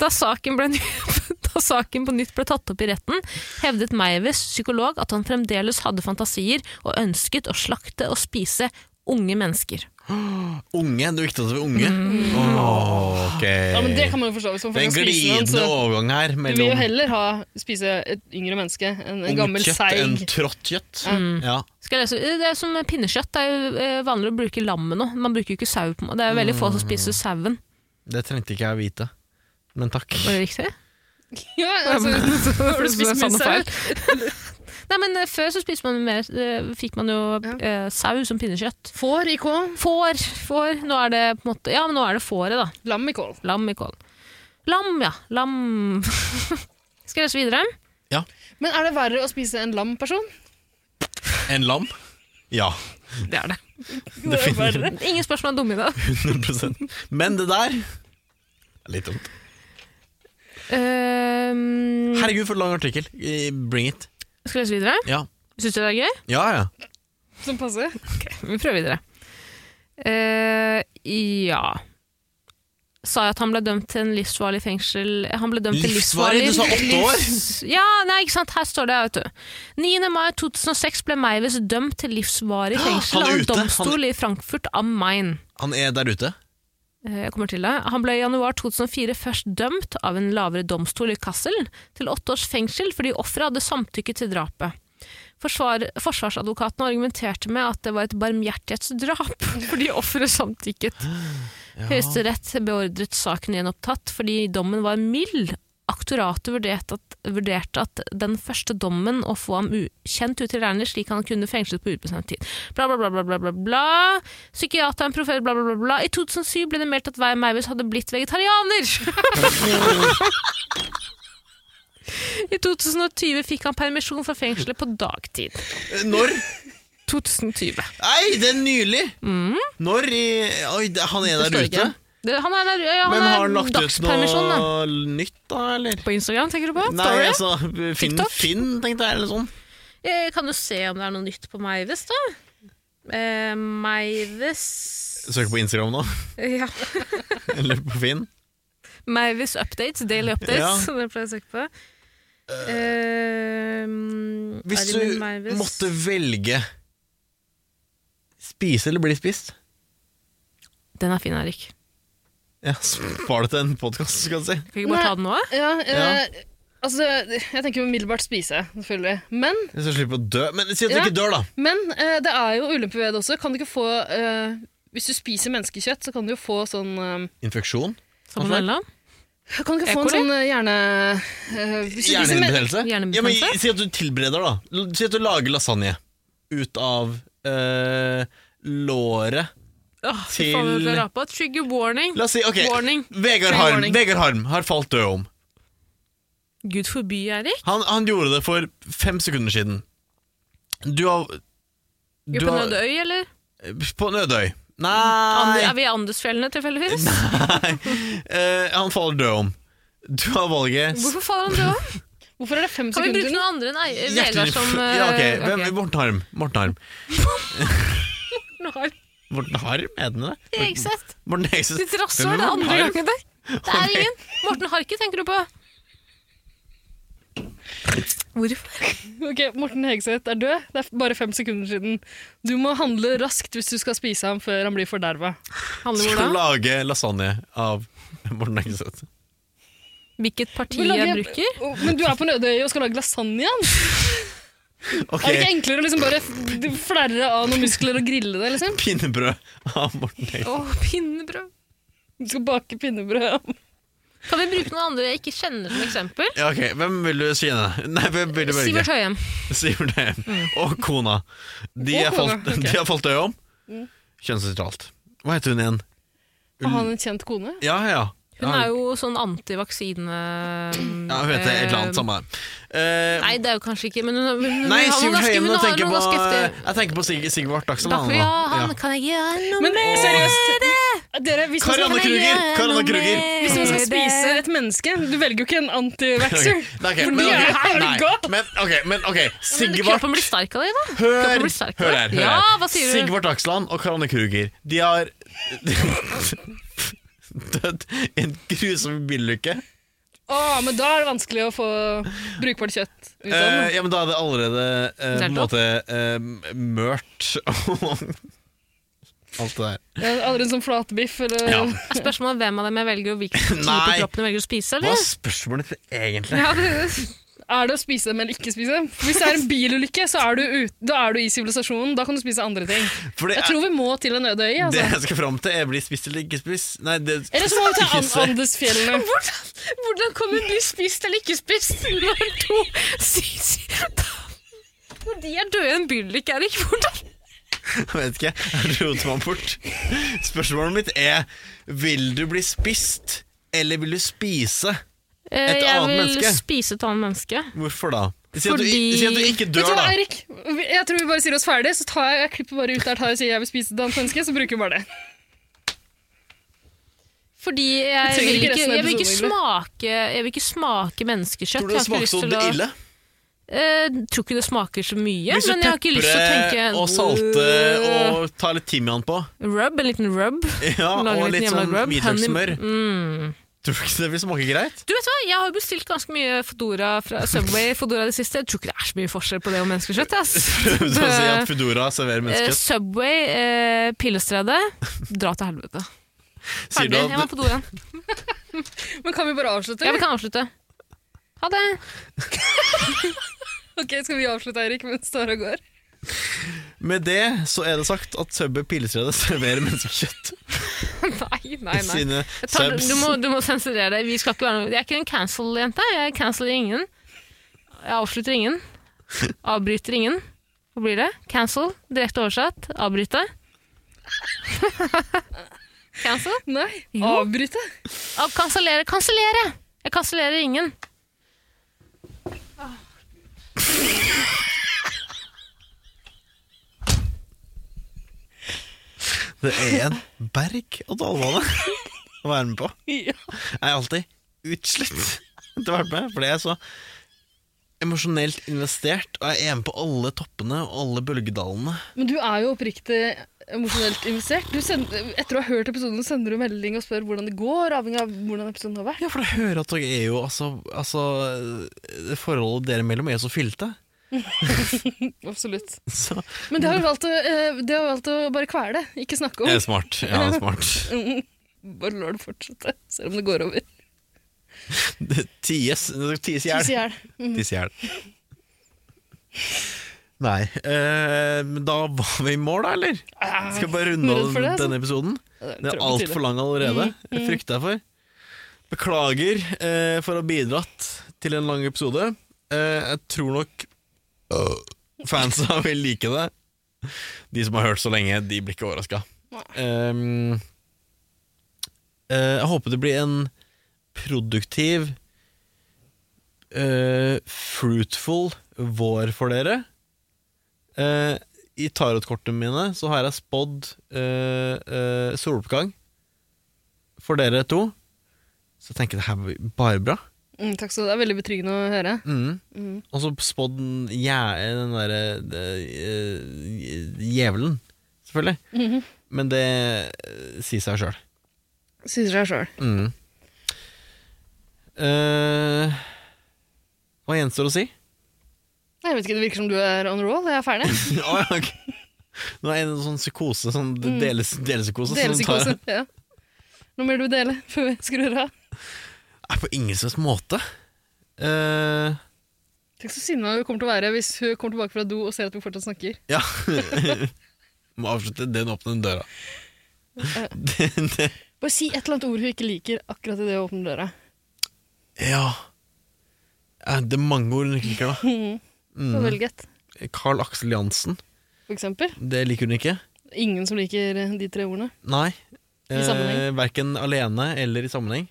B: Da saken, ble, <laughs> da saken på nytt ble tatt opp i retten, hevdet Meiwes psykolog at han fremdeles hadde fantasier og ønsket å slakte og spise unge mennesker.
D: Unge. Det er viktig at du er unge. Åh, ok.
E: Mm. Ja, men Det kan man jo forstå. hvis man
D: det er en
E: faktisk har spist noen,
D: glidende
E: så
D: overgang her
E: Du vil jo
D: mellom
E: heller ha, spise et yngre menneske enn en gammel
D: ungt kjøtt enn
E: seig.
D: trått kjøtt.
B: Mm.
D: Ja.
B: Skal jeg lese? Eh, Det er som pinnekjøtt. Det er jo eh, vanligere å bruke lammet nå. Man bruker jo ikke sau på Det er jo veldig få som
E: Mm.
B: spiser sauen.
D: Det trengte ikke jeg å vite. Men takk.
B: Var det riktig?
E: <laughs> Ja,
B: <laughs>
E: altså, har du spist mye
B: Sånn
E: sau? <laughs>
B: feil. <laughs> Nei, men eh, Før så spiste man mer, eh, fikk man jo eh, sau som pinnekjøtt.
E: Får i kål,
B: Får, får. Nå er det på en måte Ja, men nå er det fåret, da.
E: lam i kål.
B: Lam i kål. Lam, <laughs> ja. Lam Skal jeg lese videre?
E: Men er det verre å spise en lam person?
D: En lam? Ja.
B: Det er det.
D: <laughs> Det finner
B: Ingen spørsmål er dumme i dag.
D: 100 Men det der er Litt dumt.
B: Eh,
E: Mm.
B: Ehm,
D: Herregud, for en lang artikkel. Eh, Bring it.
B: skal jeg lese videre?
D: Ja,
B: Syns du det er gøy?
D: ja. ja.
E: Som passer.
B: Vi prøver videre. Eh, ja Sa jeg at han ble dømt til en livsvarlig fengsel Han ble dømt til
D: Livsvarig?
B: livsvarlig
D: Du sa åtte år?
B: livs- Ja, nei, ikke sant. Her står det, vet du. 9. mai 2006 ble Meiwes dømt til livsvarig fengsel
D: <gasps> Han er
B: av en
D: ute.
B: domstol i Frankfurt am Main.
D: Han er der ute.
B: Eh, Jeg kommer til det. Han ble i januar 2004 først dømt av en lavere domstol i Kassel til åtte års fengsel fordi offeret hadde samtykket til drapet. Forsvar, forsvarsadvokaten argumenterte med at det var et barmhjertighetsdrap <laughs> fordi offeret samtykket. Høyesterett beordret saken gjenopptatt fordi dommen var mild. Aktoratet vurderte at, vurderte at den første dommen å få ham ukjent utilregnelig slik han kunne fengslet på ubestemt tid. Bla, bla, bla, bla, bla, bla, bla. Psykiateren, profet, bla, bla, bla, bla. I 2007 ble det meldt at Wei Meiwes hadde blitt vegetarianer. <laughs> I 2020 fikk han permisjon fra fengselet på dagtid.
D: Eh, Når?
B: 2020.
D: Nei, det er nylig!
E: Mm.
D: Når i Oi, det- han er
B: Det
D: der
B: står ikke.
D: ute.
B: Det, han er, der, ja,
D: Men har
B: han
D: han
B: er
D: lagt ut
B: dagspermisjon, da.
D: noe nytt, da, eller?
B: På Instagram, tenker du på?
D: Nei,
B: Story?
D: altså, Finn,
B: TikTok?
D: Finn, tenkte jeg, eller sånn.
B: Jeg Eh, kan jo se om det er noe nytt på Meives, da. Eh, Meives
D: Søk på Instagram nå, <laughs>
B: ja.
D: eller på Finn.
B: Meives Updates, Daily Updates,
D: Ja.
B: <laughs> som jeg pleier å søke på. Eh,
D: Hvis
B: Armin
D: du
B: Meiwes.
D: måtte velge spise eller bli spist
B: Den er fin, Erik.
D: ja, Spar det til en podkast, skal du si.
B: Kan ikke bare
E: Nei.
B: ta den nå?
E: Ja, eh, Altså, jeg tenker umiddelbart spise, selvfølgelig. Men,
D: Så jeg slipper å dø. Men si at du
E: Ja.
D: ikke dør, da.
E: men eh, det er jo ulemper ved det også. Kan du ikke få eh, Hvis du spiser menneskekjøtt, så kan du jo få sånn eh,
D: Infeksjon?
B: Salmonella?
E: Kan du ikke
B: E.
E: få en
B: coli?
E: sånn eh, hjerne... eh, hvis du spiser men-
D: Hjernehinnebetennelse? Ja, men
B: Hjernebetennelse?
D: si at du tilbereder, da. L- Si at du lager lasagne ut av eh, låret
B: Åh, fy
D: Til-
B: faen, jeg ble rapet. Trigger warning.
D: La oss si ok,
B: Warning.
D: Vegard Harm,
E: Warning.
D: Vegard Harm har falt død om.
B: Gud forby, Erik.
D: Han, han gjorde det for fem sekunder siden. Du har du
B: Gruppe
D: har-
B: Nødøy, eller?
D: På Nødøy. Nei,
B: Ande, er vi i Andesfjellene, tilfeldigvis?
D: Eh, han faller død om. Du har valget
B: Hvorfor faller han død?
E: Hvorfor er det fem
B: Kan vi bruke
E: sekunder?
B: noen andre enn Ei- Vegard
D: Hjertelig-
B: som
D: ja, ok.
B: eh,
D: Hvem,
B: ok.
D: Morten Harm. Morten Harm.
B: Nå har
D: Morten Harm, er den det?
B: jeg ikke sett.
D: Morten Jesus.
B: Ditt rasshøl, det
D: Hvem er
B: er
D: Morten
B: andre
D: Harm?
B: gangen der. Det er ingen. Morten Harket tenker du på. Hvorfor?
E: Ok, Morten Hegseth er død. Det er bare fem sekunder siden. Du må handle raskt hvis du skal spise ham før han blir forderva.
B: Handler
D: Skal
B: hvordan?
D: lage lasagne av <laughs> Morten Hegseth.
B: Hvilket parti
E: Men lager-
B: jeg bruker?
E: Oh, Men du er på Nødøy og skal lage lasagne? han. Er det ikke
D: Ok,
E: enklere å liksom bare f- flerre av noen muskler og grille det? liksom?
D: pinnebrød av Morten Hegseth.
B: Å, pinnebrød.
E: Du skal bake pinnebrød.
B: Kan vi bruke noen andre jeg ikke kjenner som eksempel?
D: Ja, ok, Hvem vil du skine? Nei, hvem vil du
B: Sivert
D: velge?
B: Høyem.
D: <laughs> Sivert Høyem.
B: Mm.
D: Og kona. De,
E: Og
D: er falt,
E: kona, ok.
D: de har falt øye om.
B: Mm.
D: Kjønnsnøytralt. Hva heter hun igjen?
E: Og ha en kjent kone?
D: Ja, ja.
B: Hun er jo sånn antivaksine...
D: ja, Hun heter et eller annet, samme her. Eh,
B: Nei, det er jo kanskje ikke, men hun, hun, hun,
D: Nei,
B: har noe
D: Sivert
B: ganske-
D: Høyem.
B: hun
D: nå
B: har noe
D: tenker jeg på-
B: ganske heftig-
D: Jeg tenker på Sig- Sigvard Dagsland.
B: Takk for-
D: nå.
B: Ja, han
D: Ja.
B: kan jeg gjøre noe
E: Men
B: med
E: seriøst! Dere, hvis man,
D: Kari Anne
E: skal,
D: Kruger! Kari Anne
B: noe
D: Kruger!
B: med-
E: hvis man skal
B: Det-
E: spise et menneske Du velger jo ikke en antivaxer.
D: Ok, nei, ok, men,
E: For de er
D: ok, nei,
E: helga.
D: men, ok, men ok,
B: Men du,
D: Sigvard
B: Kroppen blir sterk av det, da.
D: Hør,
B: kroppen
D: hør
B: blir
D: her,
B: sterkere.
D: hør her.
B: Ja, hva sier du?
D: Sigvard Dagsland og Kari Anne Kruger De har <laughs> dødd i en grusom bilulykke.
E: Å, men da er det vanskelig å få brukbart kjøtt ut av
D: Eh,
E: den.
D: ja, men da er det allerede eh, på en
B: Deltatt.
D: måte eh, mørt og <laughs> alt det der.
E: Ja, Aldri en sånn flatbiff eller
D: Ja.
B: Er spørsmålet hvem av dem jeg velger, og hvilken type
D: Nei.
B: kroppen jeg velger å spise?
D: Hva
B: Eller?
D: er spørsmålet ditt egentlig?
B: Ja, det,
E: Er det å spise dem eller ikke spise dem? Hvis det er en bilulykke, så er du, ut, da er du i sivilisasjonen. Da kan du spise andre ting.
D: For det,
E: Jeg
D: er-
E: tror vi må til en øde øy.
D: det
E: Altså.
D: jeg skal fram til, er blir spist eller ikke spist. Nei, det,
E: Eller så må vi
D: <laughs> ikke
E: til
D: se.
E: Andesfjellene.
B: Hvordan kan hun bli spist eller ikke spist når to sy- sy- Når de er døde i en bylykke, Erik, hvordan
D: Jeg vet ikke, jeg roter meg bort. Spørsmålet mitt er Vil du bli spist, eller vil du spise? Et
B: Eh, Jeg
D: annet
B: vil
D: menneske.
B: spise et annet menneske.
D: Hvorfor da? Si at, du,
B: Fordi-
D: si at du ikke
E: Vet
D: dør,
E: du hva,
D: da.
E: Eirik? Jeg tror vi bare sier oss ferdig, så tar jeg, jeg klipper bare ut der tar jeg og sier jeg vil spise et annet menneske, så bruker vi bare det.
B: Fordi jeg
E: trenger
B: vil
E: ikke
B: ikke,
E: resten av
B: jeg vil ikke,
E: episoden,
B: smake, jeg vil ikke smake menneskekjøtt.
D: Tror du
B: Jeg
D: det
B: har ikke
D: smakte
B: lyst
D: så
B: til å-
D: ille?
H: Eh,
B: Jeg tror ikke det smaker så mye,
D: Hvis du
B: men jeg har ikke lyst til å tenke
D: og salte og ta litt timian på,
B: Rub, en liten rub.
D: ja,
B: Lage
D: og
B: en
D: litt
B: liten
D: sånn
B: hjemmelagd rub.
D: hvitløkssmør,
B: Honey- Mm.
D: tror du ikke det vil smake greit? <laughs>
B: Du vet hva, Jeg har jo bestilt ganske mye Fodora fra Subway Fodora det siste. Jeg tror ikke det er så mye forskjell på det og menneskekjøtt.
D: <laughs>
B: ass.
D: Prøvde å si at
B: Det-
D: Foodora serverer
B: eh,
D: menneskekjøtt.
B: Subway, eh, Pillestredet, dra til helvete.
D: <laughs> Sier du
B: Ferdig. Jeg må
D: at
B: på do igjen.
E: Men kan vi bare avslutte?
B: Ja, vi
E: eller?
B: kan avslutte. Ha det.
E: Ok, Skal vi avslutte, Eirik, mens Tara går?
D: med det så er det sagt at Subway Pilestredet serverer menneskekjøtt
B: Nei, nei, nei.
D: i sine
B: Jeg Tar,
D: subs.
B: du, må, du må sensurere det. Vi skal ikke være noe. Jeg er ikke en cancel-jente. Jeg canceler ingen. Jeg avslutter ingen. Avbryter ingen. Hva blir det? Cancel. Direkte oversatt. Avbryte. <laughs> cancel.
E: Nei,
B: Jo.
E: Avbryte?
B: Av kansellere. Kansellere! Jeg kansellerer ingen.
D: Det er en berg-og-dal-bane <laughs> å være med på.
E: Ja.
D: Jeg er alltid utslitt <laughs> etter å ha vært med, fordi jeg er så emosjonelt investert, og jeg er med på alle toppene og alle bølgedalene.
E: Men du er jo oppriktig emosjonelt investert. Du sender, etter å ha hørt episoden sender du melding og spør hvordan det går, avhengig av hvordan episoden har vært.
D: Ja, for jeg hører at dere er jo altså, altså det Forholdet dere imellom er jo så fylte. <laughs>
E: Absolutt.
D: Så
E: Men det har jo valgt å, eh, det har jo valgt å bare kvele. Ikke snakke om.
D: smart. Ja, det er
E: <laughs>
D: smart.
E: Mm. Bare lar det fortsette, selv om det går over.
D: Det- Ties det skal ties i
E: Tis i
D: hjel.
E: hjel. Mm.
D: Ties i hjel. Nei. Eh, men da var vi i mål, da, eller? Skal vi bare runde
E: Redd
D: av
E: for det, altså.
D: denne episoden? Det er altfor lang allerede.
E: Mm,
D: Det frykter jeg for. Beklager eh, for å ha bidratt til en lang episode. Eh, jeg tror nok øh, fansa <laughs> vil like det. De som har hørt så lenge, de blir ikke overraska. Um, eh, jeg håper det blir en produktiv, eh, fruitful vår for dere. Eh, I tarotkortene mine så har jeg spådd eh, eh, soloppgang for dere to. Så jeg tenker det her blir bare bra.
E: Mm, takk skal du ha. Det er veldig betryggende å høre.
D: Mm.
E: Mm.
D: Og så spådd den, jæ- den derre eh, djevelen, selvfølgelig.
E: Mhm.
D: Men det eh, sier seg sjøl.
E: Sier seg sjøl.
D: Mm. Eh, hva gjenstår å si?
E: Jeg vet ikke, Det virker som du er on roll. Jeg er
D: <laughs>
E: ferdig.
D: Å, <laughs> ja, ok. Nå er det en sånn psykose, sånn
E: Mm.
D: deles, delpsykose. som
E: Delepsykose.
D: sånn tar-
E: Ja. Nå må du dele før vi skrur av.
D: Nei, på ingen slags måte. Eh,
E: Tenk så sinna hun kommer til å være hvis hun kommer tilbake fra do og ser at vi fortsatt snakker.
D: ja. <laughs> Må avslutte den åpne døra. Det, det.
E: Bare si et eller annet ord hun ikke liker akkurat idet hun åpner døra.
D: Ja. Eh, Det er mange ord hun ikke liker, da.
E: Så Velg et,
D: Carl Axel Jansen.
E: for eksempel.
D: Det liker hun ikke.
E: Ingen som liker eh, de tre ordene.
D: Nei.
E: I sammenheng.
D: Eh, verken alene eller i sammenheng.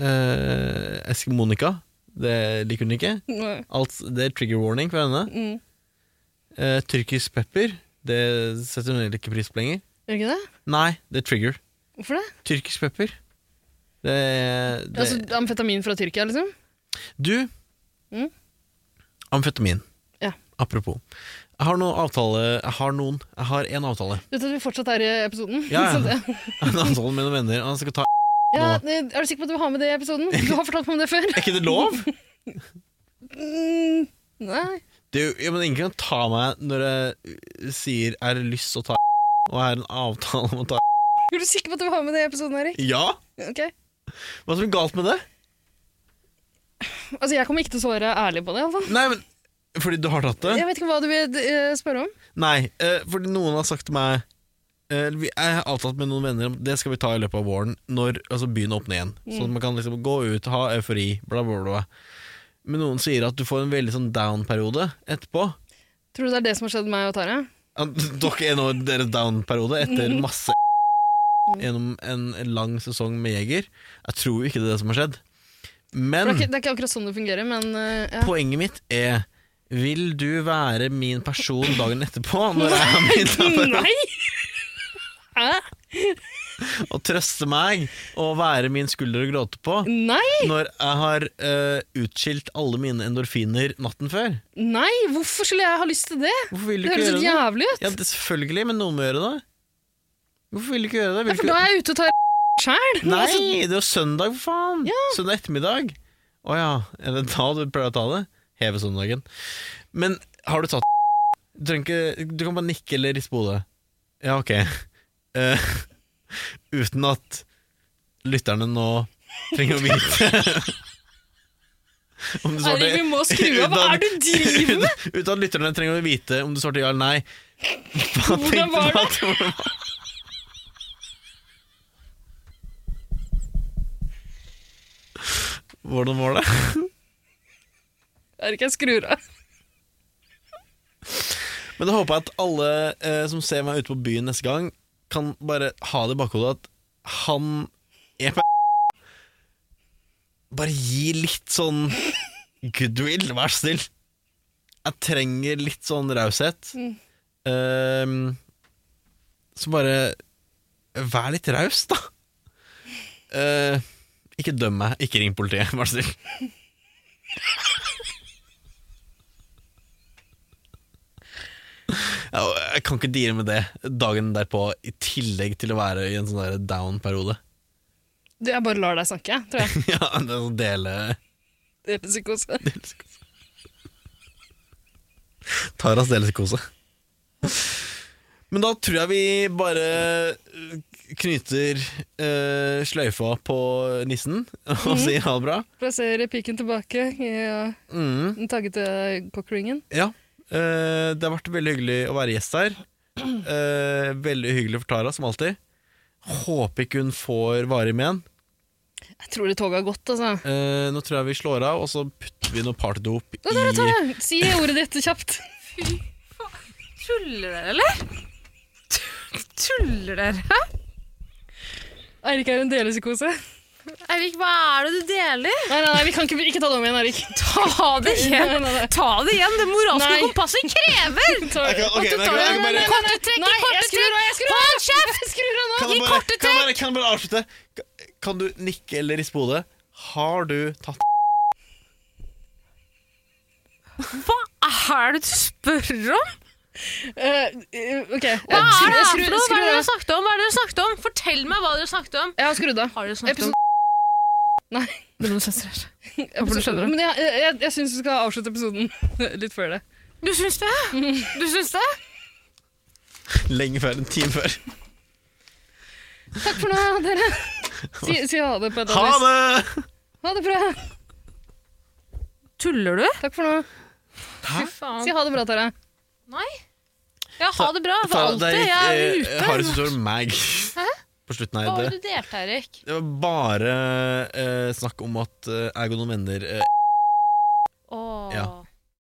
D: Eh, Esk- Monica. Det liker hun ikke.
E: Nei.
D: Alt, det er trigger warning for henne.
E: Mm.
D: Eh, tyrkisk pepper. Det setter hun heller ikke pris på lenger.
E: Gjør ikke det?
D: Nei, det er trigger.
E: Hvorfor det?
D: Tyrkisk pepper. Det, det
E: Altså, amfetamin fra Tyrkia, liksom?
D: Du,
E: Mm.
D: amfetamin.
E: Ja.
D: Apropos. Jeg har noen avtale Jeg har noen. Jeg har én avtale. <laughs>
E: Du vet at vi fortsatt er i episoden?
D: Ja,
E: <laughs>
D: ja.
E: Så det-
D: En avtale med noen venner. Han skal ta
E: ja, Er du sikker på at du vil ha med det i episoden?
D: <laughs>
E: Du har fortalt meg om det før.
D: Er ikke det lov?
E: <laughs> Mm, Nei.
D: Det er jo, ja, men ingen kan ta meg når jeg uh, sier 'er det lyst å ta' og er en avtale om å ta
E: Er du sikker på at du vil ha med det i episoden, Erik?
D: Ja!
E: Ok.
D: Hva som er galt med det?
E: Altså, jeg kommer ikke til å svare ærlig på det, iallfall.
D: Nei, men Fordi du har tatt det?
E: Jeg vet ikke hva du vil eh, spørre om.
D: Nei, eh, fordi noen har sagt til meg eh, vi- Jeg har avtalt med noen venner om det skal vi ta i løpet av våren, når altså, byen åpner igjen.
E: Mm.
D: Sånn at man kan liksom gå ut, ha eufori, bla, bla, bla. Men noen sier at du får en veldig sånn down-periode etterpå.
E: Tror du det er det som har skjedd med meg og Tara?
D: At Dere er nå i deres down-periode etter
E: Mm.
D: masse gjennom en lang sesong med Jeger. Jeg tror ikke det er det som har skjedd.
E: For det,
D: Men
E: er ikke, det er ikke akkurat sånn det fungerer, men eh, ja.
D: poenget mitt er Vil du være min
E: <laughs>
D: person dagen etterpå? Når jeg er min
E: Nei! <laughs> Hæ?
D: å trøste meg og være min skulder å gråte på
E: Nei,
D: når jeg har eh, utskilt alle mine endorfiner natten før.
E: nei, hvorfor skulle jeg ha lyst til det?
D: Hvorfor vil du
E: Det
D: ikke
E: høres
D: gjøre
E: helt
D: det?
E: jævlig ut.
D: Ja, det, selvfølgelig, men noen må gjøre det. Hvorfor vil du ikke gjøre det?
E: Ja,
D: Vil
E: for
D: du
E: da
D: ikke...
E: er altså- jeg ute og tar <laughs> sjæl.
D: Nei, det er jo søndag, for faen! Søndag ettermiddag. Å ja, er det da du pleier å ta det? Heve søndagen. Men har du tatt Du, trenger ikke, du kan bare nikke eller riste på hodet. Ja, ok. Eh, <laughs> uten at lytterne nå trenger å vite <laughs> om du
E: Eirik, vi må skru av. Hva
D: Uten-
E: er det du driver
D: <laughs>
E: med?
D: Uten uten at lytterne trenger å vite om du svarte ja eller nei. Hva
E: Hvordan
D: tenkte
E: var
D: du at det var? Hvordan var det?
E: Eirik, jeg skrur av.
D: Men da håper jeg at alle eh, som ser meg ute på byen neste gang, kan bare ha det i bakhodet at han er på Bare gi litt sånn goodwill, vær så snill. Jeg trenger litt sånn raushet. Ehm, så bare vær litt raus, da. Eh, ikke døm meg, ikke ring politiet, vær så snill. Ja, og Jeg kan ikke deale med det dagen derpå, i tillegg til å være i en sånn der down-periode.
E: Du, Jeg bare lar deg snakke, jeg,
D: <laughs>
E: tror jeg.
D: ja, det er sånn dele
E: Det er psykose.
D: Taras delekose. Men da tror jeg vi bare eh, knyter eh, sløyfa på nissen
E: Mhm.
D: og sier ha det bra.
E: Plasserer piken tilbake i uh,
D: Mm,
E: den taggete cockringen.
D: ja. Eh, det har vært veldig hyggelig å være gjest her. Eh, veldig hyggelig for Tara, som alltid. Håper ikke hun får varig men.
E: Jeg tror det toget har gått, altså.
D: Eh, nå tror jeg vi slår av, og så putter vi noe partydop
E: Nå, dere tar
D: i
E: det. Si ordet ditt kjapt.
B: Tuller dere, eller? Tuller dere?
E: Eirik er en delepsykose.
B: Eirik, hva er det du deler?
E: Nei, nei, nei, vi kan ikke, ikke <laughs> ta det om igjen, Eirik.
B: Ta det
E: Nei, nei, nei.
B: Ta det igjen! Det moralske
E: Nei.
B: kompasset <laughs> krever!
E: Ta-
D: Ok, ok, men jeg
E: At du tar
D: kan-
E: det-
D: jeg kan bare-
E: Nei, nei, nei,
B: Korte trekk,
E: Nei,
B: i korte
E: jeg skrur av, jeg
B: trekk!
E: skrur av!
B: Hold kjeft!
E: Jeg skrur av nå!
D: Kan
B: Gi
D: jeg bare,
B: korte
D: kan jeg bare, kan jeg bare avslutte? Ka- Kan du nikke eller riste på hodet? Har du tatt <laughs>
B: Hva er det du spør om?
E: Eh, eh, ok.
B: Hva
E: Jeg
B: er
E: skrur-
B: det
E: jeg
B: her for
E: skrur-
B: noe? Hva er det
E: skrur
B: dere
E: av.
B: snakket om? Hva er det dere snakket om? Fortell meg hva dere snakket om.
E: Jeg har skrudd av.
B: Har dere snakket
E: Episode
B: om
E: Nei.
B: Det må du sensurere. Håper du skjønner
E: Episode,
B: det.
E: men jeg, jeg, jeg, jeg syns vi skal avslutte episoden <laughs> litt før det.
B: Du syns det? Du syns det?
D: lenge før? En time før?
E: Takk for nå,
D: <laughs>
E: dere. Si, si ha det på et
D: Ha
E: vis.
D: det!
E: Ha det bra.
B: Tuller du?
E: Takk for nå.
B: Fy faen.
E: Si ha det bra, Tara.
B: Ja, ha det bra. For
D: Ta-
B: alltid.
D: der gikk,
B: Jeg
D: eh,
B: er ute.
D: Harry som står meg på slutten
B: Hva
D: her.
B: var
D: Det,
B: det du delte, Eirik?
D: det var bare eh, snakk om at eh, jeg og noen venner eh,
B: Åh.
D: Ja.